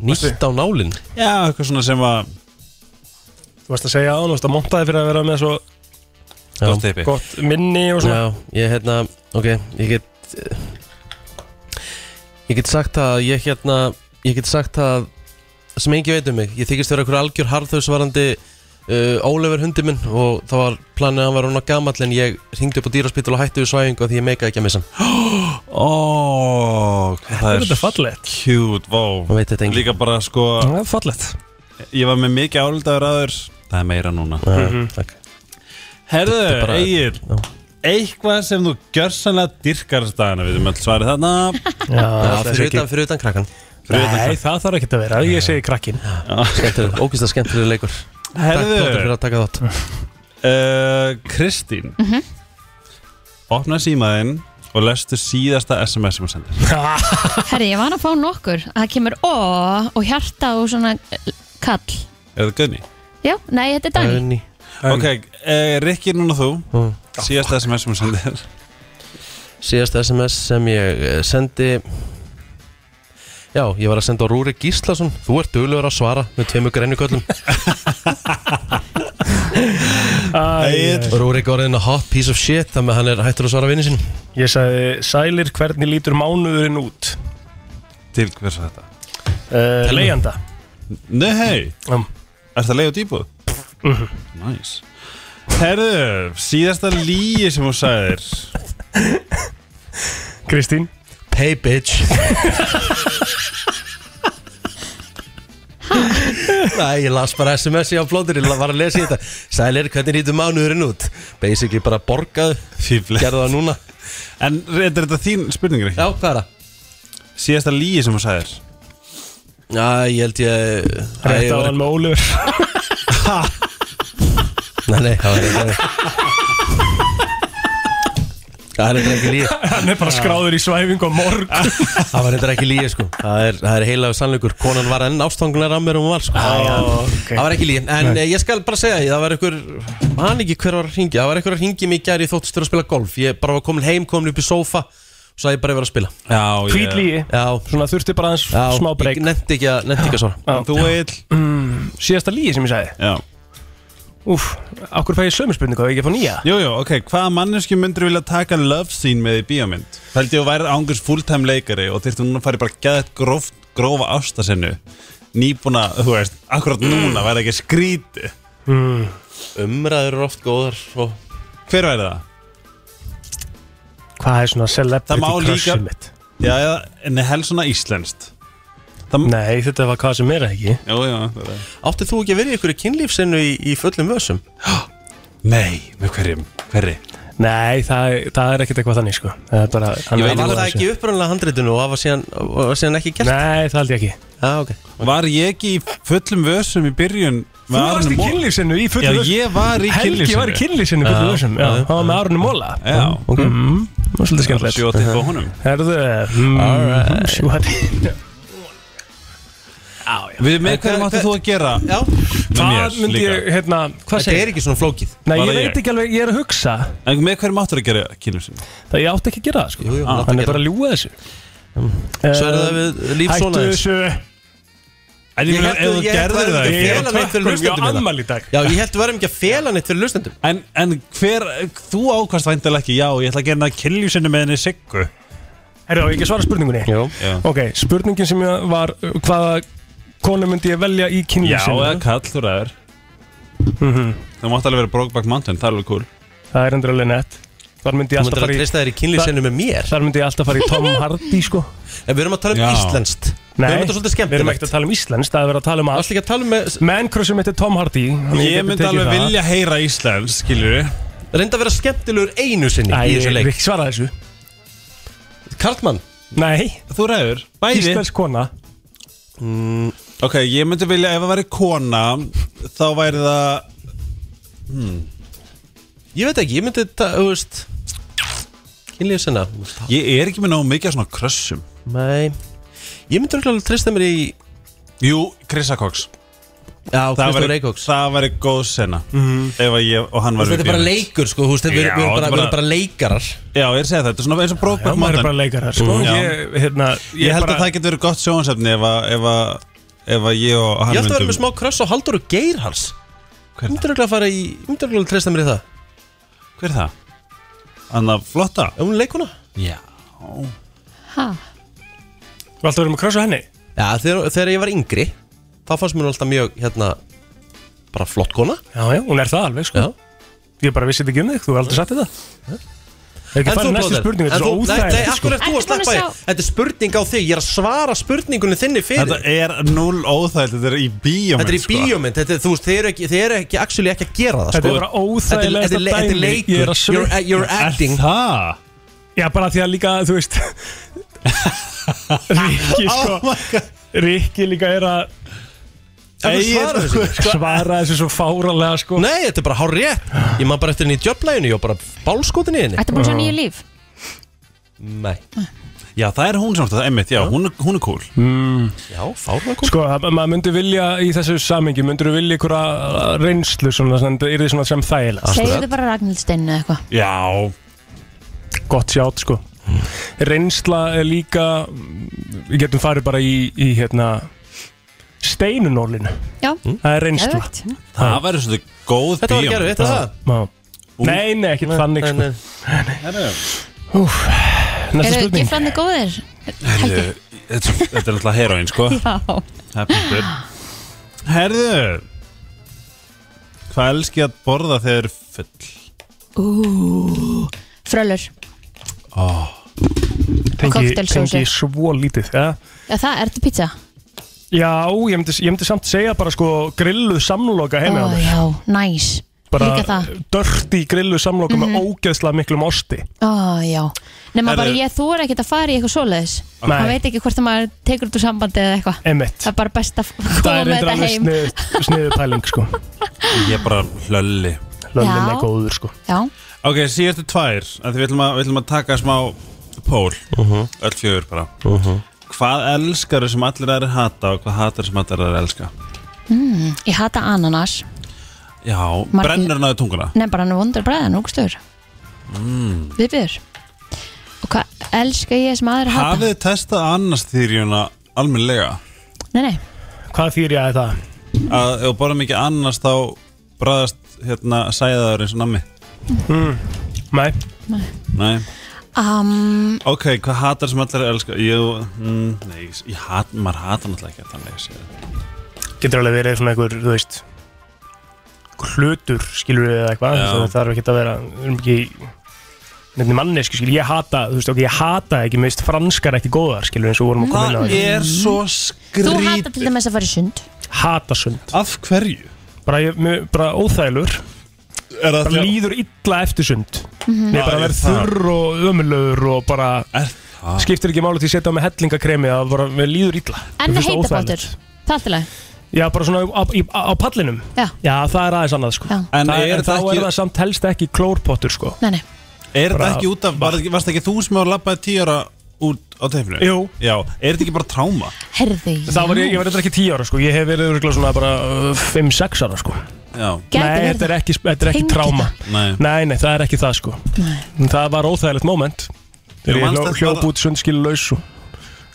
Nýtt á nálinn Já, eitthvað svona sem að Þú varst að segja án, þú varst að monta þig fyrir að vera með svo Já. Gott teipi. gott minni og svona Já, ég hérna, ok, ég get eh, Ég get sagt það að ég hérna Ég get sagt það sem engi veit um mig Ég þykist vera einhver algjör harðhausvarandi uh, Ólefur hundi minn og það var planið að hann var hún að gamall en ég hringdi upp á dýraspítal og hætti við svæfingu af því ég meikaði ekki að missa hann Ó, það er er þetta fallegt cute, vá Það veit þetta enginn. Líka bara sko, Það er fallegt ég var með mikið áldaður aður Það er meira núna Takk. Herðu, er bara- Já. Egil Eitthvað sem þú gjörsanlega dyrkar staðana Við erum öll svarið þarna Já, Já, það fyrir, utan, fyrir utan krakkan fyrir utan Nei, það þarf ekki að vera Ég segi krakkin Skemmtileg, ógist að skemmtileg leikur Takk Dóttir, fyrir Herðu, að taka þátt uh, Kristín Opna símaðinn og lestu síðasta SMS sem hún sendir Herri, ég var að fá nokkur Það kemur ó og hjarta og svona eh, kall Er það Gunni? Já, nei, þetta er Dani Dani. Ok, uh, Rikki núna þú Mm. Síðasta SMS sem hún sendir Síðast SMS sem ég eh, sendi Já, ég var að senda á Rúri Gíslason Þú ert duglegur að svara með tveimur grænuköllum Egil Rúrik orðin a hot piece of shit Þannig að hann er hættur að svara vinni sín Ég sagði, sælir, hvernig lítur mánuðurinn út? Til hvers var þetta? Uh, Leigjanda Nei, hei um, Er það leið út íbúð? Næs Herðu, síðasta líi sem hún sagðir Kristín Hey bitch Nei, ég las bara SMS í á blóður Ég var að lesa í þetta Sælir, hvernig rýtu mánuðurinn út? Basically bara borgað Fífli Gerðu það núna En er þetta þín spurningir ekki? Já, hvað er það? Síðasta líi sem hún sagðir Já, ég held ég Æ, ég Rétt á var- hann með Ólur Nei, nei, það var ekki Það er eitthvað ekki líð Hann er bara skráður í svæfing og morg Það var eitthvað ekki líð sko Það er, það er heila og sannleikur Konan var enn ástangunar að mér um var sko Það var ekki líð En nei. ég skal bara segja því Það var einhver Man ekki hver var að ringi Það var einhver að ringi mig í gær Ég þóttist fyrir að spila golf Ég bara var komin heim Komin upp í sófa Svo að ég bara verið að spila Já, Hvít líi Já, Svona þurfti bara aðeins já smá breyk Ég nefndi ekki að Nefndi ekki að svara Þú Egil Síðasta líi sem ég sagði Já Úf, okkur fæði sömu spurningu og ekki að fá nýja Jú, jú, ok, hvaða manneski myndir vilja taka love scene með í bíómynd? Það held ég að væri ángurs fulltime leikari og þyrfti núna að fara í bara gæðið gróft, grófa ástasennu Nýbúna, þú veist, akkurat núna væri ekki skríti Umræður eru oft góðar sko. og Hver væri það? Hvað er svona Það má celebrity líka- crushið mitt? Já, já, en helst svona íslenskt Það, Nei, þetta var hvað sem er ekki Jú, jú, það er það Átti þú ekki að vera í einhverju kynlífsinu í, í fullum vössum? Nei, með hverjum, hverri Nei, það, er- það er ekkert eitthvað þannig sko Það er bara hann Ég er veit var alveg það þessu. ekki í upprunlega handritinu og það var síðan, var síðan ekki gert Nei, það held ég ekki Já, ok Var ég ekki í fullum vössum í byrjun Þú kynlífsinu í Já, ég var í kynlífsinu Helgi var í kynlífsinu í fullu vössum Já, hann var með Arun Móla Já, Ok Það var svolítið skemmtilegt sjótið á honum Herðu mm, Sjúhætti Við með hverjum áttu hver- þú að gera Já, með mér Hvað myndi líka? ég, hérna, hvað þetta er segir ekki svona flókið Nei, Var ég það ég? veit ekki alveg, ég er að hugsa En með hverjum áttu að gera kynlífsinu? Það ég átti ekki að gera það, sko Jú, jú, hann átti Hann að er gera bara að ljúga þessu Svo er það við líf svona Hættu þess þessu En ég Ég meina, held ef að- þú ég held að gerðir það það er ekki ekki ég- að fela neitt fyrir Tökum, ég á hlustendum hérna. ammali í dag Já, ég held við erum ekki að fela neitt fyrir hlustendum En, en hver, þú ákvæmst væntalega ekki Já, ég ætla að gera það kynlífsinu með henni Siggu Herru, á ég ekki að svara spurningunni Jó Ok, spurningin sem ég var uh, Hvaða konu myndi ég velja í Já, kynlífsinu eða kall, þú ræður Það Mhm. mátt alveg vera Brokeback Mountain, það er alveg cool Það er endur alveg nett Þar myndi Þú ég myndir alveg alltaf fara í treysta þér í kynlífsinu með mér Þar myndi ég alltaf fara í Tom Hardy sko En við erum að tala um Já. íslenskt Við Nei, erum þetta svolítið við erum ekkert skemmtilegt að tala um Íslands Það er verið að tala um Það er allt ekki að tala um með Mancrossum mitt er Tom Hardy þannig Ég geti myndi tekið alveg það. vilja heyra Íslands, skilur Reynda að vera skemmtilegur einu sinni Æ, í ég þessu vil leik ekki svara þessu Karlmann Nei, Þú ræður, bæði Íslands kona Ok, ég myndi vilja, ef það væri kona Þá væri það, Ég veit ekki, ég myndi þetta, þú veist Kynlífsina þú veist, ég er ekki með nóg mikið af svona krössum Nei Ég myndi örugglega alveg treysta mér í Jú, Krissa Cox Já, Það Kristóf væri- Reykjóks Það væri góð sena Ef að ég og hann var Mhm. Þetta er bara leikur, sko, þú veist, við Já, erum við erum þetta bara, er við bara- erum bara leikarar Já, ég er að segja þetta, þetta er svona eins og Já, maður Brokeback er Mountain bara leikarar sko Mm. Ég, hérna, Ég, held að það getur verið gott sjónsefni ef að, ef að, ef að ég og hann Ég ætti að vera með smá kröss á Halldóru Geirhals Hver er það? Myndur örugglega að fara í, myndur örugglega að treysta mér í það Hver er það? Anna flotta? Er hún leikuna? Já Ha? Þú alltaf verið með krossa henni Já, þegar, þegar ég var yngri Þá fannst mér hún alltaf mjög, hérna bara flott kona Já, já, hún er það alveg, sko Já. Ég bara vissi þetta ekki um þig, þú hefur aldrei sagt þetta Það er ekki En þú farið næstu blóðir. spurning, þetta En er svo þú- Nei, nei, óþægilegt akkur er þú sko. að Ertu búin að sleppa því sjá- Þetta er spurning á þig, ég er að svara spurningunni þinni fyrir Þetta er null óþægilegt, þetta er í bíómynd sko. Þetta er í bíómynd, þetta er, þú veist, þeir eru ekki, þeir eru ekki actually ekki að gera það, sko. Þetta sko er bara óþægilegasta Þetta er- þetta er- Þetta er dæmi. Ég er leikur, að svitna. you're, you're acting Það? Já, bara því að líka, þú veist Rikki, Oh sko Rikki líka er að En þú svarar þessu ekki. svara þessu svo fáralega, sko Nei, þetta er bara hár rétt Ég maður bara eftir henni í djöflæginu, ég var bara bálskotin í henni Ætti búin að sjá nýju líf Nei, Já, það er hún sem það, einmitt, já, hún, er- hún er cool já, fárna kom Sko, að- maður myndi vilja í þessu samingi Myndur vilja ykkur reynslu svona, svona, svona, yrði svona sem sko. þægilega Segðu bara Ragnhildsteinu eða eitthvað Já, Gott sjátt, sko Reynsla er líka Við getum farið bara í, í hérna steinunólinu Já, Það er reynsla geðvægt það verður svolítið góð Þetta var gerðu, þetta var eh, Já. Nei, nei, ekkert þannig það sko. Nei, nei. Næsta Eru spurning giflandi góðir? Herðu, þetta þetta er náttúrulega heroin, sko Já Það er punktur. Herðu Hvað elski ég að borða þegar þið eru full? Frölur Tengi, Cocktailsósu. tengi svo lítið ja. Já, það ertu pizza Já, ég myndi, ég myndi samt segja bara sko grilluð samloka heima Ó, oh, já, næs Bara Líka það Mhm. dörti grilluð samloka með ógeðslega miklum osti Ó, já Nefna Herðu- bara ég, þú er ekkert að fara í eitthvað svoleiðis Nei. Maður veit ekki hvort að maður tekur út úr sambandi eða eitthvað Emmett Það er bara best að koma Það er með reyndar þetta alveg heim snið, sniðu pæling sko Ég er bara hlölli Lönninn Já. er góður sko Já, Ok, síðastu tvær að Við ætlum að, við ætlum að taka smá pól Öll fjögur bara Hvað elskar sem allir aðrir hata og hvað hatar sem allir aðrir elska? ég hata ananas Já, Margir- brennur hann að tunguna Nefn bara hann er vondur bræðan, ógstur mm. Viðbjör Og hvað elska ég sem aðra hata? Hafið þið testað annars þýrjuna almennilega? Nei, nei, Hvað þýr ég að það? Að ef þú borðar mikið annars þá bræðast hérna sæðaður eins og nammi Nei, Nei um, Ok, hvað hatar sem allir elskar? Jú, mm, nei, ég- ég hat, maður hatar náttúrulega ekki að þannig að segja getur alveg verið svona einhver, þú veist hlutur, skilur við eða eitthvað Já. þannig að það er ekki að vera við erum ekki nefnir mannesku, skilur, ég hata þú veist, ok, ég hata ekki, meðist franskar ekki góðar skilur eins og vorum að koma inn á Það því er svo þú hata til skrítið dæmis að fara í sund hatasund, Af hverju? bara, ég- mér- bara óþægilegur Er það bara líður illa eftir sund mér bara Já, verð ég- það- þurr og ömulögur og bara Er það? skiptir ekki máli til að setja á mig hellingakremi að bara, mér líður illa En Mér finnst heita óþægilegt. bátur, það er til að já, bara svona á, á, á, á pallinum Já, Já, það er aðeins annað sko Já. En það, er en þá það ekki- er það samt helst ekki klórpottur sko nei, nei Er það Bara- ekki út af, var, það ekki- varst ekki þú sem var labbaði tíu ára út á teifinu? Jú. Já, er þetta ekki bara tráma? Herði, Það var, ég, ég var eitthvað ekki 10 ára sko, ég hef verið örugglega svona bara uh, 5-6 ára sko Já, Nei, Gæti þetta er verið ekki, þetta er ekki Tengdi tráma nei Nei, nei, það er ekki það sko En Það var óþægilegt moment Þegar Ég ég manst hló- þetta hljóp bara- út sundskilu laus og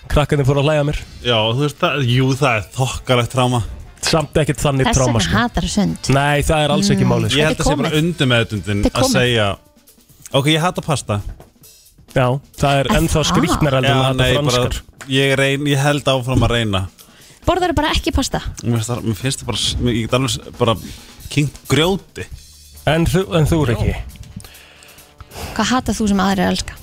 krakkarnir fóru að hlæja að mér Já, þú veist það, jú það er þokkalegt tráma Sko, Samt ekkert þannig Þess tráma vegna Mm. sko hatar sund Nei, það er alls ekki málið sko Ég held að sé bara komið. undir meðutundin Þetta er að komið. segja Ok, ég hata pasta Já, það er En ennþá það? skrýtnar heldur en að hata franskar ég, reyn, ég held áfram að reyna Borðar bara ekki pasta Mér finnst það, mér finnst það bara, mér- ég get alveg s- bara kynnt grjóti En þú, en þú er ekki Hvað hatar þú sem aðra elska?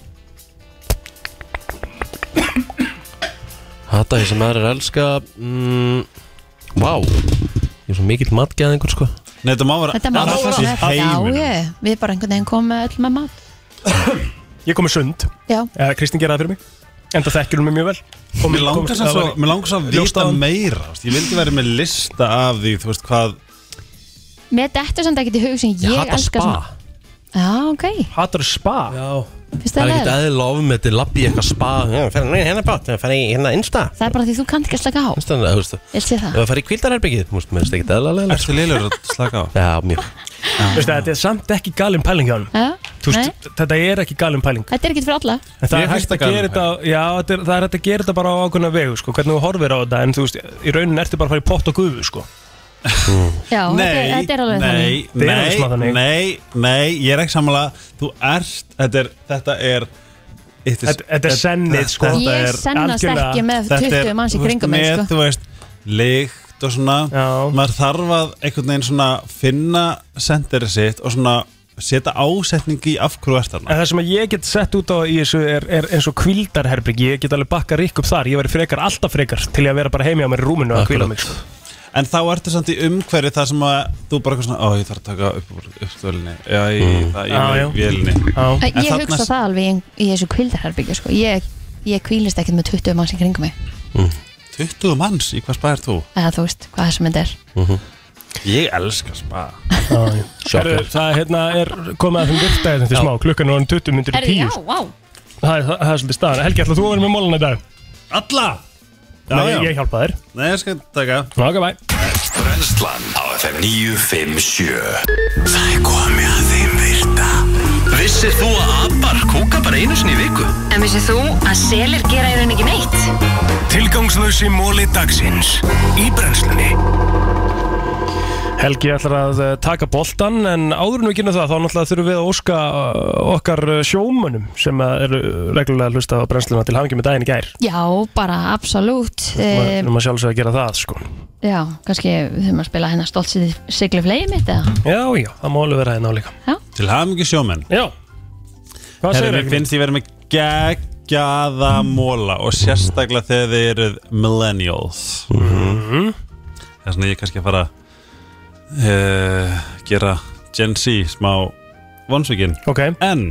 Hata ég sem aðrir elska mm, Vá Ég er svo mikill matgeðingur sko Nei, þetta má vera Þetta má allt vera í þetta, heiminum. Já, ég, við bara einhvern veginn komum með öll með mat Ég kom með sund Já, Eh, Kristín gera það fyrir mig Enda þekkir hún mig mjög vel Og Mér langar það svo, var- mér langar svo að Ljóst á vita hann. meira þú veist, Ég vildi vera með lista af því, þú veist hvað með dettur samt ekkert í hug sem ég, Ég hata elska spa sem- Já, ok, Hatar spa Já finnst Það það er leður ekkert eðla ofmeti, lappi eitthvað spa Já, fer hann í hérna bát, fer í hérna insta Það er bara því þú kannt ekki að slaka á Þannig að, þú veist, Ég sé ef það það fer í kvildarherbyggið Þú veist, mér finnst ekkert eðla leðilega Ertu liður að slaka á? Já, mjög Veistu, Þetta er samt ekki galin pæling hjá hann Já, nei, Þetta er ekki galin pæling þetta er ekkert fyrir alla En það Mér er hægt finnst það að gera galin þetta Já, þetta er, það er hægt að gera þetta bara á ákveðna vegu sko, hvernig þú horfir á þetta en þú veist, í raunin ertu bara að fara í pott og gufu sko. Já, þetta er- þetta er alveg þannig nei, Þetta er alveg smá nei, þannig. nei, nei, ég er ekki samanlega Þú ert, þetta er, þetta er it is- Þetta- þetta er sennið, sko. þetta Ég er- sennast algjörlega- ekki með þetta er, 20 manns í þú veist, kringum mig Með, sko. þú veist, lykt sitt og svona Já. maður þarf að einhvern veginn svona finna senderið sitt og svona setja ásetning í af hverju ert þarna En það sem að ég get sett út á í þessu er, er eins og kvildarherbyggi, ég get alveg bakka rík upp þar, ég væri frekar, alltaf frekar til ég að vera bara heimi á mér í rúminu að kvíla mig sko. en þá ertu samt í umhverju þar sem að þú bara eitthvað svona, ó ég þarf að taka upp uppstöðlinni, já ég, það, Já, já. ég vélni Já. Ég En þarna- hugsa það alveg í, í þessu kvildarherbyggju sko. ég, ég kvílist ekkert með 20 manns í kringum mig 20 manns, í hvað spað er þú? eða þú veist hvað sem þetta er Ég elska spa Herru, það hérna, er komið að þeim virta þetta til smá, klukkan er orðin 20 myndir í Herri, 10 já, sko. vá það, er- það, það er svolítið staðan, Helgi, ætlaðu þú að vera með mólana í dag? Alla! Já, Já, já. ég, ég hjálpa þér Nei, ég skal taka Ná, ok, bye Brennslan á FM 957 Það er komið að þeim virta Vissir þú að abar kúka bara einu sinni í viku? En vissið þú að selir gera í raun ekki neitt? Tilgangslösi móli dagsins Í brennslunni Helgi ætlar að eh, taka boltan en áður en við kynna það þá náttúrulega þurfum við að óska eh, okkar eh, sjómönnum sem að eru reglulega að hlusta á brennsluna til hafingi með daginn í gær Já, bara absolutt Við um, erum að sjálfsögja að gera það sko Já, kannski þurfum að spila hennar stolt siglu flegið mitt eða Já, já, það má alveg vera hérna á líka Til hafingi sjómenn Já, hvað Herri, segir mér Helgi? finnst ég verið með geggjaða móla og sérstaklega þegar þið eruð millennials Það er svona ég er kannski að fara uh, gera Gen Z smá vonsvíkin Ok, En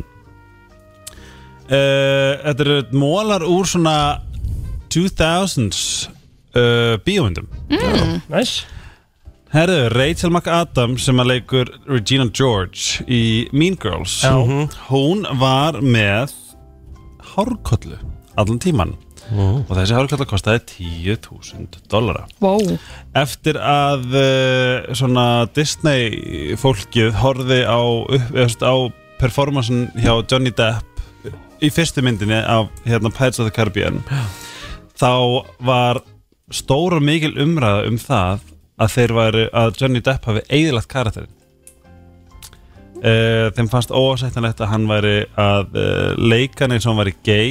uh, Þetta eru mólar úr svona 2000s uh, bíómyndum nice Herðu, Rachel McAdams sem að leikur Regina George í Mean Girls Mhm. Já. hún var með hárkollu allan tíman og þessi hárkollu kostaði 10.000 dollara Wow, eftir að uh, svona Disney fólkið horfði á, upp, eftir, á performansin hjá Johnny Depp í fyrstu myndinni af hérna, Pirates of the Caribbean þá var stóra mikil umræða um það að þeir væru að Johnny Depp hafi eigðilagt karakterinn Uh, þeim fannst óásættanlegt að hann væri að uh, leika hann eins og hann væri gay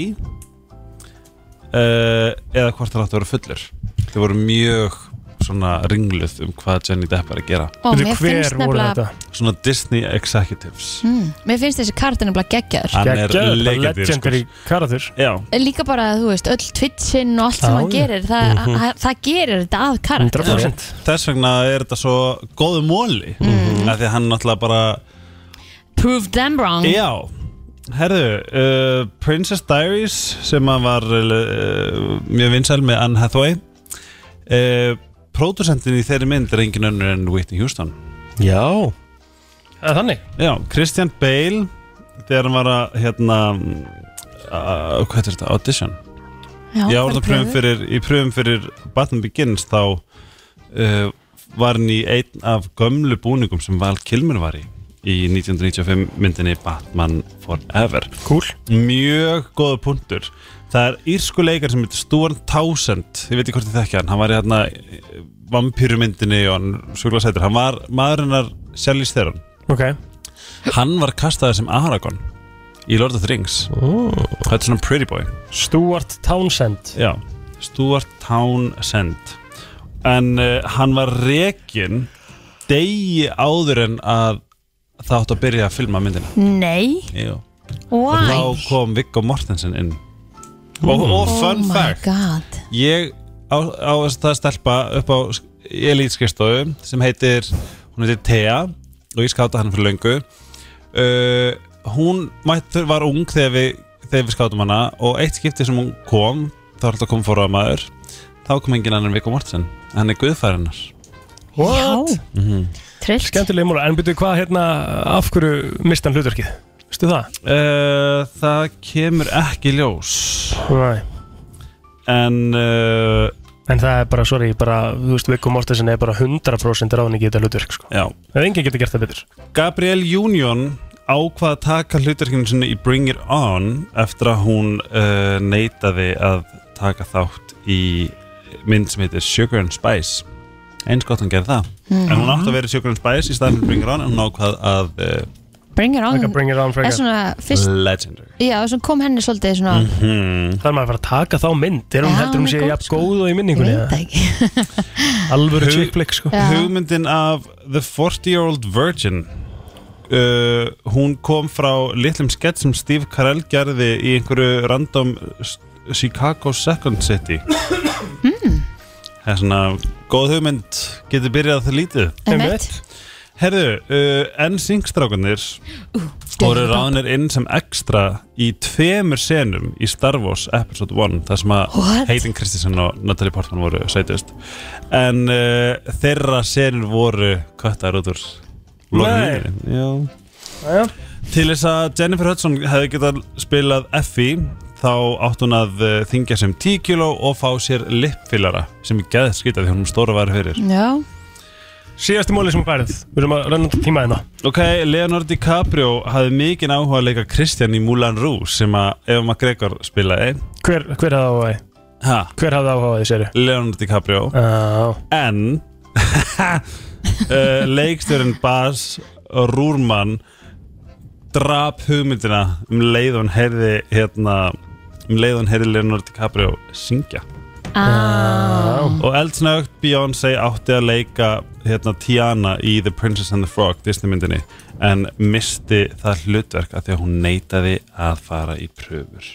uh, eða hvort hann átti að vera fullur þau voru mjög svona ringluð um hvað Johnny Depp er að gera og Veitu, mér finnst Hver voru nefnilega þetta? svona Disney Executives mm, Mér finnst þessi kartin nefnilega geggjaður hann er Geggjaður, Hmm. bara legendir legendary sko. karatur já, Líka bara, þú veist, öll twitchin og allt sem Já, hann já. Mhm. gerir það, mm það gerir þetta að karakter 100% þess vegna er þetta svo góðu móli af því að hann náttúrulega bara Prove Mhm. them wrong já, herðu uh, Princess Diaries sem að var uh, mjög vinsæl með Anne Hathaway uh, pródusentin í þeirri mynd er engin önnur en Whitney Houston Já Það er þannig Já, Christian Bale þegar hann var að hérna uh, hvað er þetta, audition Já, bara var það pröfum fyrir, í pröfum fyrir Batman Begins þá uh, var hann í einn af gömlu búningum sem Val Kilmer var í í 1995 myndinni Batman Forever Cool mjög góða punktur það er írsku leikar sem heitir Stuart Towsend ég veit ekki hvort þið þekkja hann hann var í hérna vampýrumyndinni og hann sjúkla sætur hann var maðurinnar Charlize Theron Ok Hann var kastaðið sem Aragorn í Lord of the Rings Þetta er svona pretty boy Stuart Townsend Já. Stuart Townsend En uh, hann var rekin degi áður en að það átti að byrja að filma myndina Nei, Jú. og why? þá kom Viggo Mortensen inn og, og oh fun my fact god ég á, á þess- það stelpa upp á elítskristofu sem heitir, hún heitir Thea og ég skáta hann fyrir löngu uh, hún mættur var ung þegar við, þegar við skátum hana og eitt skipti sem hún kom þá var alltaf kom fóraða maður þá kom engin annan Viggo Mortensen hann er guðfærinar What? Trillt Skemmtileg múla En byrju hvað hérna Af hverju mistan hlutverkið? Vistu það? uh, það kemur ekki í ljós Nei en uh, En það er bara, sorry, bara, þú veist, Viggo Mortensen er bara 100% ráðningi í þetta hlutverk, sko. já Það er enginn getur gert það betur. Gabrielle Union ákvað að taka hlutarkinu sinni í Bring It On eftir að hún uh, neitaði að taka þátt í mynd sem heitir Sugar and Spice eins gott hún gerði það en hún átti að vera í Sugar and Spice í staðan fyrir Bring It On en hún ákvað að uh, Bring it Like a Mm. on bring it on er frekar. svona fyrst legendary Hmm. já, sem kom henni svolítið svona Það er maður að fara að taka þá mynd Er hún Já, heldur hún hún er sé góð, jafn sko. góð og í ég minningunni veit það eða? ekki Alvöru Hug- chickflick sko Já. Hugmyndin af The 40 Year Old Virgin uh, Hún kom frá litlum skett sem Steve Carell gerði í einhverju random s- Chicago Second City Það er svona góð hugmynd getur byrjað það lítið Einmitt. Herðu, uh, NSYNC-strákanir voru ráðnir inn sem ekstra í tveimur senum í Star Wars Episode 1 þar sem að What? Hayden Christensen og Natalie Portman voru sætust en uh, þeirra senur voru köttar út úr Nei. lokum myndinni. Já. Til þess að Jennifer Hudson hefði getað spilað Effie þá átt hún að uh, þingja sem 10 kilo og fá sér lippfyllara sem ég geðið skita því hún er stóra væri fyrir já, Síðasti móli sem hún færið Við erum að renna út á tíma hérna Ok, Leonardo DiCaprio hafði mikinn áhuga að leika Kristján í Moulin Rouge sem að Eva McGregor spilaði Hver, hver hafði áhugaði? ha. Hver hafði áhugaði séri? Leonardo DiCaprio Já, Um, en uh, leikstjórinn Bas Rúrmann drap hugmyndina um leið og hann heyrði hérna um leið og hann heyrði Leonardo DiCaprio syngja og eldsnögt Beyoncé átti að leika hérna Tiana í The Princess and the Frog Disney myndinni en misti það hlutverk að því að hún neitaði að fara í pröfur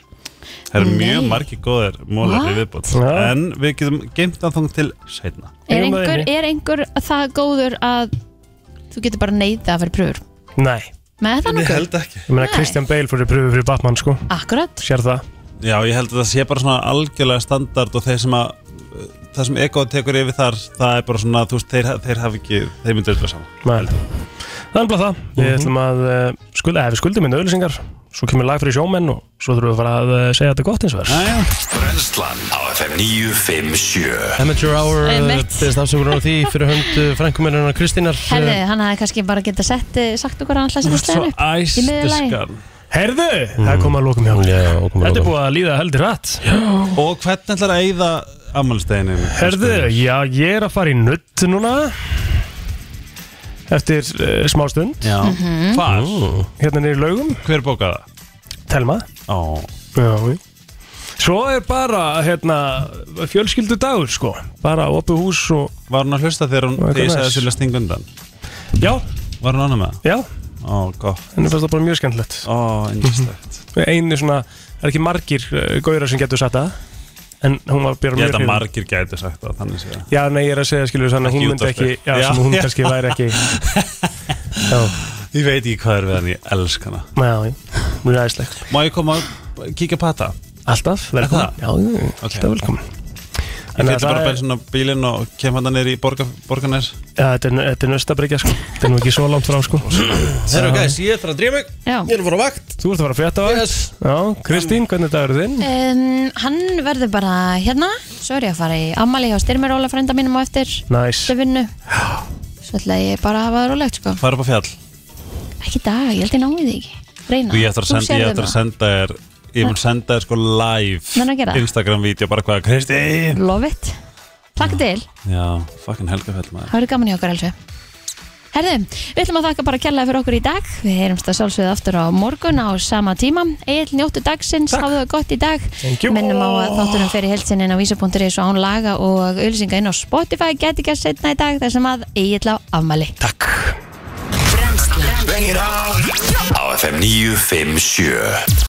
Það eru mjög Nei. margir góðir mólar í viðbót Já. en við getum geimt það þóng til seinna er Eigum við einhver, inni? er einhver það góður að þú getur bara neyða að vera pröfur nei með það nokkuð, ekki Ég meina Nei. Christian Bale fyrir pröfu fyrir Batman sko akkurat Sér það Já, ég held að það sé bara svona algjörlega standard og þeir sem að það sem ekoð tekur yfir þar það er bara svona, þú veist, þeir, þeir hafi ekki þeir myndir þetta saman Næl Það er bara það Við Mhm. ætlum að uh, skulda, eða við skuldum inn auðlýsingar Svo kemur lag fyrir sjómenn og svo þurfum við að fara að uh, segja þetta gott eins og þess Jæja. Brennslan á FM 957 Amateur Hour Einmitt. Byrðist afsökunar á því fyrir hönd frænkumennunar hérna, Kristínar Herðu, hann hefði kannski bara geta sett, eh, sagt okkur að hann ætlaði að setja slegin upp í miðju lagi. æstiskan Herðu, það kom að lókum hjá Mhm. Já, komum Þetta við er að búið að líða heldur rætt Og hvernig ætlar að eyða ammálsteginu? Herðu, já, ég er að fara í nutt núna Eftir uh, smá stund Já Hvar? Hérna niður í laugum, Hver bókaði það? telma Ó já, já. Svo er bara hérna, fjölskyldu dagur sko Bara opið hús og Var hún að hlusta þegar hún Var eitthvað Þegar ég sagði næs? sérlega sting undan Já, Var hún ánum með það? já, Ó, gott henni fannst það bara mjög skemmtilegt Ó, indislegt Einu svona, það er ekki margir uh, gaurar sem getur satt það En hún var bara Ég mjög held að hrifin. margir gæti sagt það Þannig sé það Já, nei, ég er að segja, skilur þannig að Ekki hún myndi ekki útvarpið. Já, Já. sem hún kannski væri ekki Já, Ég veit ekki hvað er við hann Ég elsk hana já, já, mjög æðislegt Má ég koma að kíkja pata? Alltaf Er velkomin það? Já, okay. alltaf velkomin Ég Þannig fyrir að það bara er- bensin á bílinn og kem hann nýr í borga, borganes Já, þetta er, þetta er nöstabryggja sko Þetta er nú ekki svo langt frá sko Herru gæs, ég ætla að drífa mig Já. Ég er að fara á vakt Þú ert að fara að frétta á Yes. Já, Kristín, hvernig dagur er þinn? Um, hann verður bara hérna Svo er ég að fara í ammali hjá styrmir Óla frænda mínum og eftir Næs til vinnu Svo ætla ég bara að hafa það rólegt sko Fara upp á fjall Ekki í dag, ég held ég náði því ekki Reyna, Þú ég eftir að senda, ég eftir að senda þér Ég mun senda þér sko Menn að gera live það? Instagram-vídeó bara hvað Kristi Love it Takk til, Já, fucking helgafell maður það verður gaman hjá okkur elsu Herðu, við ætlum að þakka bara kærlega fyrir okkur í dag Við heyrumst að sjálfsögðu aftur á morgun á sama tíma Egil njóttu dagsins, hafðu það gott í dag Thank you. Minnum á að þátturum fyrir heltsinnin á vísa.is og án laga og ölsinga inn á Spotify Geti ekki að setna í dag þessum að Egil á afmæli Brennslan Á FM 957